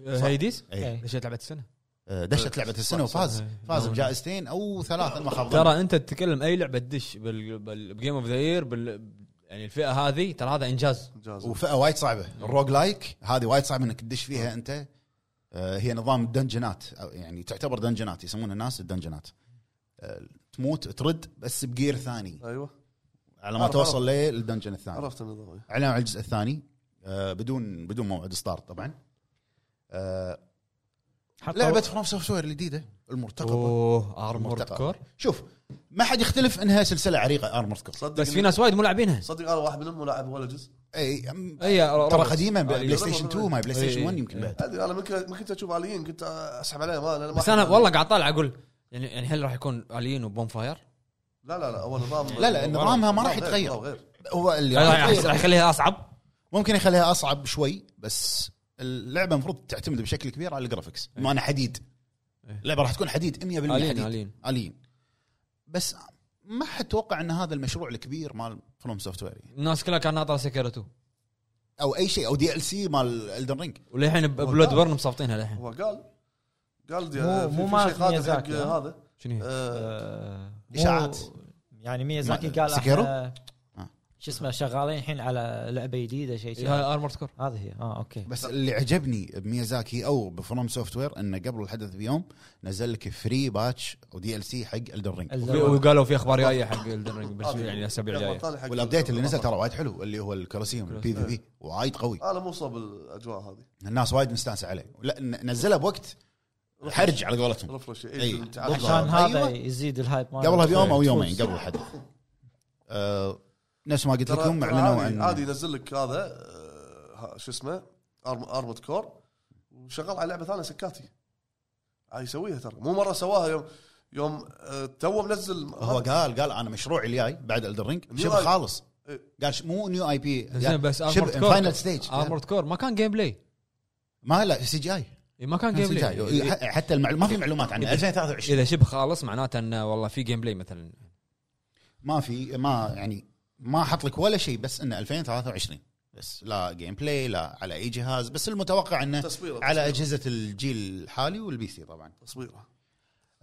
هيديز
اي
إيه.
ليش لعبه السنه؟
آه، دشت لعبه السنه
صح، صح.
وفاز فاز
نعم.
بجائزتين او ثلاث ما خاب ظني.
ترى انت تتكلم اي لعبه تدش بال- بال- بجيم اوف ذا يير بال- يعني الفئه هذه ترى هذا انجاز
انجاز
وفئه وايد صعبه الروج لايك هذه وايد صعب انك تدش فيها انت آه، هي نظام الدنجنات أو يعني تعتبر دنجنات يسمونها الناس الدنجنات آه، تموت ترد بس بجير ثاني
ايوه
على ما
عرف-
توصل للدنجن الثاني
عرفت النظام أيوة.
اعلان على الجزء الثاني آه، بدون بدون موعد اصدار طبعا آه،
حطوا-
لعبه فروم سوفت وير الجديده المرتقبه
اوه ارمورد
المرتقبة.
كور
شوف ما حد يختلف انها سلسله عريقه ارمورد كور
صدق
بس في ناس وايد مو لاعبينها
صدق انا واحد منهم مو لاعب ولا جزء
اي
اي
ترى قديمه
آه،
بلاي ستيشن
ربع-
2 ما بلاي ستيشن
إي.
1 يمكن بعد
ادري انا ممكن كنت اشوف اليين كنت اسحب عليه ما أنا ما
بس انا والله قاعد طالع اقول يعني يعني هل راح يكون الين وبون فاير؟
لا لا لا هو نظام
لا، لا، نظامها ما راح
نظام غير-
يتغير. أيوة،
نظام غير
هو اللي
راح
راح يتغير.
راح يخليها اصعب
ممكن يخليها اصعب شوي بس اللعبه المفروض تعتمد بشكل كبير على الجرافكس
إيه.
ما انا حديد اللعبه راح تكون حديد 100%
الين
حديد
الين
الين بس ما حد توقع ان هذا المشروع الكبير مال فروم سوفت وير
الناس كلها كانت ناطره سكيرو 2
او اي شيء او دي ال سي مال الدن رينج
وللحين ب- بلود بورن مصابطينها للحين
هو قال قال دي-
مو-
في-
مو
في
مال
شيء خاطر حق
ميازاكي، ها؟
هذا
شنو هي؟
آه،
آه، مو-
إشاعات.
يعني ميازاكي
ما-
قال
سكيرو؟
احنا
آه.
شو اسمه شغالين الحين على لعبه جديده شيء شي.
هاي ارمر كور
هذه هي اه اوكي
بس اللي عجبني بميازاكي او بفروم سوفت وير انه قبل الحدث بيوم نزل لك فري باتش او دي ال سي حق الدر رينج
ال-
وقالوا في اخبار جايه حق الدن رينج بس يعني الاسابيع الجايه
والابديت اللي نزل ترى وايد حلو اللي هو الكولوسيوم البي في بي وايد قوي
انا مو صاب الاجواء هذه
الناس وايد مستانسه عليه لا ن- نزله بوقت حرج على قولتهم
رفرش إيه،
إي.
اي تعال.
بالضبط.
عشان هذا
طيب.
أيوة.
يزيد الهايب ماله
قبلها بيوم
إيه،
او يومين قبل الحدث آه، نفس ما قلت
ترى-
لكم
ترى
اعلنوا
عادي-
عن
عادي ينزل لك هذا آه، ها- شو اسمه ارمود كور وشغال على لعبه ثانيه سكاتي عاد يسويها ترى مو مره سواها يوم يوم آه، تو منزل
هو قال قال انا مشروعي الجاي بعد الدرينج
نيو
شبه
آي-
خالص
إيه.
قال ش- مو نيو اي بي
زين بس
يعني شبه
ارمر
فاينل
كور
ستيج
ارمر كور ما كان جيم بلاي
ما لا سي جي اي
إي، ما كان
كان
جيم
سي جي
بلاي
اي ح- حتى المعلومات ما في معلومات
إيه،
عنه 2023
اذا شبه خالص معناته انه والله في جيم بلاي مثلا
ما في ما يعني ما حط لك ولا شيء بس انه 2023 بس لا جيم بلاي لا على اي جهاز بس المتوقع انه
تصويره
على اجهزه الجيل الحالي والبي سي طبعا
تصويره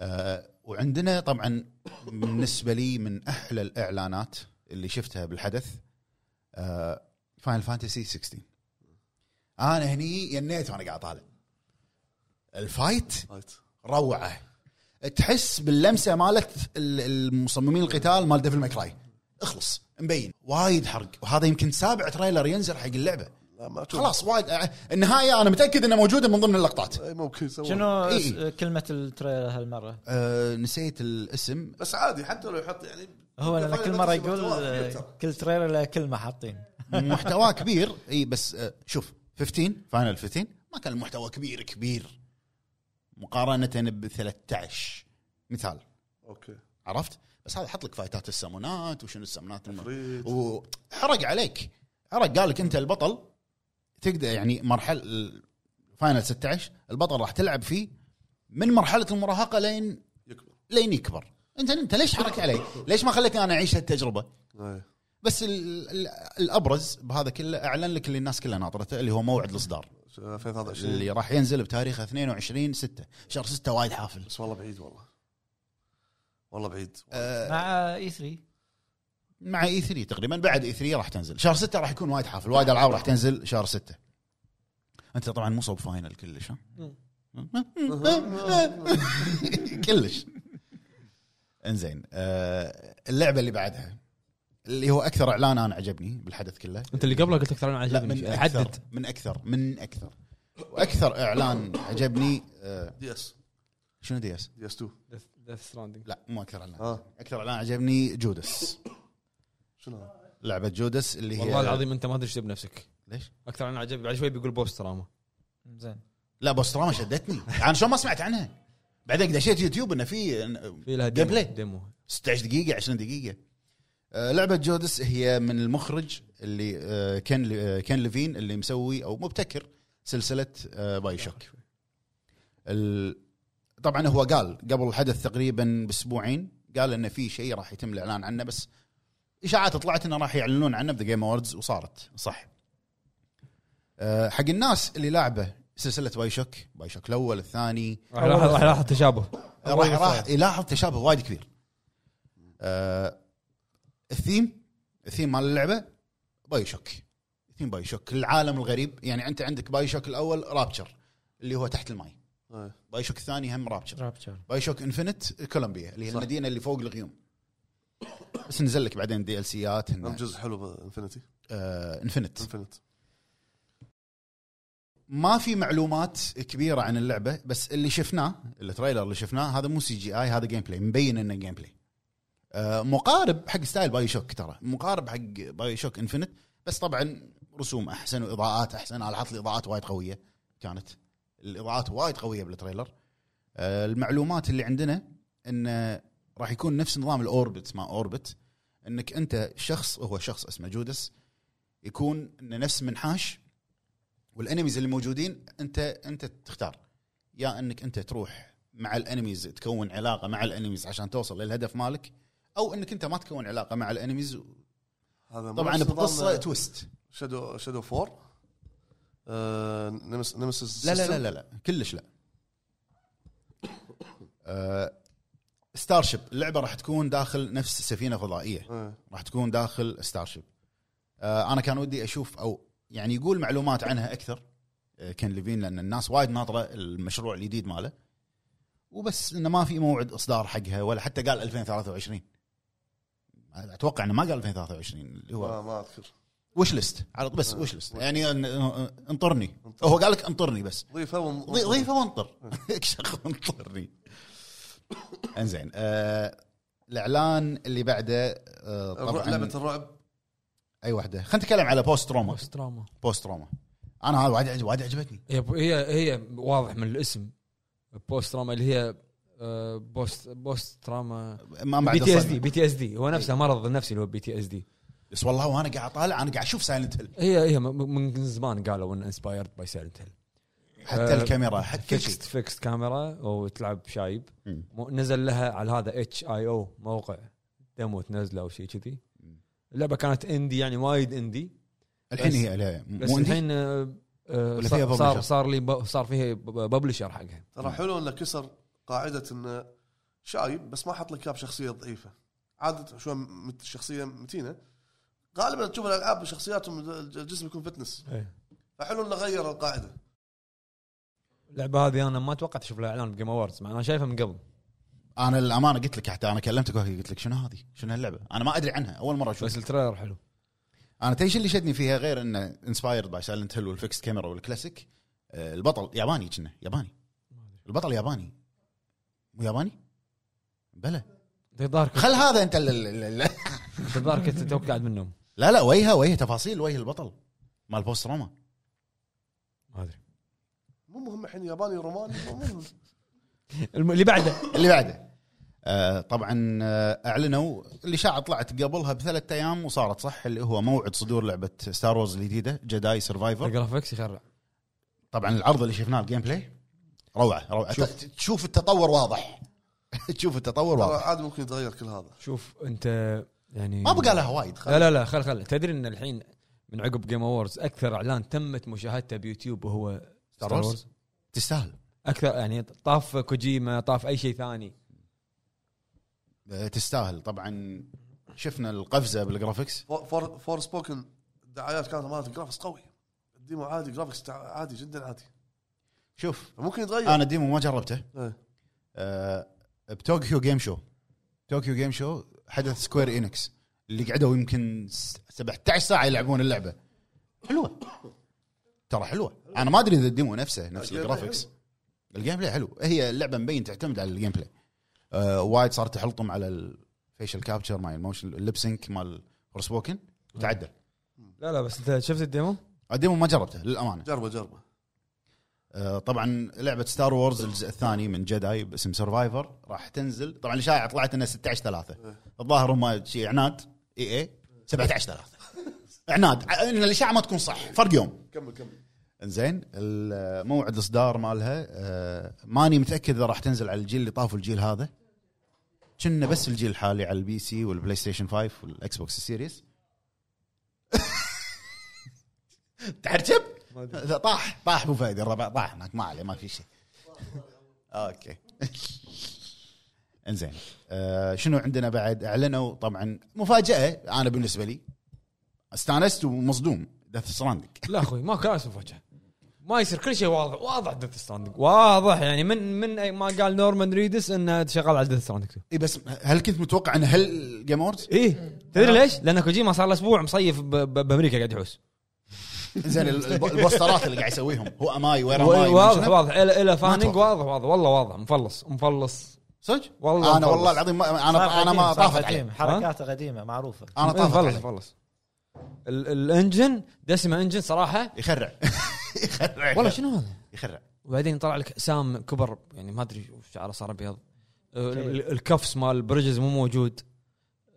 آه وعندنا طبعا بالنسبه لي من احلى الاعلانات اللي شفتها بالحدث آه فاينل فانتسي 16 انا هني ينيت وانا قاعد طالع الفايت
هايت
روعه تحس باللمسه مالت ال- المصممين القتال مال ديفل ماكراي اخلص مبين وايد حرق وهذا يمكن سابع تريلر ينزل حق اللعبه
لا ما أشوف.
خلاص وايد آه، النهايه انا متاكد انها موجوده من ضمن اللقطات
اي ممكن يسوون
شنو
إي.
س- كلمه التريلر هالمره؟
أه نسيت الاسم
بس عادي حتى لو يحط يعني
هو لأن
Final
كل مره
Fantasy
يقول
محتواه كبير ترى.
آه، كل تريلر له كلمه حاطين
محتواه كبير اي بس آه، شوف 15 فاينل 15 ما كان المحتوى كبير كبير مقارنه ب 13 مثال
اوكي
عرفت بس هذا حط لك فايتات السمونات وشنو السمونات الم...
عفريت.
وحرق عليك حرق قال لك انت البطل تقدر يعني مرحله فاينل 16 البطل راح تلعب فيه من مرحله المراهقه لين
يكبر
لين يكبر انت انت ليش حرك علي؟ ليش ما خلتني انا اعيش هالتجربه؟
إي.
بس ال ال الابرز بهذا كله اعلن لك اللي الناس كلها ناطرته اللي هو موعد الاصدار
2023
اللي راح ينزل بتاريخ 22 6 شهر 6 وايد حافل
بس والله بعيد والله والله بعيد
آه
مع E اي 3
مع E اي 3 تقريبا بعد اي 3 راح تنزل شهر 6 راح يكون وايد حافل وايد العاب راح تنزل شهر 6 انت طبعا مو صوب فاينل كلش ها كلش انزين آه اللعبه اللي بعدها اللي هو اكثر اعلان انا عجبني بالحدث كله
انت اللي قبله قلت لك ترى انا
لا من
عجبني
اكثر
حدد
من اكثر من اكثر واكثر اعلان عجبني آه،
دي اس
شنو دي اس؟
دي اس 2
لا مو اكثر اعلان
اه
اكثر اعلان عجبني جودس
شنو هذا؟
لعبه جودس اللي هي
والله العظيم انت ما ادري ايش تجيب نفسك
إيه. ليش؟
اكثر انا عجبني بعد شوي بيقول بوست تراما
زين
لا بوستراما شدتني انا شلون ما سمعت عنها بعدين دشيت يوتيوب انه في
في لها
جيم
ديمو
بلاي.
ديمو
16 دقيقه 20 دقيقه آه، لعبه جودس هي من المخرج اللي آه، كان آه، كان ليفين اللي مسوي او مبتكر سلسله آه، باي شوك ال- طبعا هو قال قبل الحدث تقريبا باسبوعين قال انه في شيء راح يتم الاعلان عنه بس اشاعات طلعت انه راح يعلنون عنه بذا جيم اووردز وصارت صح آه، حق الناس اللي لاعبه سلسله باي شوك باي شوك الاول الثاني
راح يلاحظ راح يلاحظ تشابه
راح راح يلاحظ تشابه وايد كبير آه الثيم الثيم مال اللعبه باي شوك ثيم باي شوك العالم الغريب يعني انت عندك باي شوك الاول رابتشر اللي هو تحت الماي
إيه.
باي شوك الثاني هم رابتشر
رابتشر
باي شوك انفنت كولومبيا اللي هي
صح.
المدينه اللي فوق الغيوم بس نزل لك بعدين دي ال سيات
هم جزء حلو انفنتي
آه انفنت
انفنت
ما في معلومات كبيره عن اللعبه بس اللي شفناه التريلر اللي شفناه هذا مو سي جي اي هذا جيم بلاي مبين انه جيم بلاي آه، مقارب حق ستايل باي شوك ترى مقارب حق باي شوك انفنت بس طبعا رسوم احسن واضاءات احسن انا لاحظت الاضاءات وايد قويه كانت الاضاءات وايد قويه بالتريلر آه، المعلومات اللي عندنا انه راح يكون نفس نظام الاوربت ما اوربت انك انت شخص وهو شخص اسمه جودس يكون إنه نفس منحاش والانميز اللي موجودين انت انت تختار يا انك انت تروح مع الانميز تكون علاقه مع الانميز عشان توصل للهدف مالك او انك انت ما تكون علاقه مع الانميز
هذا
طبعا بقصه تويست
آه، شادو شادو 4 آه نمس نمسس
لا لا لا لا, لا كلش لا ستارشيب اللعبه راح تكون داخل نفس سفينه فضائيه
آه.
راح تكون داخل ستارشيب آه، انا كان ودي اشوف او يعني يقول معلومات عنها اكثر آه، كان ليفين لان الناس وايد ناطره المشروع الجديد ماله وبس انه ما في موعد اصدار حقها ولا حتى قال 2023 اتوقع انه ما قال 2023 اللي
ما
هو
ما اذكر
وش ليست على بس
آه.
وش ليست يعني أن- أن- انطرني هو قال لك انطرني بس
ضيفه وم...
ضي- ضيفه وانطر اكشخ وانطرني انزين آه، الاعلان اللي بعده آه،
الرعب- لعبه
طبعا
الرعب
اي واحده خلينا نتكلم على بوست روما
دراما
بوست روما انا هذا وايد عجب- وايد عجبتني
هي هي هي واضح من الاسم بوست تراما اللي هي آه، بوست بوست تراما
ما
بي
بعد
تي اس
الصدمة.
دي بي تي اس دي هو نفسه مرض نفسي اللي هو بي تي اس دي
بس والله وانا قاعد اطالع انا قاعد اشوف سايلنت هيل
هي هي م- م- من زمان قالوا ان انسبايرد باي سايلنت هيل
حتى
آه،
الكاميرا حتى كل شيء
فيكست فيكست كاميرا وتلعب شايب
مم.
مو- نزل لها على هذا اتش اي او موقع ديمو تنزله او شيء كذي اللعبه كانت اندي يعني وايد اندي
الحين
بس-
هي لا،
بس
مو الحين
الحين آه، آه،
ولا فيها
صار- صار
publisher؟
صار لي ب- صار فيها ببلشر حقها
ترى حلو انه كسر قاعده انه شايب بس ما حط لك اياه بشخصيه ضعيفه عاده شو مت- شخصيه متينه غالبا تشوف الالعاب شخصياتهم الجسم يكون فتنس
إيه.
فحلو انه غير القاعده
اللعبه هذه انا ما توقعت اشوف لها اعلان بجيم اووردز مع انا شايفها من قبل
انا للامانه قلت لك حتى انا كلمتك وهي قلت لك شنو هذه؟ شنو هاللعبه؟ انا ما ادري عنها اول مره اشوف
بس التريلر حلو
انا تدري اللي شدني فيها غير انه انسبايرد باي سايلنت هيل والفيكس كاميرا والكلاسيك آه، البطل ياباني كنا ياباني البطل ياباني مو ياباني؟ بلى
الظاهر كنت-
خل هذا انت ال- ال- ال- ال-
الظاهر كنت توك قاعد منهم
لا لا وجهه وجه تفاصيل وجه البطل مال بوست روما
ما ادري
مو مهم الحين ياباني روماني مو مهم
الم- اللي بعده
اللي بعده آه، طبعا آه، اعلنوا الاشاعه طلعت قبلها بثلاث ايام وصارت صح اللي هو موعد صدور لعبه ستار وورز الجديده جداي سرفايفر
الجرافكس يخرع
طبعا العرض اللي شفناه الجيم بلاي روعه روعه ت- تشوف التطور واضح تشوف التطور
ترى
واضح
عاد ممكن يتغير كل هذا
شوف انت يعني
ما بقى لها وايد
لا لا لا خل خل تدري ان الحين من عقب جيم اووردز اكثر اعلان تمت مشاهدته بيوتيوب وهو ستار
Wars؟
وورز
تستاهل
اكثر يعني طاف كوجيما طاف اي شيء ثاني
آه، تستاهل طبعا شفنا القفزه بالجرافيكس
فور- فور, فور سبوكن الدعايات كانت مالت الجرافكس قوي الديمو عادي جرافكس تع- عادي جدا عادي
شوف
ممكن يتغير
انا الديمو ما جربته
إيه.
آه، بطوكيو جيم شو طوكيو جيم شو حدث سكوير انكس اللي قعدوا يمكن س- 17 ساعه يلعبون اللعبه حلوه ترى حلوه انا ما ادري اذا الديمو نفسه نفس
الجيم بلاي
الجرافكس الجيم بلاي حلو هي اللعبه مبين تعتمد على الجيم بلاي آه وايد صار تحلطم على الفيشل كابتشر مال الموشن اللبسنك مال سبوكن
إيه.
تعدل
لا لا بس انت شفت الديمو؟
الديمو ما جربته للامانه
جربه جربه
آه، طبعا لعبه ستار وورز الجزء الثاني من جداي باسم سرفايفر راح تنزل طبعا الاشاعه طلعت انها 16 3
إيه.
الظاهر هم شي عناد اي اي 17 3 عناد ع- ان الاشاعه ما تكون صح فرق يوم
كمل كمل
زين موعد الاصدار مالها آه، ماني متاكد اذا راح تنزل على الجيل اللي طاف والجيل هذا كنا بس الجيل الحالي على البي سي والبلاي ستيشن 5 والاكس بوكس السيريس تعرجب لا، طاح طاح ابو فهد الربع طاح هناك ما عليه ما في شيء اوكي انزين آه شنو عندنا بعد اعلنوا طبعا مفاجاه انا بالنسبه لي استانست ومصدوم دث ستراندنج
لا اخوي ما كان اسم وجهه ما يصير كل شيء واضح واضح ديث ستراندنج واضح يعني من من أي- ما قال نورمان ريدس انه شغال على ديث ستراندنج
اي إيه، بس هل كنت متوقع ان هل جيم اووردز؟
ايه
آه.
تدري ليش؟ لان كوجيما صار له اسبوع مصيف ب- ب- بامريكا قاعد يحوس
زين ال- الب- البوسترات اللي قاعد يسويهم هو اماي وير اماي
واضح واضح الى الى فانينج
توقع.
واضح واضح والله واضح مفلص مفلص
صدق؟
والله
انا
مفلص.
والله العظيم ما انا
صار
انا ما
قديم، صار
طافت علي
قديم حركاته قديمه معروفه
انا
إيه،
طافت
مفلص
علي
مفلص ال- الانجن دسمه انجن صراحه
يخرع يخرع
والله شنو هذا؟
يخرع
وبعدين طلع لك سام كبر يعني ما ادري شعره صار ابيض آه،
طيب.
ال- الكفس مال بريدجز مو موجود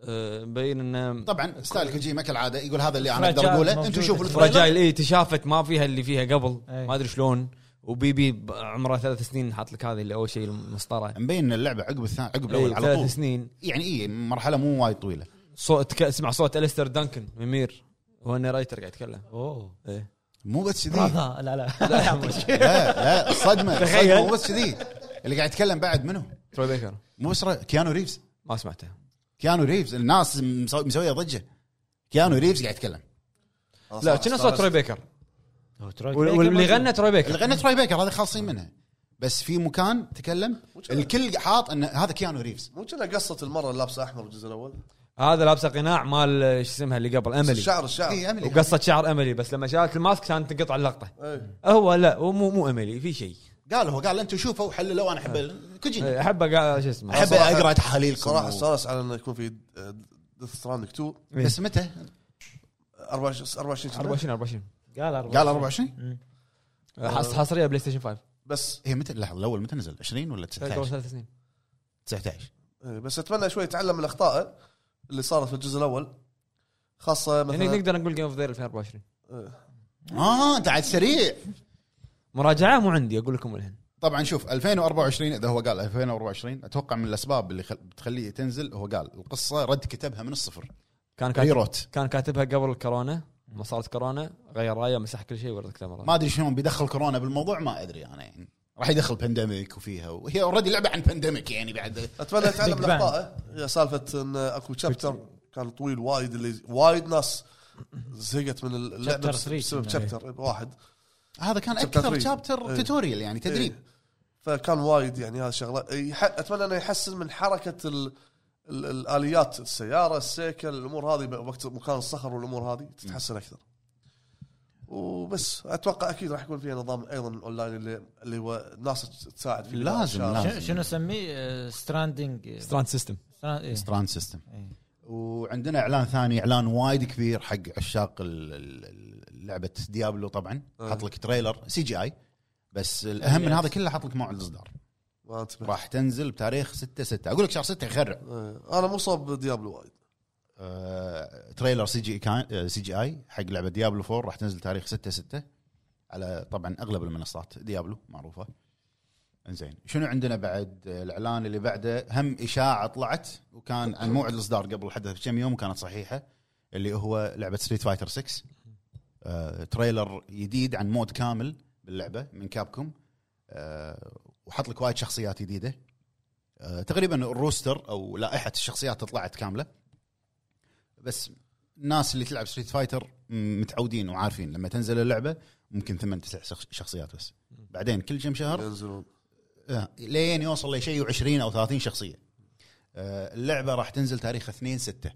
آه، مبين انه
طبعا ستايل كوجيما كالعاده يقول هذا اللي انا اقدر
فراجايل
اقوله
موجود.
انتم شوفوا التريلر
فراجايل اي إيه، تشافت ما فيها اللي فيها قبل
أي.
ما ادري شلون وبيبي ب- عمره ثلاث سنين حاط لك هذه اللي اول شيء المسطره
مبين إن اللعبه عقب الثاني عقب
إي،
الاول على
ثلاث
طول
سنين
يعني اي مرحله مو وايد طويله
صوت ك- اسمع صوت الستر دانكن ممير هو النرايتر قاعد يتكلم إيه.
اوه
مو بس كذي
برافو. آه، لا لا
لا لا الصدمه
تخيل.
الصدمه مو بس كذي اللي قاعد يتكلم بعد منه
تروي بيكر
مو بس را- كيانو ريفز
ما سمعته
كيانو ريفز الناس مسو- مسويه ضجه كيانو ريفز قاعد يتكلم
آه،
لا
صح،
كنا
صح،
صوت
صح.
تروي بيكر
هو تروي
وال-
بيكر
واللي
موجود.
غنى تروي بيكر
اللي غنت تروي بيكر هذا خالصين منها بس في مكان تكلم الكل حاط ان هذا كيانو ريفز
مو كنا قصه المره اللي لابسه احمر الجزء الاول
هذا لابسه قناع مال آه، شو اسمها اللي قبل املي
الشعر الشعر
اي املي
وقصه شعر املي بس لما شالت الماسك كانت تنقطع اللقطه
إيه.
هو لا هو مو مو املي في شيء
قال هو قال انتم شوفوا حللوا انا احب كوجي
إيه، احبه قاعد شو اسمه
احب
صراحة-
اقرا تحاليلكم
صراحه
و-
استانس على انه يكون في ديث ستراندنج 2
إيه.
بس متى؟
24 24 سنة.
24 24
قال 24
قال 24
حص- حصريه بلاي ستيشن 5
بس
هي متى لحظه الاول متى نزل 20 ولا
قبل
19
ثلاث سنين
19
إيه، بس اتمنى شوي يتعلم من اخطائه اللي صارت في الجزء الاول خاصه مثلا
يعني نقدر نقول جيم اوف ذير 2024
اه انت عاد سريع
مراجعه مو عندي اقول لكم الحين
طبعا شوف 2024 اذا هو قال 2024 اتوقع من الاسباب اللي خل... بتخليه تنزل هو قال القصه رد كتبها من الصفر
كان كاتب
ريروت
كان كاتبها قبل الكورونا ما صارت كورونا غير رايه مسح كل شيء ورد كتاب
ما
مره
ادري شلون بيدخل كورونا بالموضوع ما ادري انا يعني راح يدخل بانديميك وفيها وهي اوريدي لعبه عن بانديميك يعني بعد
اتمنى يتعلم
Big
من اخطائه هي سالفه ان اكو شابتر كان طويل وايد اللي وايد ناس زهقت من اللعبه
Chapter
بس-
three
بسبب
كنا، إيه.
شابتر واحد
هذا كان
Chapter
اكثر
three.
شابتر
إيه.
توتوريال يعني تدريب
إيه. فكان وايد يعني هذا شغله يح... اتمنى انه يحسن من حركه ال... ال... الاليات السياره السيكل الامور هذه ب- وقت مكان الصخر والامور هذه تتحسن اكثر وبس اتوقع اكيد راح يكون فيها نظام ايضا اونلاين اللي اللي هو الناس تساعد فيه
لازم،
إن شاء الله.
لازم.
شنو- شنو آه، اسميه ستراندنج
ستراند سيستم
ستراند سيستم
آه، إيه.
وعندنا اعلان ثاني اعلان وايد كبير حق عشاق ال- ال- ال- لعبه ديابلو طبعا
أه.
حط لك تريلر سي جي اي بس الاهم من هذا كله حط لك موعد الاصدار
ما انتبهت
راح تنزل بتاريخ 6 6 اقول لك شهر 6 يخرع
إيه. انا مو صاب ديابلو وايد
آه، تريلر سي جي كان آه، سي جي اي حق لعبه ديابلو 4 راح تنزل تاريخ 6 6 على طبعا اغلب المنصات ديابلو معروفه انزين شنو عندنا بعد آه، الاعلان اللي بعده هم اشاعه طلعت وكان عن موعد الاصدار قبل الحدث بكم يوم وكانت صحيحه اللي هو لعبه ستريت فايتر 6 آه، تريلر جديد عن مود كامل باللعبه من كابكم آه، وحط لك وايد شخصيات جديده آه، تقريبا الروستر او لائحه الشخصيات طلعت كامله بس الناس اللي تلعب ستريت فايتر م- متعودين وعارفين لما تنزل اللعبه ممكن ثمان تسع شخ- شخصيات بس بعدين كل كم شهر
ينزلون
آه، لين يوصل لشيء 20 او 30 شخصيه آه، اللعبه راح تنزل تاريخ 2 6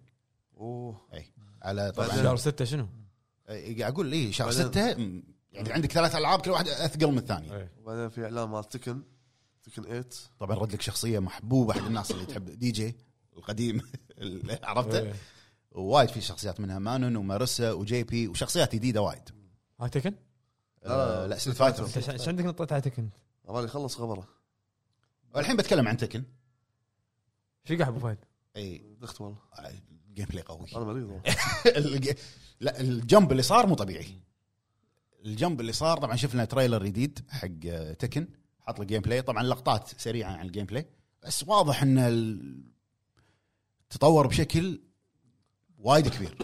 اوه
اي على
شهر
طبعا
6 شنو؟
آه، قاعد اقول اي شهر
بعدين-
6 يعني عندك ثلاث العاب كل واحده اثقل من الثانيه
وبعدين في اعلان مال تكن تكن 8
طبعا رد لك شخصيه محبوبه حق الناس اللي تحب دي جي القديم اللي عرفته وايد في شخصيات منها مانون ومارسا وجي بي وشخصيات جديده وايد
هاي تكن؟
آه، لا ستريت فايتر
انت ايش عندك نطيت على تكن؟
عمال يخلص خبره
الحين بتكلم عن تكن
ايش قاعد ابو فهد؟
اي
دخت والله
آه، جيم بلاي قوي
انا مريض والله
الج- لا الجمب اللي صار مو طبيعي الجمب اللي صار طبعا شفنا تريلر جديد حق آه، تكن حط له جيم بلاي طبعا لقطات سريعه عن الجيم بلاي بس واضح ان ال- تطور بشكل وايد كبير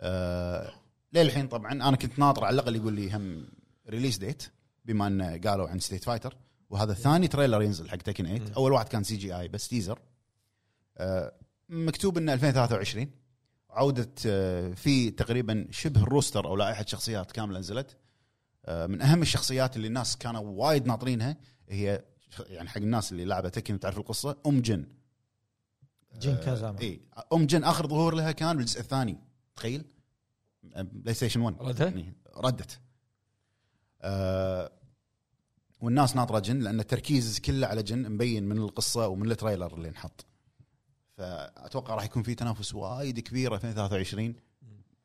آه للحين طبعا انا كنت ناطر على الاقل يقول لي هم ريليز ديت بما ان قالوا عن ستيت فايتر وهذا ثاني تريلر ينزل حق تكن 8 اول واحد كان سي جي اي بس تيزر آه مكتوب انه 2023 عوده آه، في تقريبا شبه الروستر او لائحه شخصيات كامله نزلت آه، من اهم الشخصيات اللي الناس كانوا وايد ناطرينها هي ش- يعني حق الناس اللي لعبه تكن تعرف القصه ام جن
جين كازاما
اي ام إيه. جن اخر ظهور لها كان بالجزء الثاني تخيل أم، بلاي ستيشن 1
ردها؟
ردت آه والناس ناطره جن لان التركيز كله على جن مبين من القصه ومن التريلر اللي انحط فاتوقع راح يكون في تنافس وايد كبير 2023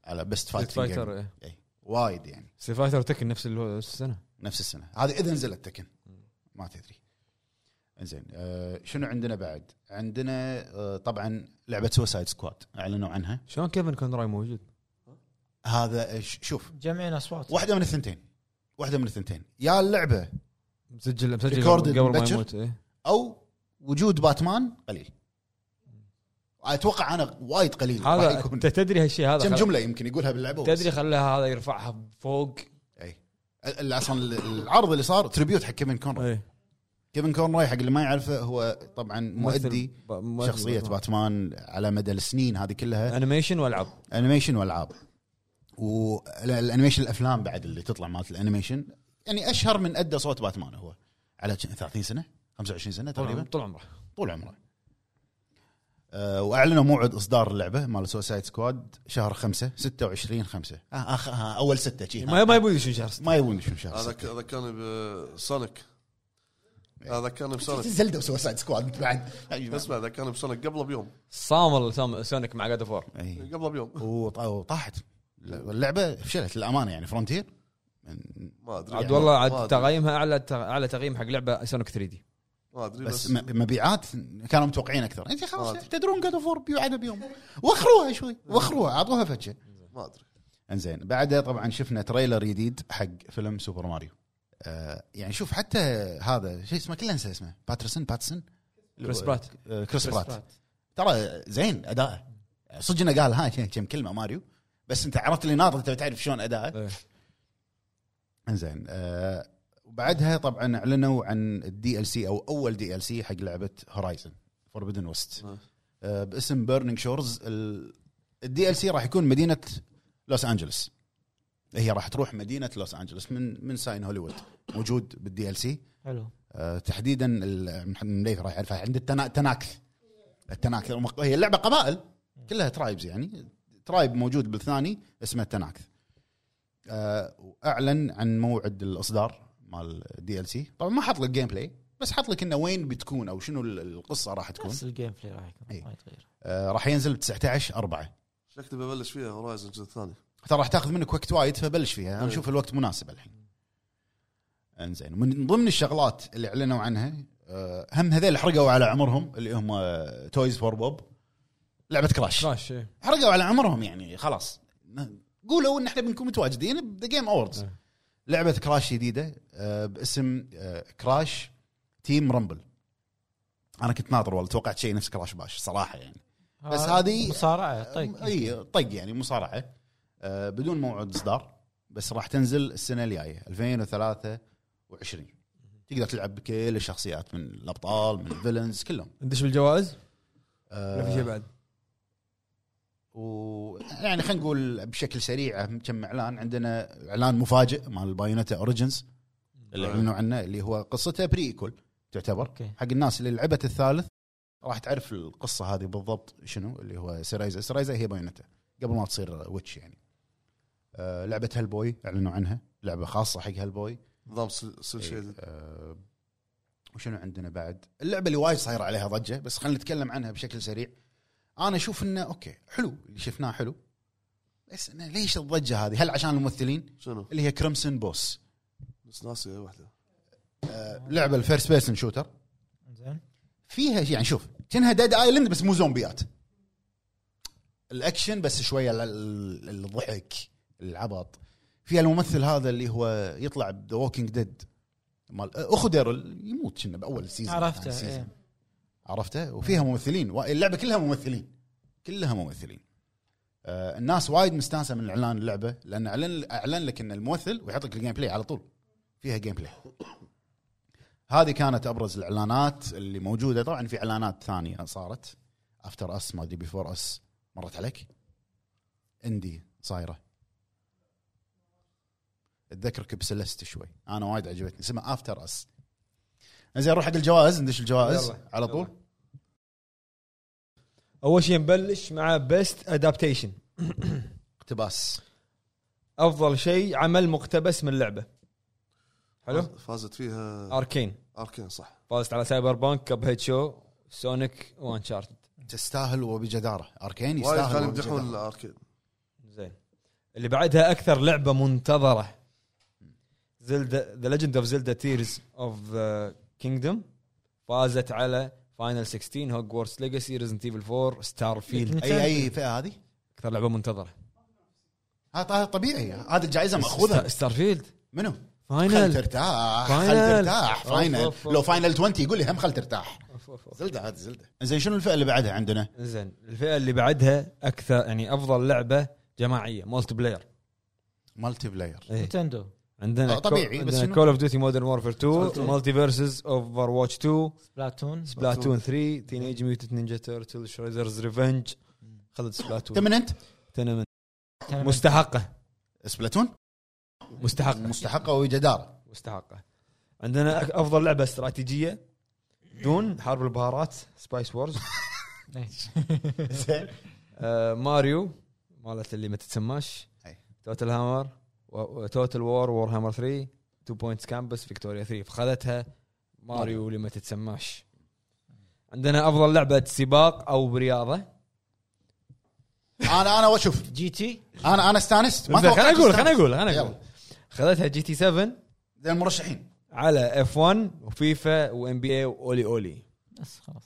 على بيست
ستريت فايتر
فايتر
إيه.
وايد يعني
ستريت فايتر تكن نفس ال- السنه
نفس السنه هذه اذا نزلت تكن ما تدري انزين آه شنو عندنا بعد؟ عندنا آه طبعا لعبه سوسايد سكواد اعلنوا عنها
شلون كيفن كونراي موجود؟
هذا آه، ش- شوف
جمعين اصوات
واحده من الثنتين واحده من الثنتين يا اللعبه
مسجل مسجل
Recorded
قبل ما
بكر.
يموت إيه.
او وجود باتمان قليل اتوقع انا وايد قليل راح
هذا
يكون.
انت تدري هالشيء هذا
كم
خل-
جمله يمكن يقولها باللعبه وبس.
تدري خلاها هذا يرفعها فوق
اي ال- ال- اصلا ال- العرض اللي صار تريبيوت حق كيفن كونر
إيه.
كيفن كونراي حق اللي ما يعرفه هو طبعا
ممثل-
مؤدي
ب- مؤدي
شخصيه
باتمان.
باتمان على مدى السنين هذه كلها
انيميشن والعاب
انيميشن والعاب والانيميشن الافلام بعد اللي تطلع مالت الانيميشن يعني اشهر من ادى صوت باتمان هو على كم- 30 سنه 25 سنه تقريبا
طول عمره
طول عمره آه، واعلنوا موعد اصدار اللعبه مال سوسايد سكواد شهر 5 26 5 آه آخ آه اول سته شي
ما ما يبون يشون شهر
ما يبون شنو شهر
هذا ك-
ستة.
هذا كان بسونيك
إيه.
هذا كان بسونيك
زلده وسوسايد سكواد بعد
اسمع هذا كان بسونيك قبله بيوم
صامل سام- سونيك مع جاد اوف وور
أي.
قبله بيوم
وط- وطاحت اللعبه فشلت للامانه يعني فرونتير
ما ادري
عاد والله
ما
عاد
أدري.
تقييمها اعلى اعلى تقييم حق لعبه سونيك 3 دي
ما ادري
بس
بس,
م- مبيعات كانوا متوقعين اكثر انت
آه.
خلاص تدرون جاد اوف بيوعدها بيوم وخروها شوي وخروها اعطوها فتشه
ما ادري
انزين بعدها طبعا شفنا تريلر جديد حق فيلم سوبر ماريو آه يعني شوف حتى هذا شو اسمه كله انسى اسمه باترسون باتسون
كريس برات
آه كريس برات ترى زين اداءه صدق انه قال ها كم كلمه ماريو بس انت عرفت اللي ناطر انت بتعرف شلون اداءه
إيه.
انزين آه وبعدها طبعا اعلنوا عن الدي ال سي او اول دي ال سي حق لعبه هورايزن فوربدن ويست
آه.
آه باسم بيرنينج شورز الدي ال سي راح يكون مدينه لوس انجلس هي راح تروح مدينه لوس انجلس من من ساين هوليوود موجود بالدي ال سي
حلو
آه، تحديدا ال- محمد مليف راح يعرفها عند التنا- التناكث التناكث المق- هي اللعبه قبائل كلها ترايبز يعني ترايب موجود بالثاني اسمه التناكث آه، واعلن عن موعد الاصدار مال دي ال سي طبعا ما حط لك جيم بلاي بس حط لك انه وين بتكون او شنو ال- القصه راح تكون
نفس الجيم بلاي راح يكون
إي.
ما يتغير
آه، راح ينزل ب 19 4
شكلي ببلش فيها هورايزن الجزء الثاني
ترى راح تاخذ منك وقت وايد فبلش فيها انا
أي.
اشوف الوقت مناسب الحين انزين من ضمن الشغلات اللي اعلنوا عنها آه، هم هذيل حرقوا على عمرهم اللي هم آه، تويز فور بوب لعبه كراش
كراش إيه.
حرقوا على عمرهم يعني خلاص ن- قولوا ان احنا بنكون متواجدين بذا جيم اووردز
أي.
لعبه كراش جديده آه، باسم آه، كراش تيم رامبل انا كنت ناطر والله توقعت شيء نفس كراش باش صراحه يعني بس هذه- آه،
مصارعه طيب
اي طق يعني مصارعه آه، بدون موعد اصدار بس راح تنزل السنه الجايه 2023 تقدر تلعب بكل الشخصيات من الابطال من الفيلنز كلهم
ندش بالجوائز
آه،
ولا في شيء بعد
و يعني خلينا نقول بشكل سريع كم اعلان عندنا اعلان مفاجئ مال بايونيتا اوريجنز اللي اعلنوا عنه اللي هو قصته بريكول تعتبر
أوكي.
حق الناس اللي لعبت الثالث راح تعرف القصه هذه بالضبط شنو اللي هو سيرايزا سيرايزا هي بايونيتا قبل ما تصير ويتش يعني آه لعبه هالبوي اعلنوا عنها لعبه خاصه حق هالبوي
نظام سل سل شيدد
آه وشنو عندنا بعد اللعبه اللي وايد صاير عليها ضجه بس خلينا نتكلم عنها بشكل سريع انا اشوف انه اوكي حلو اللي شفناه حلو بس أنا ليش الضجه هذه هل عشان الممثلين
شنو؟
اللي هي كريمسون بوس
بس ناسي واحده
آه لعبه الفيرست بيرسن شوتر
زين
فيها يعني شوف كانها ديد ايلاند بس مو زومبيات الاكشن بس شويه ال- ال- الضحك العبط فيها الممثل هذا اللي هو يطلع بذا ووكينج ديد مال اخو ديرل يموت كنا باول سيزون ثاني
عرفته
سيزون.
إيه.
عرفته وفيها ممثلين و- اللعبه كلها ممثلين كلها ممثلين آه الناس وايد مستانسه من اعلان اللعبه لان اعلن اعلن لك ان الممثل ويحط لك الجيم بلاي على طول فيها جيم بلاي هذه كانت ابرز الاعلانات اللي موجوده طبعا في اعلانات ثانيه صارت افتر اس ما ادري بيفور اس مرت عليك اندي صايره اتذكرك بسلست شوي انا وايد عجبتني اسمها افتر اس زين نروح حق الجوائز ندش الجوائز
يلا،
على طول
اول آه، شيء نبلش مع بيست ادابتيشن
اقتباس
افضل شيء عمل مقتبس من لعبه حلو
فازت فيها
اركين
اركين صح
فازت على سايبر بانك كاب هيد شو سونيك وانشارتد
تستاهل وبجداره اركين
وايد
إيه، يستاهل
كانوا يمدحون
وبجدارة.
الاركين
زين اللي بعدها اكثر لعبه منتظره زلدا ذا ليجند اوف زلدا تيرز اوف كينجدوم فازت على فاينل 16 هوجورتس ليجاسي ريزنت ايفل 4 ستار فيلد
اي اي فئه هذه
اكثر لعبه منتظره
هذا طبيعي هذه الجائزه ماخوذه
ستار فيلد
منو؟ خل
فاينل
ترتاح خل
فاينل.
ترتاح فاينل
أوف، أوف.
لو فاينل 20 يقول لي هم خل ترتاح زلده هذه زلده زين شنو الفئه اللي بعدها عندنا؟
زين الفئه اللي بعدها اكثر يعني افضل لعبه جماعيه مولتي بلاير
مالتي بلاير
إيه.
نتندو
عندنا
آه، طبيعي، بس شنو؟
كول اوف ديوتي مودرن وورفير 2 مالتي فيرسز اوفر واتش 2
سبلاتون
سبلاتون 3 تينيج ميوتنت نينجا تيرتل شريدرز ريفنج خلد سبلاتون
تمننت
تنمن
تنمنت.
مستحقه
سبلاتون
مستحق
مستحقه وجداره
مستحقه عندنا أك- افضل لعبه استراتيجيه دون حرب البهارات سبايس وورز
زين
آه، ماريو مالت اللي ما تتسماش
أي.
توتال هامر توتال وور وور هامر 3 تو بوينتس كامبس فيكتوريا 3 فخذتها ماريو اللي ما تتسماش عندنا افضل لعبه سباق او برياضه
انا انا واشوف
جي تي
انا انا استانست
زين، خليني اقول خليني اقول خليني اقول
يلا
خذتها جي تي 7
زين المرشحين
على اف 1 وفيفا وام بي اي واولي اولي
بس خلاص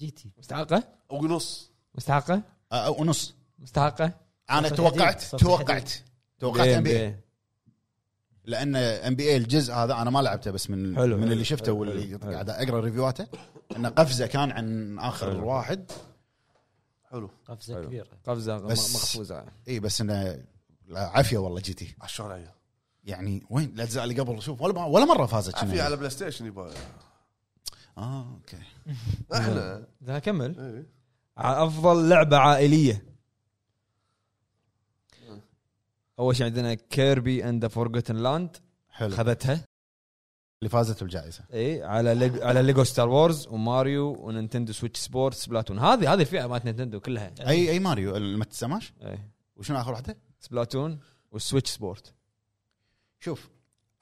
جي تي
مستحقه
ونص
مستحقه
آه، أو ونص
مستحقه
انا
صوت
توقعت
حديد، صوت
توقعت توقعت ام بي اي
NBA.
لان ام بي اي الجزء هذا انا ما لعبته بس من
حلو،
من
حلو،
اللي شفته
حلو،
واللي
حلو.
قاعد اقرا ريفيواته انه قفزه كان عن اخر
حلو.
واحد
حلو
قفزه
حلو.
كبيره
قفزه
بس-
مقفوزه
اي بس انه لا، عافيه والله جي تي
عشان أيوه. عيه
يعني وين الاجزاء اللي قبل شوف ولا ولا مره فازت
عافية
شنو.
آه، على بلاي ستيشن يبا
اه اوكي
احنا
زين كمل
إيه.
ع- افضل لعبه عائليه اول شيء عندنا كيربي اند فورغتن لاند
حلو
خذتها
اللي فازت بالجائزه
اي على ليج... على ليجو ستار وورز وماريو ونينتندو سويتش سبورتس بلاتون هذه هذه الفئه مالت نينتندو كلها إيه.
اي اي ماريو اللي ما تسمعش
اي
وشنو اخر واحده؟
سبلاتون والسويتش سبورت
شوف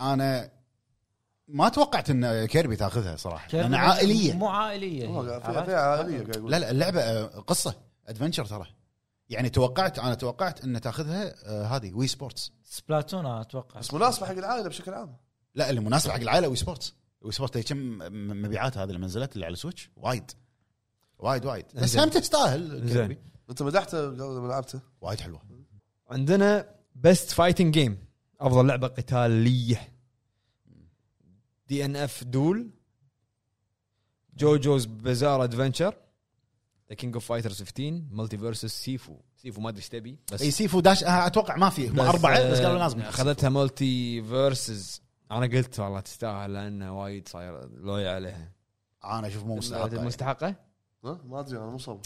انا ما توقعت ان كيربي تاخذها صراحه
كيف-
لان عائليه
مو عائليه
والله
هي.
قاعد- فيها فيها عاليه قاعد
لا
اقول
لا اللعبه آه، قصه ادفنشر ترى يعني توقعت انا توقعت ان تاخذها آه، هذه وي سبورتس
سبلاتون أنا اتوقع
بس مناسبه حق العائله بشكل عام
لا اللي مناسبه حق العائله وي سبورتس وي سبورتس هي كم م- مبيعات هذه اللي نزلت اللي على السويتش وايد وايد وايد بس
زين.
هم تستاهل
زين.
كيربي.
انت مدحته قبل ما لعبته
وايد حلوه
عندنا بيست فايتنج جيم افضل لعبه قتاليه دي ان اف دول جوجوز بزار ادفنشر ذا كينج اوف فايترز 15 مالتي فيرسس سيفو سيفو ما ادري ايش تبي بس آه،
اي سيفو داش آه، اتوقع ما في هم اربعه بس قالوا لازم ناخذ
اخذتها مالتي فيرسز انا قلت والله تستاهل لانها وايد صاير لوي عليها
انا اشوف مو مستحق
مستحقه
ها؟ ما ادري انا مو صابر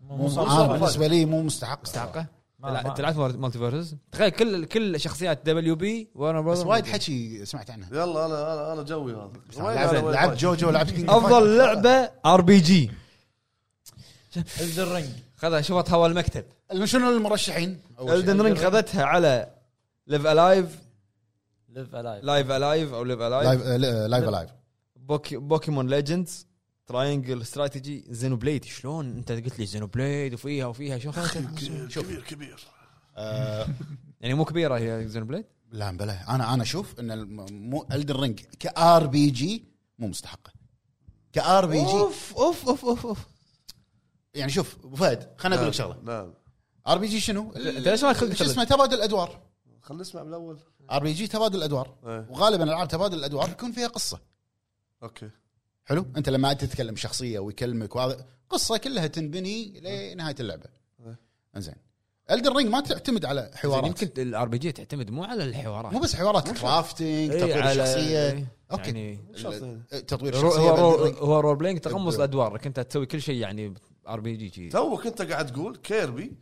مو
مو
مستحق
صعب.
بالنسبه لي مو مستحق مستحق
مستحقه
ما- ما-
تلعب مالتي فيرسز تخيل كل كل شخصيات دبليو بي وانا
بس وايد حكي سمعت عنها
يلا انا انا انا جوي هذا
لعبت لعبت جوجو لعبت كينج أوف
افضل
فايترز.
لعبه ار بي جي
الدن رينج
خذها شوفت هوا المكتب
شنو المرشحين؟ أول شيء.
الدن رينج خذتها على ليف الايف
ليف الايف
لايف الايف او ليف
لايف
الايف
آه، لا- لايف لايف
بوكي بوكيمون ليجندز تراينجل استراتيجي زينو بليد شلون انت قلت لي زينو بليد وفيها وفيها شلون خذتها؟
كبير كبير
آه،
يعني مو كبيره هي زينو بليد
لا بلا انا انا اشوف ان الم- مو الدن رينج كار بي جي مو مستحقه كار بي جي
اوف اوف اوف اوف اوف
يعني شوف ابو فهد خليني اقول لك شغله
نعم
ار بي جي شنو؟
أنت ليش ما تخلي-
شو اسمه تبادل ادوار
خلينا نسمع بالاول
ار بي جي تبادل ادوار
إيه.
وغالبا العاب تبادل الادوار يكون فيها قصه
اوكي
حلو انت لما انت تتكلم شخصيه ويكلمك وهذا قصه كلها تنبني لنهايه اللعبه
إيه.
انزين الدن رينج ما تعتمد على
يعني
حوارات
يمكن الار بي جي تعتمد مو على الحوارات
مو بس حوارات كرافتنج
إيه،
تطوير
على-
الشخصيه
إيه،
اوكي
يعني
مو شرط يعني.
ال- آه، تطوير
رو-
الشخصيه
هو
بال-
رو- هو رول بلاينج تقمص
الدور.
الادوار انت تسوي كل شيء يعني ار بي جي
توك انت قاعد تقول كيربي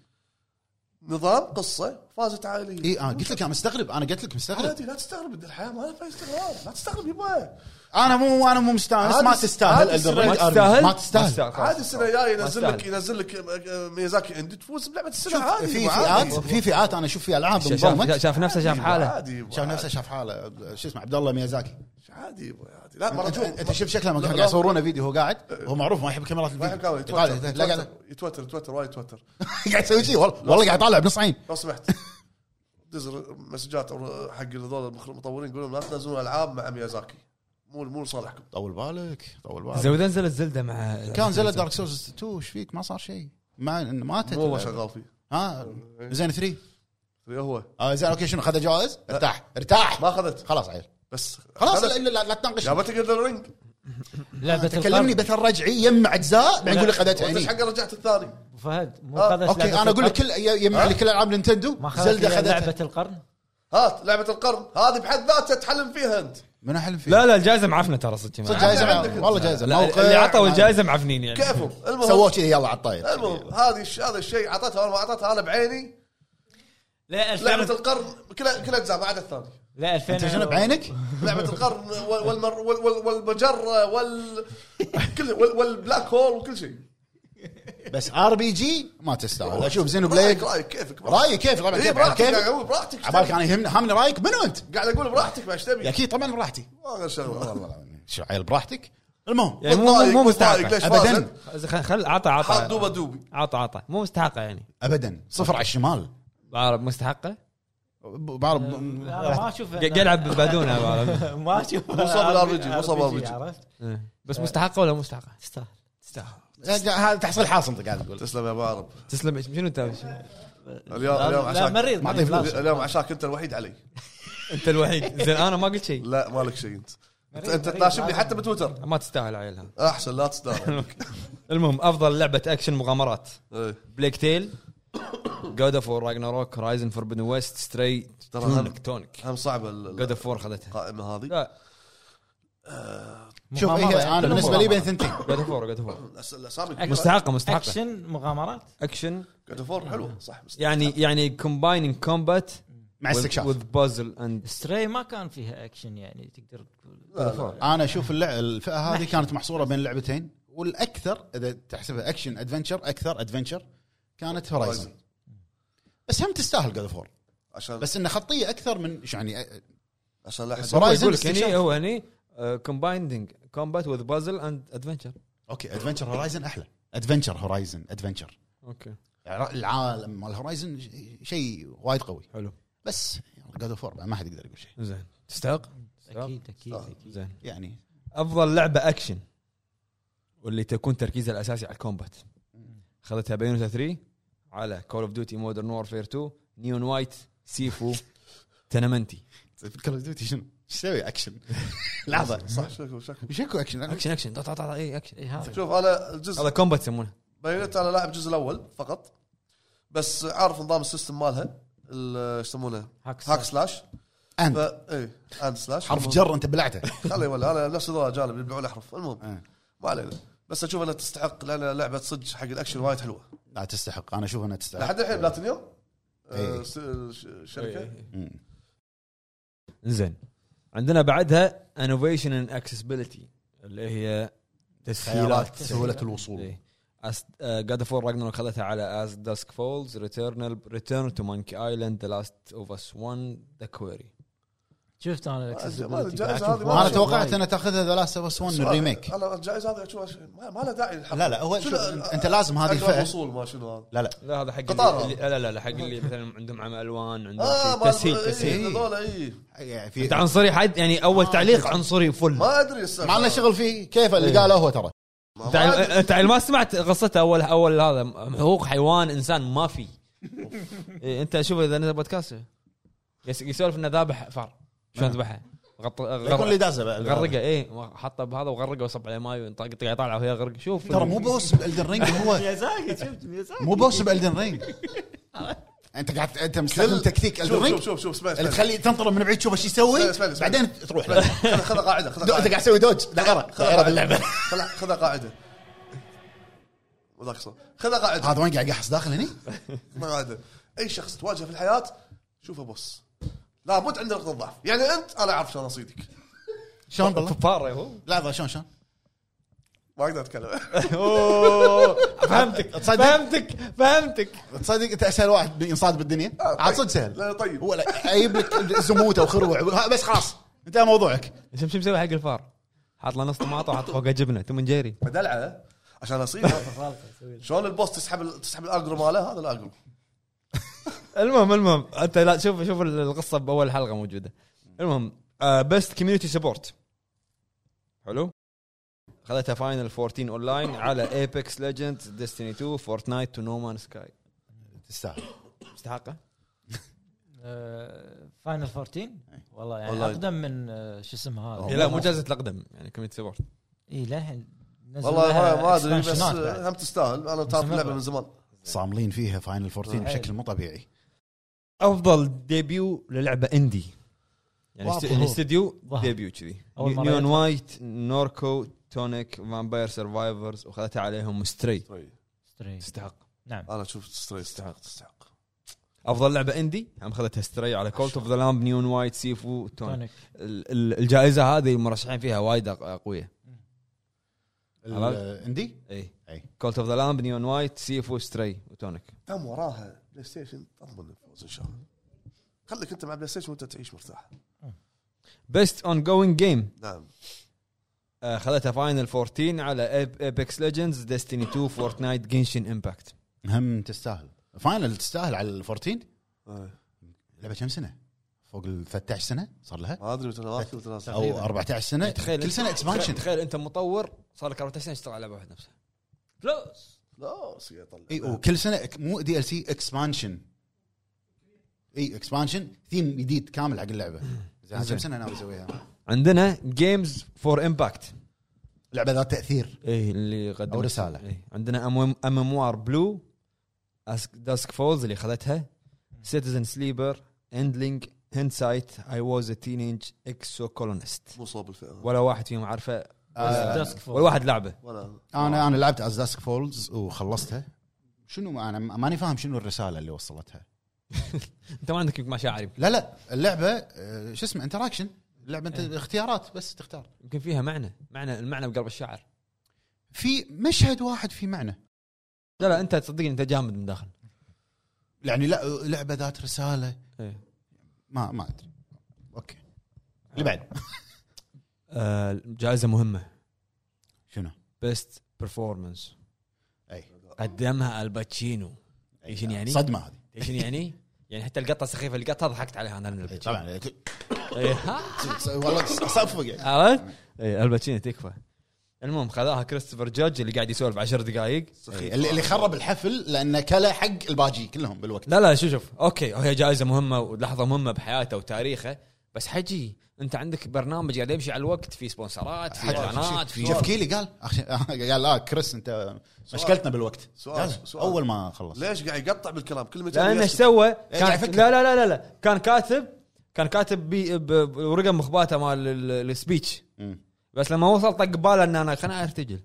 نظام قصه فازت عائليه
اي انا إيه، آه، قلت لك انا مستغرب انا قلت لك مستغرب
عادي لا تستغرب الحياه ما فيها استغراب لا تستغرب يبا
انا مو انا مو مستانس
عادي-
ما تستاهل
عادي
Elden Ring
ما
RPG. ما تستاهل
عادي السنه الجايه
ما
ينزل
تستاهل.
لك ينزل لك آه، ميازاكي اندي تفوز بلعبه السنه
شوف،
عادي
في
يبا، عادي.
فئات في فئات انا اشوف في العاب
شاف- شاف
انظلمت
شاف نفسه شاف
يبا،
حاله
عادي يبا،
شاف نفسه شاف حاله شو اسمه عبد الله ميازاكي
عادي يبا، عادي لا أه، مرة
انت
جوا.
انت شوف شكله لما
لا،
كانوا
لا.
قاعد يصورونه فيديو هو قاعد هو معروف ما يحب كاميرات
ما يحب
الفيديو
كاميرا،
قاعد-
يتوتر
لا، قاعد
يتوتر يتوتر يتوتر وايد يتوتر
قاعد يسوي شيء والله والله قاعد طالع بنص عين
لو سمحت دز مسجات حق هذول المطورين يقول لهم لا تنزلون العاب مع ميازاكي مو مو لصالحكم
طول بالك طول
زين
بالك
واذا نزلت زلده مع
كان زلت دارك سولز 2 ايش فيك ما صار شيء ما ماتت
مو هو شغال فيه إيه.
ها زين 3
هو
آه زين اوكي شنو خذ جوائز ارتاح ارتاح
ما اخذت
خلاص عيل
بس
خلاص لا, لا, لا, لا تناقش
جابت لك الرينج
لعبه
كلمني
القرن
بث الرجعي يجمع اجزاء بعدين يقول لي خذتها
وانت ايش
هني
حق رجعت الثاني
أبو فهد مو
آه،
خذت
اوكي
لعبة
انا اقول لك
القرن؟
كل يجمع لي كل العاب
ما
نينتندو
خذت
زلدا
إلا لعبه
خذتها
القرن
هات لعبه القرن هذه بحد ذاتها تحلم فيها انت
من احلم فيه
لا لا الجائزه معفنه ترى
صدق
صدق
جايزه مع-
عندك عندك.
والله جايزه موقع.
لا، اللي عطوا الجائزه معفنين يعني
كيفهم المهم
سووه كذي يلا على الطاير
المهم هذه الش- هذا الشيء اعطتها ولا ما اعطتها انا بعيني
لا
لعبه
2000
القرن كل كل اجزاء ما عدا الثاني
لا
انت شنو
2000
بعينك؟
لعبه القرن وال- والمر وال- وال- والمجره وال كل وال- والبلاك هول وكل شيء
بس ار بي جي ما تستاهل اشوف زينو بليد
رايك رايك كيفك
رايي كيف طبعا
إيه،
كيف
براحتك
كيف يعني،
قاعد اقول براحتك إيش
عبالك
تبي؟
انا يهمني هامني رايك منو انت؟
قاعد اقول براحتك ما ايش تبي؟
اكيد طبعا براحتي
ما غير شغله
والله العظيم. شو عيل براحتك المهم
يعني مو
والضايق-
مو
والضايق ليش
مستحقه
فازت؟
ابدا خل- خل عطى
حاط
عطى
دوبه دوبي
عطى عطى مو مستحقه يعني
ابدا صفر على الشمال
بعرف مستحقه
ب- بعرف
لا، ما اشوف
قاعد يلعب بالبادونه بعرف.
ما اشوف
مو صاب ال RPG مو صاب
RPG
RPG.
عرفت؟
إيه. بس مستحقه ولا مو مستحقه؟
تستاهل
هذا تحصيل حاصل انت قاعد تقول
تسلم يا ابو عرب
تسلم شنو انت
اليوم اليوم
لا، لا
عشاك
مريض
ما أعطيه فلوس.
لازم.
اليوم عشاك انت الوحيد علي
انت الوحيد
آه.
زين انا ما قلت شيء
لا مالك شيء انت انت,
مريض،
انت
مريض،
تناشبني
لازم.
حتى بتويتر
ما تستاهل عيل هذا
احسن لا تستاهل
المهم افضل لعبه اكشن مغامرات
إيه.
بليك تيل جود اوف وور راجناروك رايزن فوربن ويست ستري
ترى هم-
تونك تونك
هم صعبه
جود
ال-
اوف وور خذتها
القائمه هذه
لا
شوف
مغامرة.
إيه انا بالنسبه لي بين ثنتين
جود اوف وور جود اوف وور
الأس- الاسامي كبيرة.
مستحقه مستحقه
اكشن مغامرات
اكشن
جود اوف وور
آه.
حلوه صح بس
يعني يعني كومبايننج كومبات
مع
وذ
استكشاف
بازل اند
ستري ما كان فيها اكشن يعني تقدر تقول
انا اشوف اللع- الفئه هذه كانت محصوره بين لعبتين والاكثر اذا تحسبها اكشن ادفنشر اكثر ادفنشر كانت هورايزن بس هم تستاهل جود فور
عشان
بس انه خطيه اكثر من شو يعني أ-
عشان لا احد
هو Horizon
يقول لك هني
استكشاف.
هو هني آه، كومبايننج كومبات وذ بازل اند ادفنشر
اوكي ادفنشر هورايزن احلى ادفنشر هورايزن ادفنشر
اوكي
يعني العالم مال هورايزن شيء وايد قوي
حلو
بس جود اوف ما حد يقدر يقول شيء
زين تستحق
اكيد اكيد اكيد
زين
يعني
افضل لعبه اكشن واللي تكون تركيزها الاساسي على الكومبات اخذتها بينوتا 3 على كول اوف ديوتي مودرن وورفير 2 نيون وايت سيفو تنمنتي
كول اوف ديوتي شنو؟ ايش تسوي اكشن؟ لحظه
صح شكو شكو
ايش اكو اكشن؟
اكشن اكشن طا طا طا اي اكشن
اي هذا
شوف انا
هذا
الجزء
كومبات يسمونه
بينت انا لاعب الجزء الاول فقط بس عارف نظام السيستم مالها ال- ايش يسمونه
هاكس
هاك سلاش ف
أند.
ايه اند سلاش
حرف جر انت بلعته
خلي ولا انا نفس هذول جالب يبلعون احرف
إيه.
المهم ما علينا بس اشوف انها تستحق لان لعبه صدق حق الاكشن وايد حلوه
لا تستحق انا اشوف انها تستحق
لحد الحين بلاتينيوم
إيه.
آه، س- الش- الشركه
مم.
زين عندنا بعدها انوفيشن ان اكسسبيلتي اللي هي تسهيلات إيه. آه،
خيارات سهولة الوصول.
جاد اوف راجنر اخذتها على از داسك فولز ريتيرنال ريتيرن تو مانكي ايلاند ذا لاست اوف اس 1 ذا كويري
شفت انا
ما
الاكسسبيلتي
الجائزة
قاعد إيه. أشوف
هذه ما
انا
وايد.
توقعت انها تاخذها ذا لاست اوف اس 1
سؤال.
الريميك
انا الجائزه هذه اشوف ما ما له داعي للحرف.
لا لا هو
شنو
شوف انت
أ-
أنت لازم هذه
أقرب
الفئه
وصول ما شنو هذا
لا لا
لا هذا حق
قطار.
اللي لا لا لا حق اللي مثلا عندهم عمى الوان عندهم
اه
شيء.
ما
تسهيل تسهيل
آه، إيه.
هذول اي
يعني
انت
في
عنصري حد يعني اول تعليق عنصري فل
ما ادري السالفه
ما لنا شغل فيه كيف اللي قاله هو ترى
ما-
انت
ما
على-
أدري.
انت على ما سمعت قصته اول اول هذا حقوق حيوان انسان ما في إيه، انت شوف اذا نزل بودكاست يس- يسولف انه ذابح فار شلون ذبحها؟ غط-
نعم. يكون اللي
غر-
دازه بقى.
غرقه اي حطه بهذا وغرقه وصب عليه ماي وانطق- قاعد يطالع وهي غرق شوف
ترى مو بوس بالدن رينج هو
ميازاكي شفت ميازاكي
مو بوس بالدن رينج انت قاعد انت مستخدم تكتيك الدن
شوف
رينج
شوف شوف شوف اسمع
اللي
اسمع.
تخليه تنطره من بعيد تشوف ايش يسوي
اسمعني، اسمعني.
بعدين تروح له.
خذ خذ قاعده
دو-
خذ
انت
قاعده
قاعد تسوي دوج دائره دائره باللعبه
خذ خذ قاعده وذاك صوت. خذ قاعده
هذا وين قاعد يحس داخل هني؟
ما قاعده اي شخص تواجهه في الحياه شوفه بوس لابد عنده نقطه ضعف يعني انت انا اعرف شلون اصيدك
شلون بالله؟
فار هو
لحظه شلون شلون؟
ما اقدر اتكلم
فهمتك تصدق
فهمتك فهمتك
تصدق انت اسهل واحد ينصاد بالدنيا عاد صدق سهل
آه، لا طيب
هو لا اجيب لك زموته وخروع بس خلاص انتهى موضوعك
شو شو مسوي حق الفار؟ حاط له نص طماطه وحاط فوقه جبنه ثم جيري
دلعه عشان اصيده شلون البوس تسحب ال- تسحب الاجرو ماله هذا الاجرو
المهم المهم انت لا شوف شوف القصه باول حلقه موجوده المهم آه، بيست كوميونتي سبورت حلو خذتها فاينل 14 اون لاين على ايبكس ليجندز ديستني 2 فورتنايت تو نو مان سكاي
تستاهل
مستحقه
فاينل 14 آه، والله يعني
والله.
اقدم من آه، شو اسمه
إيه،
هذا إيه،
لا مو جائزه الاقدم يعني كوميونتي سبورت
اي للحين نزل
والله
لها
ما, ما ادري بس
expansionات بعد.
هم تستاهل انا تعرف
مستمر.
اللعبه من زمان
صاملين فيها فاينل 14
آه.
بشكل مو طبيعي
افضل ديبيو للعبه اندي يعني است-
واضح.
يعني استديو
واضح.
ديبيو كذي
أول مرة
نيون
يطلع.
وايت نوركو تونيك فامباير سرفايفرز وخذتها عليهم ستري
ستري.
ستري.
تستحق
نعم
انا اشوف ستري تستحق تستحق
افضل لعبه اندي هم اخذتها ستري على كولت اوف ذا لامب نيون وايت سيفو توني
تونيك
ال- ال- الجائزه هذه المرشحين فيها وايد أق- اقوياء
الاندي
اي
أي.
كولت اوف ذا لامب نيون وايت سيفو ستري وتونيك
دام وراها بلاي ستيشن اضمن الفوز ان شاء الله خليك انت مع بلاي ستيشن وانت تعيش مرتاح
بيست اون جوينج جيم
نعم
اخذتها فاينل 14 على ايبكس ليجندز ديستني 2 فورتنايت جنشن امباكت
هم تستاهل فاينل تستاهل على ال 14
آه.
لعبه كم سنه؟ فوق ال 13 سنه صار لها
ما ادري متى نواف متى ناس
او 14 سنه
تخيل
كل سنه اكسبانشن
تخيل انت مطور صار لك 14 سنه تشتغل على لعبه واحده نفسها
فلوس
لا سي يطلع
اي وكل سنه إك- مو دي ال سي اكسبانشن اي اكسبانشن ثيم إيه، جديد كامل حق اللعبه زين كم سنه ناوي اسويها؟
عندنا جيمز فور امباكت
لعبه ذات تاثير
ايه اللي قدمت
أو رسالة.
إيه. عندنا ام ام ار بلو داسك فولز اللي خذتها سيتيزن سليبر اندلينج هندسايت اي واز ا تينيج اكسو كولونست
مو صوب الفئه
ولا واحد فيهم عارفه
آه،
داسك فول
ولا واحد لعبه
ولا
انا انا لعبت از داسك فولز وخلصتها شنو انا ماني فاهم شنو الرساله اللي وصلتها
انت ما عندك يمكن مشاعر يمكن-
لا لا اللعبه آه، شو اسمه انتراكشن اللعبه انت اختيارات بس تختار
إيه. يمكن فيها معنى معنى المعنى بقلب الشعر
في مشهد واحد في معنى
لا لا انت تصدقني انت جامد من داخل
يعني لا لعبه ذات رساله
إيه.
ما ما ادري اوكي اللي بعد
آه، جائزه مهمه
شنو؟
بيست برفورمانس
اي
قدمها الباتشينو
أي،
شنو يعني؟
صدمه هذه
ايش يعني؟ يعني حتى القطه السخيفه اللي قطها ضحكت عليها انا من
إي،
الباتشينو
طبعا
إي، ها؟
والله صفق يعني
إيه. عرفت؟ اي الباتشينو تكفى المهم خذاها كريستوفر جاج اللي قاعد يسولف 10 دقائق
إي، اللي اللي خرب الحفل لانه كلا حق الباجي كلهم بالوقت
لا لا شوف شوف اوكي هي جائزه مهمه ولحظه مهمه بحياته وتاريخه بس حجي انت عندك برنامج قاعد يمشي على الوقت في سبونسرات في اعلانات في
شوف كيلي قال قال لا كريس انت مشكلتنا بالوقت
سؤال-
قال،
سؤال.
اول ما خلص
ليش قاعد يقطع بالكلام كل إيه، ما
لانه ايش
يسأل.
سوى؟
قاعد
كان
يفكر.
لا لا لا لا لا كان كاتب كان كاتب بي- ب- بورقه مخباته مال ال- السبيتش
مم.
بس لما وصل طق باله ان انا خلنا ارتجل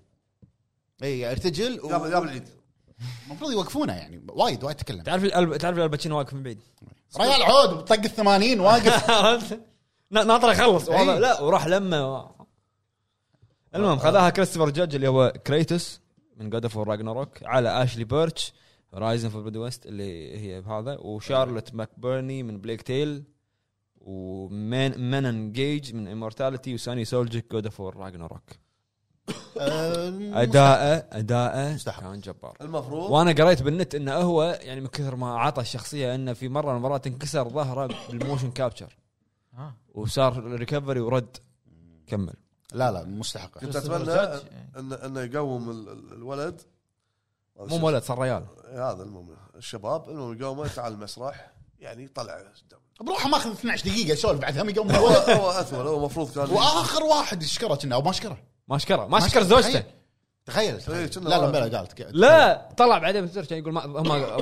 اي ارتجل و-
جاب جاب العيد
المفروض يوقفونه يعني وايد وايد تكلم
تعرف الألب... تعرف الباتشينو واقف من بعيد
ريال عود بطق ال 80 واقف
عرفت؟ نا- ناطره يخلص
إي.
والله لا وراح لما المهم خذاها كريستوفر جاج اللي هو كريتوس من جود اوف راجناروك على اشلي بيرتش رايزن في البيد ويست اللي هي بهذا وشارلوت ماكبرني من بليك تيل ومن منن جيج من امورتاليتي وساني سولجيك جود اوف راجناروك
أم،
اداءه اداءه
مستحق.
كان جبار
المفروض
وانا قريت بالنت انه هو يعني من كثر ما عطى الشخصيه انه في مره من المرات انكسر ظهره بالموشن كابتشر
آه.
وصار ريكفري ورد كمل
لا لا مستحق
كنت
كريستوفر
اتمنى
جاج.
انه انه يقوم ال- ال- الولد إيه،
مو مولد صار ريال
هذا المهم الشباب المهم يقومه تعال المسرح يعني طلع
بروحه ماخذ 12 دقيقه سولف بعد هم يقوم
هو هو اثول هو المفروض كان
واخر واحد يشكره كنا او ما شكره
ما شكره ما
ما
شكر زوجته
تخيل تخيل.
إيه، كنا
لا لا
واحد.
بلا قالت
لا طلع بعدين بالتويتر كان يقول ما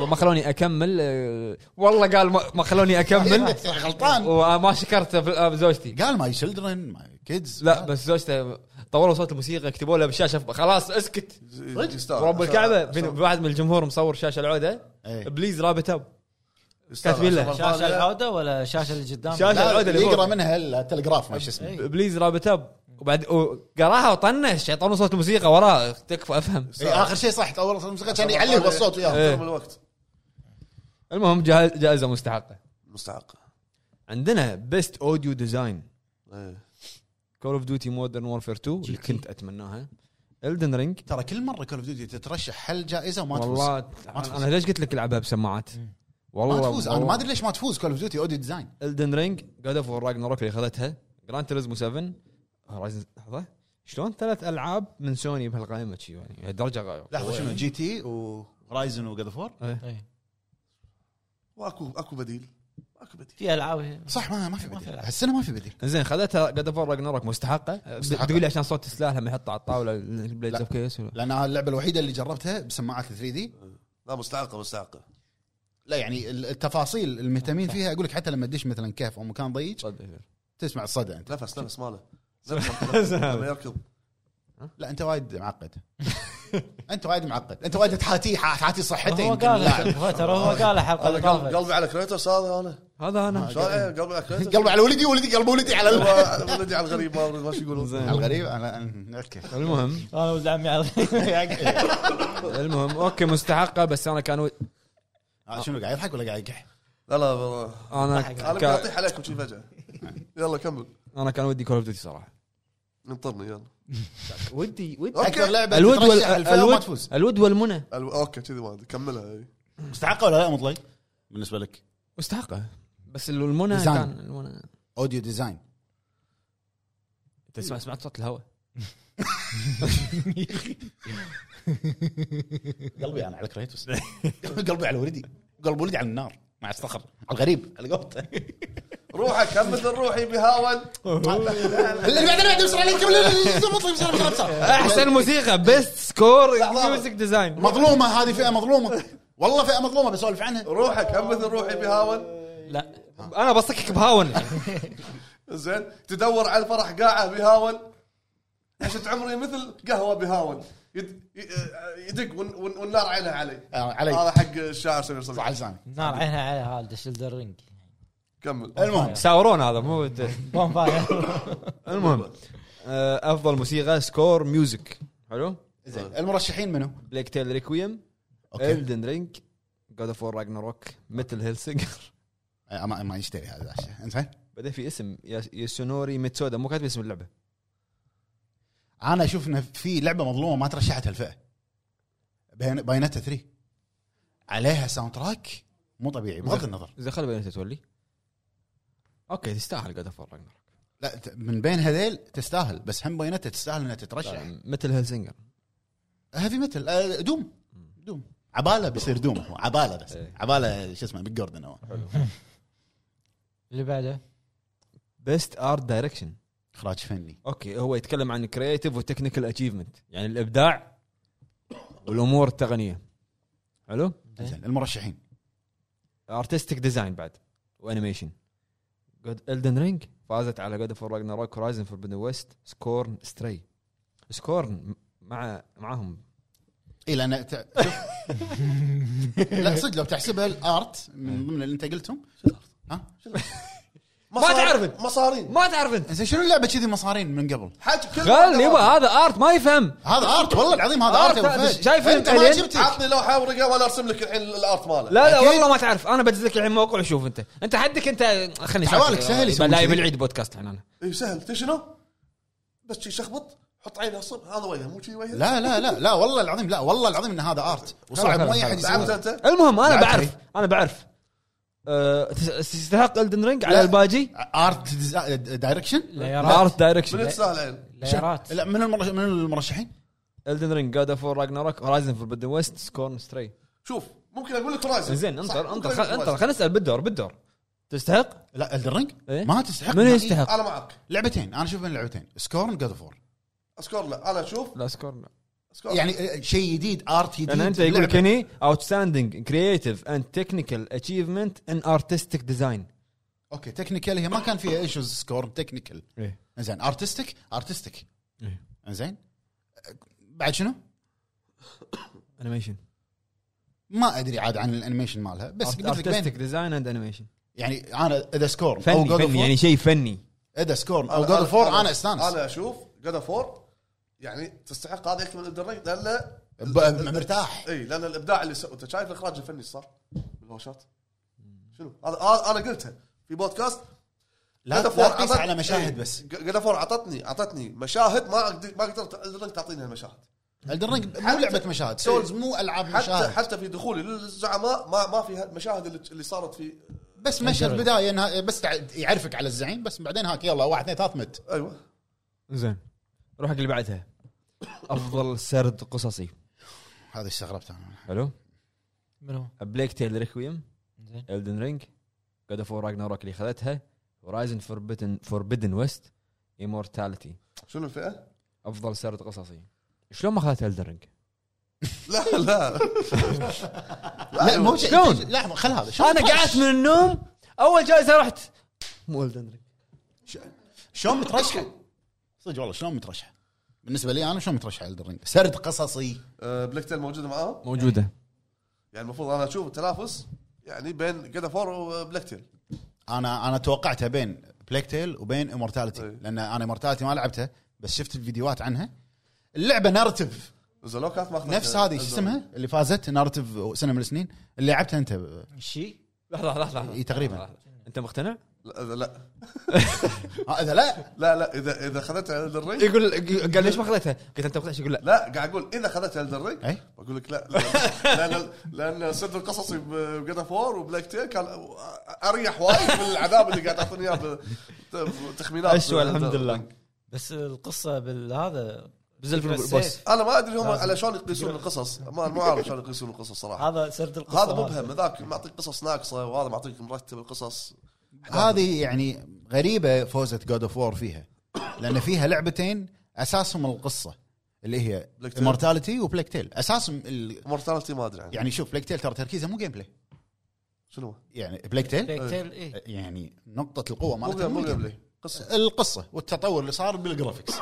هم ما خلوني اكمل آه، والله قال ما ما خلوني اكمل
غلطان
وما شكرت في- زوجتي
قال ماي شلدرن ماي كيدز
لا بس زوجته طولوا صوت الموسيقى كتبوا له بالشاشه خلاص اسكت
يستاهل.
ورب الكعبه
عشان-
في واحد من الجمهور مصور شاشه العوده
إيه.
بليز رابط اب
يستاهل.
كاتبين له.
عشان
شاشه
الفاضية.
العوده ولا شاشه اللي قدام
شاشة-
لا،
العودة اللي
يقرا
فوق. إيه.
منها التلغراف ما شو اسمه
بليز رابط اب وبعد وقراها وطنش شيطان صوت الموسيقى وراه تكفى افهم
إيه، اخر شيء صح اول الموسيقى كان يعلي هو الصوت وياه
احترم الوقت
المهم جائزه, جائزة مستحقه
مستحق
عندنا بيست اوديو ديزاين
إيه.
كول اوف ديوتي مودرن وورفير 2 اللي كنت اتمناها الدن رينج
ترى كل مره كول اوف ديوتي تترشح حل جائزه وما تفوز
والله
ما تفوز.
انا ليش قلت لك العبها بسماعات والله
ما تفوز انا ما ادري ليش ما تفوز كول اوف ديوتي اوديو ديزاين
الدن رينج جاد اوف راجناروك اللي اخذتها جراند تريزمو 7 هورايزن لحظه شلون ثلاث العاب من سوني بهالقائمه شي يعني درجه غايه
لحظه شنو جي تي ورايزن وجاد فور
إيه.
واكو اكو بديل اكو بديل
في العاب هي.
إيه.
صح ما ما في
ما في
بديل
ألعاب.
هالسنه ما في بديل
زين خذتها جاد اوف راجناروك مستحقه
مستحقة.
تقول لي عشان صوت سلاح لما يحطه على الطاوله البليدز اوف كيس ولا-
لان اللعبه الوحيده اللي جربتها بسماعات 3 دي
لا مستحقه مستحقه
لا يعني التفاصيل المهتمين فيها اقول لك حتى لما تدش مثلا كهف او مكان ضيق
صدق.
تسمع الصدى نعم. انت
نفس نفس ماله زين، لما يركض
لا انت وايد معقد انت وايد معقد انت وايد تحاتيه تحاتي صحته
هو
يمكن
قال
اللاعب.
هو ترى هو قال حلقه
انا قلب-
الإضافة.
قلبي على كريتوس هذا انا
هذا انا
شلون إيه، قلبي على كريتوس
قلبي على ولدي ولدي قلب ولدي على ال-
هو- ولدي على الغريب ما ما شو يقولون
على الغريب على اوكي
المهم
انا ولد عمي على
المهم اوكي مستحقه بس انا كان ود-
آه، شنو قاعد يضحك ولا قاعد يقح؟
لا لا والله.
انا
انا
كا-
بطيح عليكم شي فجاه يلا كمل
انا كان ودي كول اوف ديوتي صراحه
انطرني يلا
ودي ودي
اكثر
اوكي
لعبه
الود وال
الود
الود
تفوز
الود والمنى
الو- اوكي كذي ما ادري كملها إي.
مستحقه ولا لا مطلق؟ بالنسبه لك
مستحقه بس ال- المنى
ديزاين.
كان المنى
اوديو ديزاين
تسمع سمعت صوت الهواء
قلبي انا على كريتوس قلبي على ولدي قلب ولدي على النار مع الصخر على الغريب على قوته
روحه كمل الروح يبي هاون
اللي بعدين بعدين بسرعه عليك مطلق بسرعه بسرعه
إيه.
بسرعه
احسن موسيقى بيست سكور
لحظة.
ميوزك ديزاين
مظلومه هذه فئه مظلومه والله فئه مظلومه بسولف عنها
روحه كمل الروح يبي هاون
لا انا بصكك بهاون
زين تدور على الفرح قاعه بهاون عشت عمري مثل قهوه بهاون يد- ي- يدق ون- ون- والنار عينها علي
آه،
هذا
علي
حق الشاعر سمير
صح
صبري
على لساني
نار عينها على هالد شيلدر رينج
كمل
المهم
ساورون هذا مو
بون فاير
المهم آه، افضل موسيقى سكور ميوزك حلو
زين المرشحين منو؟
بليك تيل ريكويم
اوكي
الدن رينج جود اوف وور راجناروك ميتل هيل سينجر
آه، ما ما يشتري هذا الشيء انزين
بعدين في اسم يا- ياسونوري ميتسودا مو كاتب اسم اللعبه
انا اشوف انه في لعبه مظلومه ما ترشحت هالفئه باين- باينتا 3 عليها ساوند تراك مو طبيعي بغض النظر
اذا خلي بينك تولي اوكي تستاهل جود اوف وور راجناروك
لا ت- من بين هذيل تستاهل بس هم باينتا تستاهل انها تترشح
ميتل هيل سينجر
هيفي ميتل آه، دوم دوم عباله بيصير دوم هو عباله بس
إيه.
عباله شو اسمه بيج جوردن هو
اللي بعده
بيست ارت دايركشن
اخراج فني
اوكي هو يتكلم عن كرييتيف وتكنيكال اتشيفمنت يعني الابداع والامور التقنيه حلو
زين المرشحين
ارتستيك ديزاين بعد وانيميشن جود الدن رينج فازت على جود اوف راجناروك هورايزن فوربدن ويست سكورن ستري سكورن مع معاهم
اي لان تع- إيه، شوف. لا صدق لو تحسبها الارت من ضمن اللي انت قلتهم ها
مصاري-
تعرفه.
مصارين
ما تعرف انت
زين شنو اللعبه كذي مصارين من قبل؟
حج كل
خل يبا هذا ارت ما يفهم
هذا ارت والله العظيم هذا ارت يا أبو فهد.
شايف
انت ما
الألين؟
جبتك
عطني لوحه ورقه وانا ارسم لك الحين الارت ماله
لا لا
أكيد.
والله ما تعرف انا بدز لك الحين موقع وشوف انت انت حدك انت خلني
حوالك سهل يسوون
لا
كذي.
بالعيد بودكاست الحين انا
اي إيه، سهل تدري شنو؟ بس شي شخبط حط عينه صب هذا وجهه مو شي وجهه
لا لا لا لا والله العظيم لا والله العظيم ان هذا ارت وصعب
خلاص،
مو اي احد
خلاص.
تعبت
يسوي
انت
المهم انا
بعد
بعرف انا بعرف أه، تس- تستحق الدن رينج على
لا.
الباجي
ارت ديزا- دايركشن
ليارات
ارت دايركشن
من تسهل عين
ليارات
يعني. لا من المرش- من المرشحين
الدن رينج جاد اوف راجناروك هورايزن فوربدن ويست سكورن ستري
شوف ممكن اقول لك رايزن
زين انطر انطر
ممكن
خل-
أقول لك
انطر خلينا نسال بالدور بالدور تستحق؟
لا الدرينج
إيه؟
ما تستحق
من
نهائي.
يستحق؟
انا معك
لعبتين انا اشوف بين لعبتين سكورن جاد اوف
اسكور لا انا اشوف
لا سكور
اسكور يعني
يعني آه، شيء جديد ارت جديد
انا انت
لعبة.
يعني يقول لك هني outstanding creative and technical achievement in artistic design
اوكي تكنيكال هي ما كان فيها ايشوز سكورن تكنيكال
إيه.
زين ارتستيك ارتستيك
إيه.
زين آه، بعد شنو؟
animation
ما ادري عاد عن الانيميشن مالها بس قلت لك
artistic
بين
design and animation
يعني انا اذا سكورن او
فني
جود اوف
فني يعني شيء فني
اذا سكورن او جود اوف انا استانس
انا اشوف جود اوف يعني تستحق هذا اكثر من الدرينج لان
ب- ب- مرتاح
اي لان الابداع إيه، اللي سوى انت شايف الاخراج الفني اللي صار بالهوشات شنو هذا هذا انا قلتها في بودكاست
لا
God of War
لا تقيس
عطت-
على مشاهد
إيه.
بس
God of War عطتني عطتني مشاهد ما أقدر- ما قدرت Elden Ring تعطيني هالمشاهد إيه،
الدن رينج مو لعبه مشاهد سولز مو العاب
حتى
مشاهد
حتى في دخولي للزعماء ما ما في المشاهد اللي- اللي صارت في
بس مشهد بدايه انها بس تع- يعرفك على الزعيم بس بعدين هاك يلا واحد اثنين ثلاث مت
أيوة.
ايوه
زين روح حق اللي بعدها افضل سرد قصصي
هذا استغربت انا
حلو
منو؟
بليك تيل ريكويم
زين
الدن رينج جود اوف راجناروك اللي خذتها هورايزن فوربدن فوربدن ويست امورتاليتي
شنو الفئه؟
افضل سرد قصصي شلون ما اخذت الدن رينج؟
لا لا
لا مو شيء-
شلون؟
لحظه خل هذا شلون
انا
طرش؟
قعدت من النوم اول جائزه رحت مو الدن رينج
شلون مترشحه؟ صدق والله شلون مترشحه؟ بالنسبه لي انا شلون مترشح الدرينج سرد قصصي
آه، بلاك تيل موجوده معاهم
موجوده
يعني المفروض انا اشوف التنافس يعني بين جاد فور وبلاك تيل
انا انا توقعتها بين بلاك تيل وبين امورتاليتي
إيه.
لان انا امورتاليتي ما لعبتها بس شفت الفيديوهات عنها اللعبه نارتيف
زلو كانت ماخذه
نفس هذه شو اسمها اللي فازت نارتيف سنه من السنين اللي لعبتها انت ب-
شيء
لحظه لحظه لحظه
إي، تقريبا
انت مقتنع؟
لا لا
آه، اذا لا
لا لا اذا اذا اخذتها الرينج
يقول قال ليش ما اخذتها؟ قلت انت مقتنع يقول لا إيه؟
لا قاعد اقول اذا اخذتها الرينج
اي
بقول لك لا لان لان سرد القصصي بجاد فور وبلاك تيل كان اريح وايد من العذاب اللي قاعد تعطيني اياه بتخمينات
اشوى الحمد لله
بس القصه بالهذا
بزلف
بس
البوس
انا ما ادري هم
لازم.
على شلون يقيسون القصص ما ما اعرف شلون يقيسون القصص صراحه
هذا سرد القصه
هذا مبهم ذاك معطيك قصص ناقصه وهذا معطيك مرتب القصص
هذه يعني غريبه فوزت جود اوف وور فيها لان فيها لعبتين اساسهم القصه اللي هي
Plague Tale.
امورتاليتي وبلاك تيل اساسهم ال...
مورتاليتي ما ادري عنه
يعني شوف بلاك تيل ترى تركيزها مو جيم بلاي
شنو هو؟
يعني بلاك تيل
بلاك تيل اي
يعني نقطه القوه
مو
مالتها
قبل- مو
مو
قبلي قصه
القصه والتطور اللي صار بالجرافكس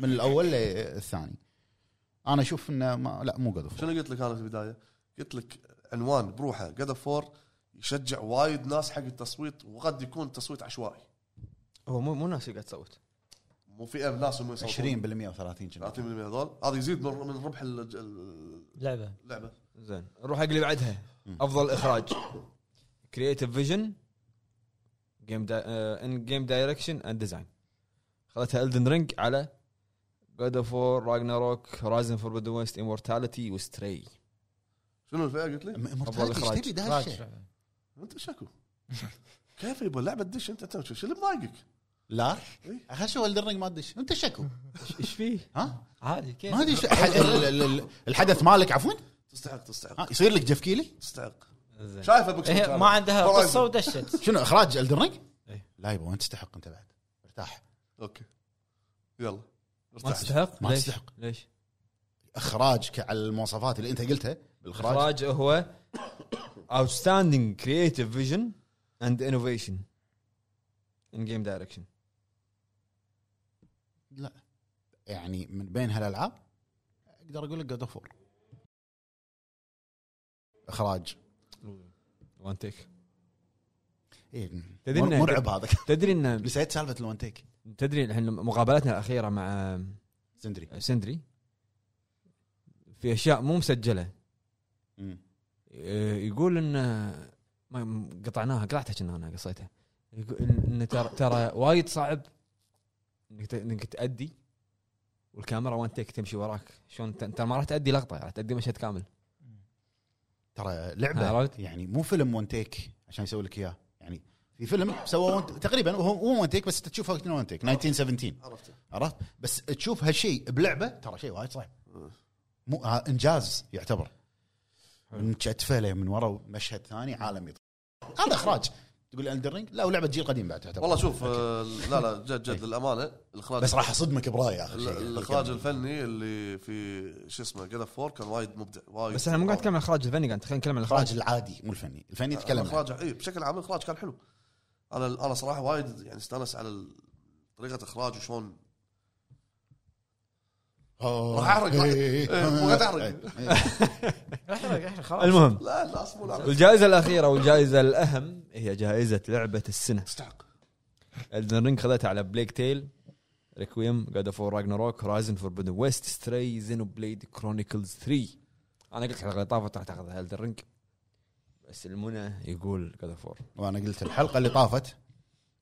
من الاول للثاني انا اشوف انه ما لا مو جود اوف
شنو قلت لك انا في البدايه؟ قلت لك عنوان بروحه جاد اوف فور يشجع وايد ناس حق التصويت وقد يكون تصويت عشوائي
هو مو مو ناس اللي قاعد تصوت
مو في ناس هم
20%
يصوتون.
و30
30% هذول هذا يزيد من من ربح ال- ال-
لعبه
اللعبه
زين نروح حق اللي بعدها افضل اخراج كرييتيف فيجن جيم ان جيم دايركشن اند ديزاين خذتها الدن رينج على جود اوف وور راجناروك رايزن فور بدون ويست امورتاليتي وستري
شنو الفئه قلت لي؟
مرتبط ايش
إخراج.
تبي دهالشيء؟
انت شكو كيف يبا اللعبه تدش انت تسوي شو شو اللي مضايقك؟
لا
إيه.
اخي شو الدرنج ما تدش انت شكو
ايش فيه؟
ها
عادي كيف
ما ادري شو- ح- ال- ال- ال- الحدث مالك عفوا
تستحق تستحق
ها آه، يصير لك جف كيلي
تستحق
زين
شايف ابوك
هي إيه، ما عندها
Horizon.
قصه ودشت
شنو اخراج الدرنج؟
إيه.
لا يبا وين تستحق انت بعد ارتاح
اوكي يلا
ما
ارتاح
تستحق؟
ما
ليش؟
تستحق.
ليش؟
اخراجك على المواصفات اللي انت قلتها بالاخراج
الاخراج هو outstanding creative vision and innovation in game direction
يعني من بين هالالعاب اقدر اقول لك جود اوف اخراج
وان تيك
إيه.
تدري إنه-
مرعب هذا
تدري ان
نسيت سالفه الون تيك
تدري الحين لما- مقابلتنا الاخيره مع
سندري
سندري في اشياء مو مسجله
مم.
إيه، يقول ان ما م- قطعناها قطعتها كنا انا قصيتها يقول إن- ان ترى ترى وايد صعب انك ت- انك تادي والكاميرا وان تيك تمشي وراك شلون ت- ترى ما راح تادي لقطه راح تادي مشهد كامل
ترى لعبه
عرفت؟
يعني مو فيلم ون تيك عشان يسوي لك اياه يعني في فيلم سوى one- تقريبا هو هو ون تيك بس انت تشوفه ون تيك 1917
عرفته
عرفت بس تشوف هالشيء بلعبه ترى شيء وايد صعب مو ها- انجاز يعتبر من كتفه له من ورا مشهد ثاني عالمي هذا اخراج تقول الدر رينج لا ولعبه جيل قديم بعد تعتبر
والله شوف آه، لا لا جد جد للامانه الاخراج
بس راح اصدمك برايي اخر
ال-
شيء
الاخراج الفني اللي في شو اسمه جاد فور كان وايد مبدع وايد
بس احنا مو قاعد نتكلم عن الاخراج الفني قاعد نتكلم- نتكلم عن الاخراج
الاخراج العادي مو الفني الفني
نتكلم
يتكلم
الاخراج اي آه، إيه، بشكل عام الاخراج كان حلو انا انا صراحه وايد يعني استانس على ال- طريقه اخراج وشلون راح احرق راح- إيه، مو قاعد احرق
احرق احرق خلاص
إيه. المهم
لا لا مو لا
الجائزة الأخيرة والجائزة الأهم هي جائزة لعبة السنة
تستحق
الدن رينج خذتها على بليك تيل ريكويم جاد فور راجناروك رايزن فور بدن ويست ستري زينو بليد كرونيكلز 3 أنا قلت الحلقة اللي طافت راح تاخذها الدن رينج بس المنى يقول جاد فور
وانا قلت الحلقه اللي طافت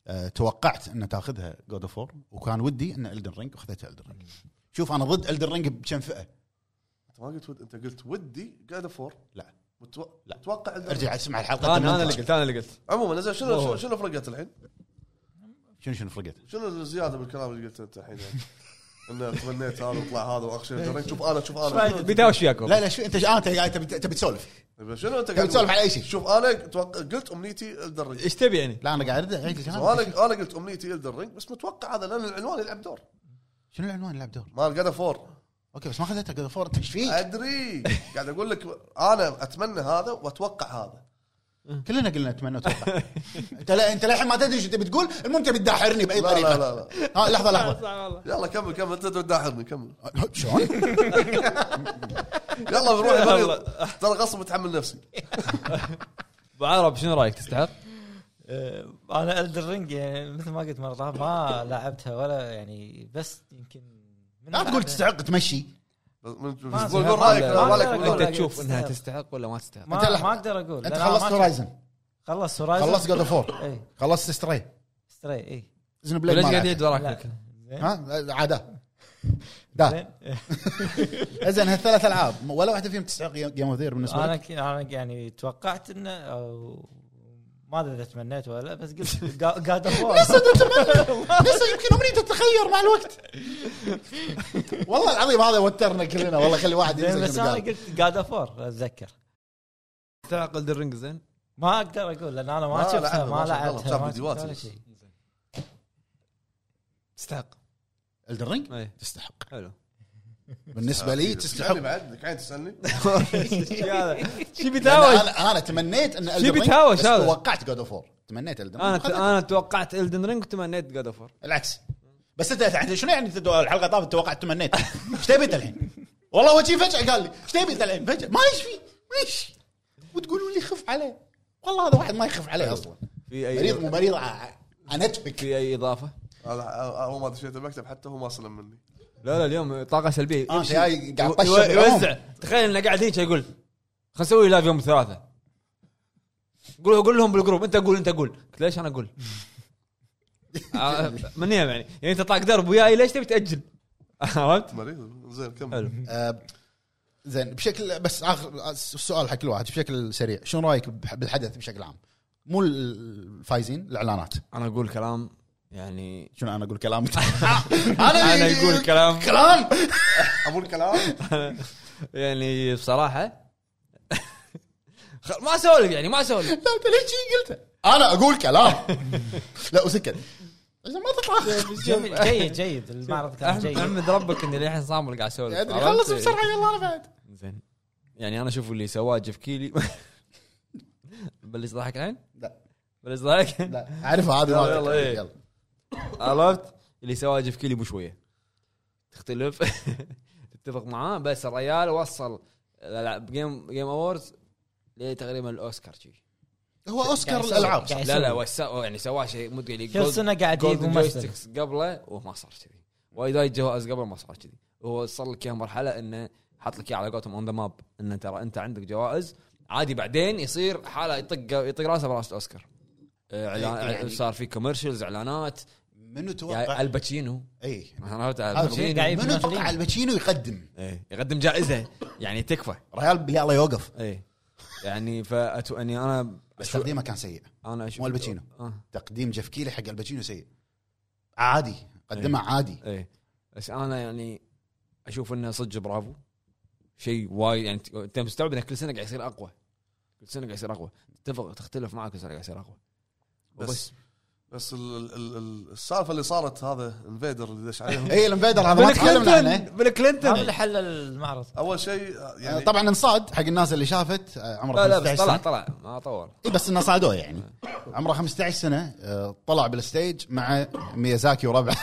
أه توقعت ان تاخذها جود اوف وكان ودي ان الدن رينج واخذتها الدن رينج شوف انا ضد الدن رينج بكم فئه
انت ما قلت ود... انت قلت ودي جاد فور
لا.
متو...
لا.
متوقع إن-
ارجع اسمع الحلقه
أنا أنا اللي قلت أنا اللي قلت
عموما زين شنو شنو-
أوه.
شنو فرقت الحين؟
شنو شنو فرقت
شنو الزياده بالكلام اللي قلته انت الحين يعني؟ انه تمنيت هذا وطلع هذا واخشى الدرينج. شوف انا شوف انا
بيداوش وياكم
إيه. لا لا شو انت آه، انت قاعد تبي تبي تسولف
شنو- شنو انت
تبي تسولف
قاعد
على اي شيء
شوف انا توق... قلت امنيتي الدرينج
ايش تبي يعني؟
لا انا قاعد اعيد الكلام
انا انا قلت امنيتي الدرينج بس متوقع هذا لان العنوان يلعب دور
شنو العنوان لعب دور
مال جاد فور
اوكي بس ما اخذتها قبل فور انت ايش فيك
ادري قاعد اقول لك انا اتمنى هذا واتوقع هذا
إيه.
كلنا قلنا اتمنى وتوقع انت لا انت للحين ما تدري ايش تبي تقول المهم تبي تداحرني آه، باي
لا
طريقه
لا لا, لا.
ها لحظه لحظه
صح والله
يلا كمل كمل انت تداحرني كمل
آه، شلون؟
يلا بنروح المريض ترى غصب اتحمل نفسي
ابو عرب شنو رايك تستحق؟
آه، انا الدر رينج يعني مثل ما قلت مره طافت ما لعبتها ولا يعني بس يمكن من
لا تقول
بعد-
تستحق تمشي
بس- بس-
آه.
ما-
قول قول رايك
ما-
رايك
ما-
قول
انت
رايك.
لا،
تشوف انها
تستحق.
تستحق ولا ما تستحق؟
ما,
أنت لحظة.
ما اقدر اقول
انت
لأن أنا ما
خلصت
شفت-
هورايزن
خلص هورايزن
خلصت جود اوف 4
اي
إيه.
خلصت ستري
ستري اي
زين بليد
ليش
ما
قاعد
لعبت.
يعيد وراك؟
زين
ها عاده دا
زين.
زين هالثلاث العاب ولا واحده فيهم تستحق جيم اوف ذير بالنسبه
انا
لك
ك- انا يعني توقعت انه أو ما ادري اذا تمنيت ولا لا، بس قلت قاعد
لسه تتمنى لسه يمكن امنيته تتغير مع الوقت والله العظيم هذا وترنا كلنا والله خلي واحد
زين بس
يمسك
انا
الرجال.
قلت قاعد افور اتذكر
تستحق الدرينج زين؟
ما اقدر اقول لان انا
ما
ما شفتها
لعبها، ما
ما
شفتها، والله،
لعبتها
شاف
ما
فيديوهات
شفت ولا
بس.
شيء
تستحق
الدرينج
اي
تستحق
إيه. حلو
بالنسبه
يعني
لي تستحق
تسالني بعد قاعد تسالني
شي
انا
بيتهاوش
انا انا تمنيت ان Elden Ring،
بيتهاوش
بس
هذا؟
توقعت جود اوف 4 تمنيت Elden Ring.
انا
خذيت.
انا توقعت الدن رينج وتمنيت جاد اوفر
العكس بس انت تحت- شنو يعني تدو- الحلقه طافت توقعت تمنيت ايش تبي انت الحين؟ والله وجهي فجاه قال لي ايش تبي انت الحين فجاه ما ايش في ما ايش وتقولوا لي خف عليه والله هذا واحد ما يخف عليه اصلا
في
مريض مو
اي
مريض ع- عنتفك
في اي اضافه؟
هذا هو ما دشيت المكتب حتى هو ما سلم مني
لا لا اليوم طاقه سلبيه
آه،
يمشي.
جاي قاعد
يو-
طشر
يو-
بالعموم.
يوزع تخيل انه قاعد هيك يقول خلينا نسوي لايف يوم الثلاثاء قول قول لهم بالجروب انت قول انت قول قلت ليش انا اقول؟ آه، من يوم يعني يعني انت طاق درب وياي ليش تبي تاجل؟ عرفت؟
مريض زين كمل
حلو
آه، زين بشكل بس اخر السؤال حق كل واحد بشكل سريع شنو رايك بح- بالحدث بشكل عام؟ مو الفايزين الاعلانات
انا اقول كلام يعني
شنو انا اقول كلام
انا اقول كلام
كلام
ابو الكلام
يعني بصراحه خ- ما اسولف يعني ما اسولف
لا انت ليش شي قلته؟ انا اقول كلام لا وسكت زين ما تطلع
جميل جيد جيد المعرض كان
احمد
جيد
احمد ربك اني للحين صامل قاعد اسولف
ادري
عرفت؟
خلص بسرعه يلا انا بعد
زين يعني انا اشوف اللي سواه جيف كيلي بلش ضحك الحين؟
لا.
بلش ضحك؟
لا اعرفها هذه ما
يلا،
تطلع.
إيه.
يلا
عرفت؟ اللي سواه جيف كيلي مو شويه تختلف تتفق معاه بس الريال وصل الالعاب جيم جيم اووردز تقريبا الاوسكار شي
هو اوسكار
قاعد يسوي-
الالعاب
قاعد
لا
يسوي.
لا وس- يعني سواه شيء مو يعني
كل سنه قاعد يجيب
جولدن
ممثل
جويستكس قبله وما صار كذي وايد وايد جوائز قبل ما صار كذي هو صار لك اياه مرحله انه حط لك اياه على قولتهم اون ذا ماب انه ترى انت عندك جوائز عادي بعدين يصير حاله يطق يطق راسه براس اوسكار آه، إعلان-
يعني-
صار في كوميرشلز اعلانات
منو
يعني
توقع؟ إيه.
الباتشينو
اي
مثلاً عرفت
الباتشينو قاعد يجيب
الباتشينو
يعني منو
ممثلين.
توقع الباتشينو يقدم؟
إيه، يقدم جائزه يعني تكفى
ريال بالله الله يوقف
اي يعني فأتو اني انا
بس
أشوف-
تقديمه كان سيء
انا اشوف
مو الباتشينو.
آه.
تقديم جيف كيلي حق الباتشينو سيء عادي قدمه عادي
ايه بس انا يعني اشوف انه صدق برافو شيء وايد يعني ت- انت مستوعب انه كل سنه قاعد يصير اقوى كل سنه قاعد يصير اقوى تتفق تختلف معك كل سنه قاعد يصير اقوى
بس بس ال- ال- ال- السالفه اللي صارت هذا انفيدر اللي دش عليهم
اي الانفيدر هذا ما تكلمنا عنه
بل كلينتون
هذا اللي حل المعرض
اول شيء
آه،
يعني
طبعا انصاد حق الناس اللي شافت آه، عمره
لا لا
15
بس طلع
سنه
طلع ما طور
اي بس انه صعدوه يعني عمره 15 سنه آه، طلع بالستيج مع ميازاكي وربعه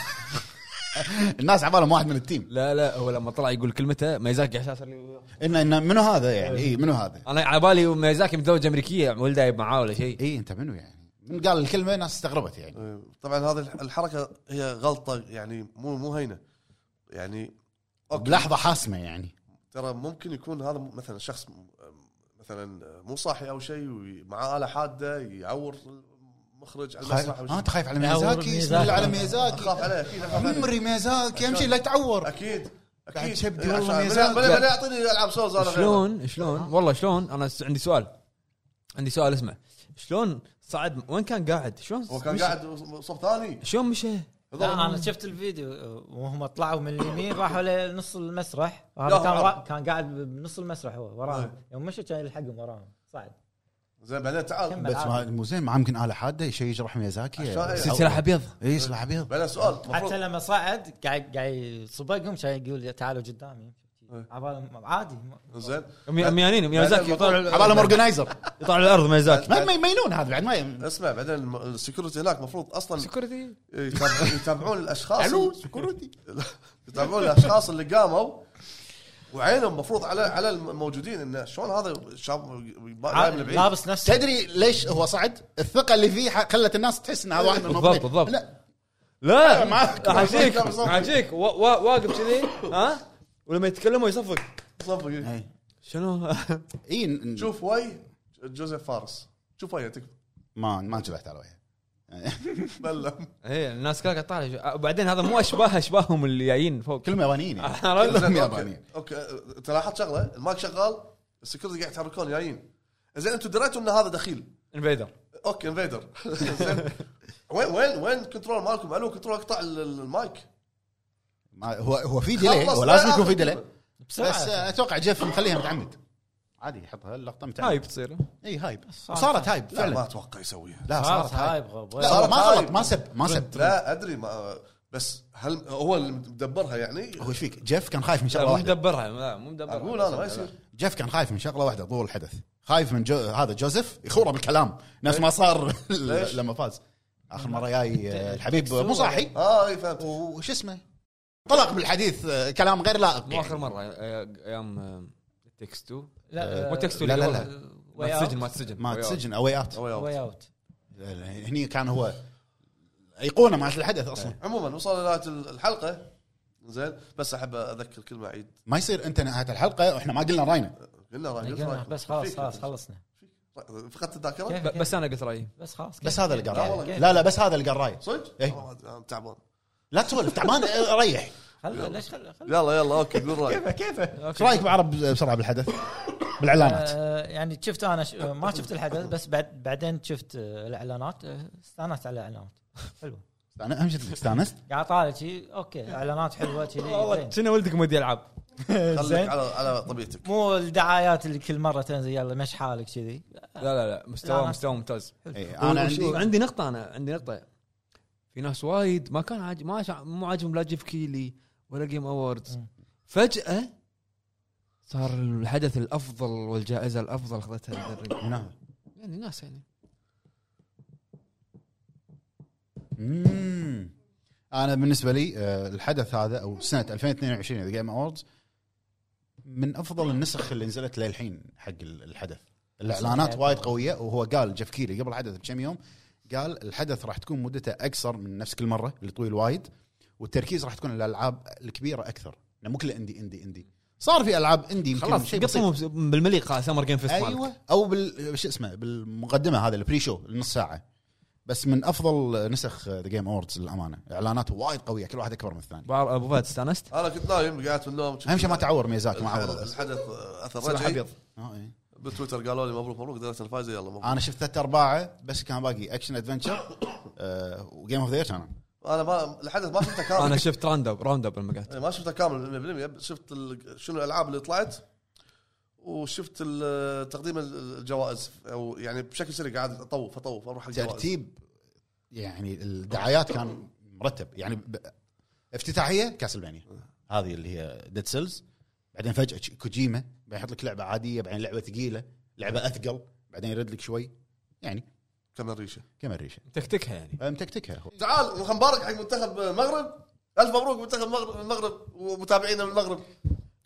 الناس عبالهم واحد من التيم
لا لا هو لما طلع يقول كلمته ميزاكي اساسا اللي-
انه انه منو هذا يعني اي منو هذا
انا على بالي ميزاكي متزوج امريكيه ولده يب معاه ولا شيء
اي انت منو يعني من قال الكلمه الناس استغربت يعني
آه، طبعا هذه الح- الحركه هي غلطه يعني مو مو هينه يعني أوكي.
بلحظه حاسمه يعني
ترى ممكن يكون هذا مثلا شخص م- مثلا مو صاحي او شيء ومعاه اله حاده يعور المخرج على
خايف
المسرح أو شيء.
اه انت خايف على
يعور
ميازاكي اسم
ميازاكي.
الله على ميازاكي
اخاف عليه اكيد أخاف عليه.
عمري ميازاكي امشي لا تعور
اكيد
بعد
اكيد
شبدي
إيه،
والله
عشان-
ميزاك.
بلا- بلا- بلا يعطيني العاب سولز انا غيره.
شلون شلون والله شلون انا س- عندي سؤال عندي سؤال اسمع شلون صعد وين كان قاعد شلون
هو كان
مشى؟
قاعد صوب ثاني
شلون مشى
لا انا شفت الفيديو وهم طلعوا من اليمين راحوا لنص المسرح
لا،
وهذا
هم
كان
عرب.
را... كان قاعد بنص المسرح هو
أي.
وراهم يوم مشوا كان يلحقهم وراهم صعد
زين بعدين تعال
كمل.
بس ما- مو زين ما يمكن اله حاده شيء يجرح ميازاكي
عشان-
سلسله ابيض
اي إيه، سلاح ابيض
بعدين سؤال
حتى
المفروض
لما صعد قاعد قاعد يصبقهم كان يقول يا تعالوا قدامي
إيه.
عبالهم عادي ما-
زين
مي- ميانين ميازاكي يطلع
على اورجنايزر
يطلع على الارض ميازاكي
ما ما يمينون هذا بعد ما يم-
اسمع بعدين الم- السكيورتي هناك المفروض اصلا
سكرتي
يتابع- يتابعون الاشخاص
علو سكورتي
يتابعون الاشخاص اللي قاموا وعينهم مفروض على على الموجودين انه شلون هذا شاب جاي من بعيد
لابس نفس
تدري ليش هو صعد؟ الثقه اللي فيه ح- خلت الناس تحس ان هذا واحد من
بالضبط،
المضبوطين.
بالضبط.
لا
لا
معك.
عجيك
بالضبط.
عجيك وا- وا- واقف كذي ها ولما يتكلموا يصفق
صفق.
إيه.
شنو
اي ن- ن-
إيه. شوف وي جوزيف فارس شوف وي تكفى
ما ما انتبهت على وجهه إيه.
بلى
ايه الناس كلها قاعد تطالع وبعدين هذا مو اشباه اشباههم اللي جايين فوق
كلهم يابانيين يعني.
عرفت؟
كلهم
زين،
يابانيين
اوكي أوكي. انت لاحظت شغله المايك شغال السكيورتي قاعد يتحركون جايين زين انتم دريتوا ان هذا دخيل
انفيدر
اوكي انفيدر زين وين وين وين الكنترول مالكم الو كنترول اقطع ال- ال- المايك
ما- هو هو في ديلي
خلص،
هو
لا
لازم يكون
آخر
في ديلي
كلمة.
بسرعة.
بس آه، اتوقع جيف مخليها متعمد عادي يحطها اللقطه متعمد
هايب تصير
اي هايب
صارت
صارت هايب
لا ما
فعلا
اتوقع يسويها
لا
صارت
صارت هايب
هايب غب
لا هو ما
صارت
غلط ما سب ما سب
لا ادري ما بس هل هو اللي مدبرها يعني
هو ايش فيك جيف كان خايف من
لا
شغله
مو
واحده
مدبرها لا مو مدبرها
اقول انا ما يصير
جيف كان خايف من شغله واحده طول الحدث خايف من جو... هذا جوزيف يخوره بالكلام نفس ما صار
ليش؟
لما فاز اخر مره جاي آه، الحبيب مو صاحي
اه اي فهمت
وش اسمه طلق بالحديث آه، كلام غير لائق
مو
يعني.
اخر مره آه، ايام آه، تكس 2
لا
مو تكس 2
لا،
اللي
لا،
قبلها.
واي
ما
أوت.
تسجن ما تسجن
ما تسجن اواي اوت
أوي أوت.
واي اوت
يعني هني كان هو ايقونه مالت الحدث اصلا
عموما وصلنا لنهايه ال- الحلقه زين بس احب اذكر كلمه عيد
ما يصير انت نهايه الحلقه واحنا ما قلنا راينا
قلنا راح قلت رايك.
إيه، بس خلاص
فيك
خلاص
أنت.
خلصنا
فقدت الذاكره
ب- بس انا قلت رايي
بس خلاص
بس هذا اللي قال
قال
رايه لا لا بس هذا اللي قال رايه
صدق؟
إيه.
والله أنا تعبان
لا تسولف تعبان آه، ريح
خل ليش خل خل-
يلا يلا اوكي قول رايك
ايش رايك بعرب بسرعه بالحدث بالاعلانات
آه، يعني شفت انا ش- آه، ما شفت الحدث بس بعد بعدين شفت آه، الاعلانات آه، استانست على الاعلانات حلو
انا اهم شيء إنك استانست
قاعد طالع شي اوكي اعلانات حلوه شي
والله كنا ولدك مودي العاب
خليك على على طبيعتك
مو الدعايات اللي كل مره تنزل يلا مش حالك كذي
لا لا لا
لا،
مستوى
أنا-
مستوى ممتاز
إيه، انا عندي
عندي نقطه انا عندي نقطه في ناس وايد ما كان عاج... ما شع... مو عاجبهم لا جيف كيلي ولا جيم اووردز
مم.
فجاه صار الحدث الافضل والجائزه الافضل اخذتها الدري
من هذا؟
يعني ناس يعني
مم. انا بالنسبه لي آه، الحدث هذا او سنه 2022 ذا جيم اووردز من افضل النسخ اللي نزلت للحين حق ال- الحدث الاعلانات وايد قويه وهو قال جيف كيلي قبل الحدث بكم يوم قال الحدث راح تكون مدته اقصر من نفس كل مره اللي طويل وايد والتركيز راح تكون على الالعاب الكبيره اكثر لأن مو كله اندي اندي اندي صار في العاب اندي يمكن
خلاص
شيء بسيط.
قطموا بس- بالمليقه سمر جيم فيست
ايوه او بال شو اسمه بالمقدمه هذا البري شو النص ساعه بس من افضل نسخ ذا جيم اووردز للامانه اعلاناته وايد قويه كل واحد اكبر من الثاني
ابو فهد استانست
انا كنت نايم قعدت من النوم
اهم شيء ما تعور ميزاكي ما
الحدث-
عوره
الحدث اثر
سلاح
رجعي
ابيض
آه، إيه.
بالتويتر قالوا لي مبروك مبروك درجه الفايزه يلا مبروك
انا شفت ثلاث ارباعه بس كان باقي اكشن ادفنشر آه، وجيم اوف ذا كان
انا ما الحدث ما شفته كامل
انا شفت راوند اب راوند اب لما قعدت
ما شفته كامل 100% شفت ال- شنو الالعاب اللي طلعت وشفت ال- تقديم ال- الجوائز او يعني بشكل سريع قاعد اطوف اطوف اروح على الجوائز
ترتيب يعني الدعايات كان مرتب يعني ب... افتتاحيه كاسلفانيا
آه.
هذه اللي هي ديد سيلز بعدين فجاه ش- كوجيما بعدين يحط لك لعبه عاديه بعدين لعبه ثقيله لعبه اثقل بعدين يرد لك شوي يعني
كم الريشه
كم الريشه
تكتكها يعني
متكتكها هو
تعال وخ مبارك حق منتخب المغرب الف مبروك منتخب المغرب المغرب ومتابعينا من المغرب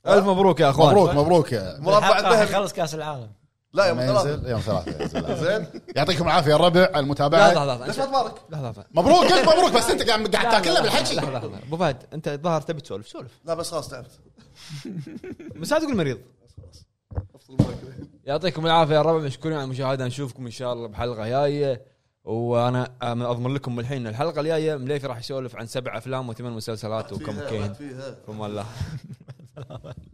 أه؟
الف مبروك يا اخوان
مبروك مبروك يا-
مربع
الحلقة
الذهبي
خلص كاس العالم
لا يا
يوم
ثلاثة
ينزل يوم ثلاثة ينزل.
زين
يعطيكم العافيه يا الربع على
لحظه
المتابعه
لحظه
ليش ما تبارك؟
لحظه لحظه
مبروك ألف مبروك بس انت قاعد قاعد تاكلها
لحظه
بالحكي
لحظه ابو فهد انت الظاهر تبي تسولف سولف
لا بس خلاص تعبت
بس لا تقول مريض
افصل المايك.
يعطيكم العافيه يا الربع مشكورين على المشاهده نشوفكم ان شاء الله بحلقه جايه وانا أم- اضمن لكم الحين إن الحلقه الجايه مليفي راح يسولف عن سبع افلام وثمان مسلسلات وكم
فيها،
كين
فيها
فما الله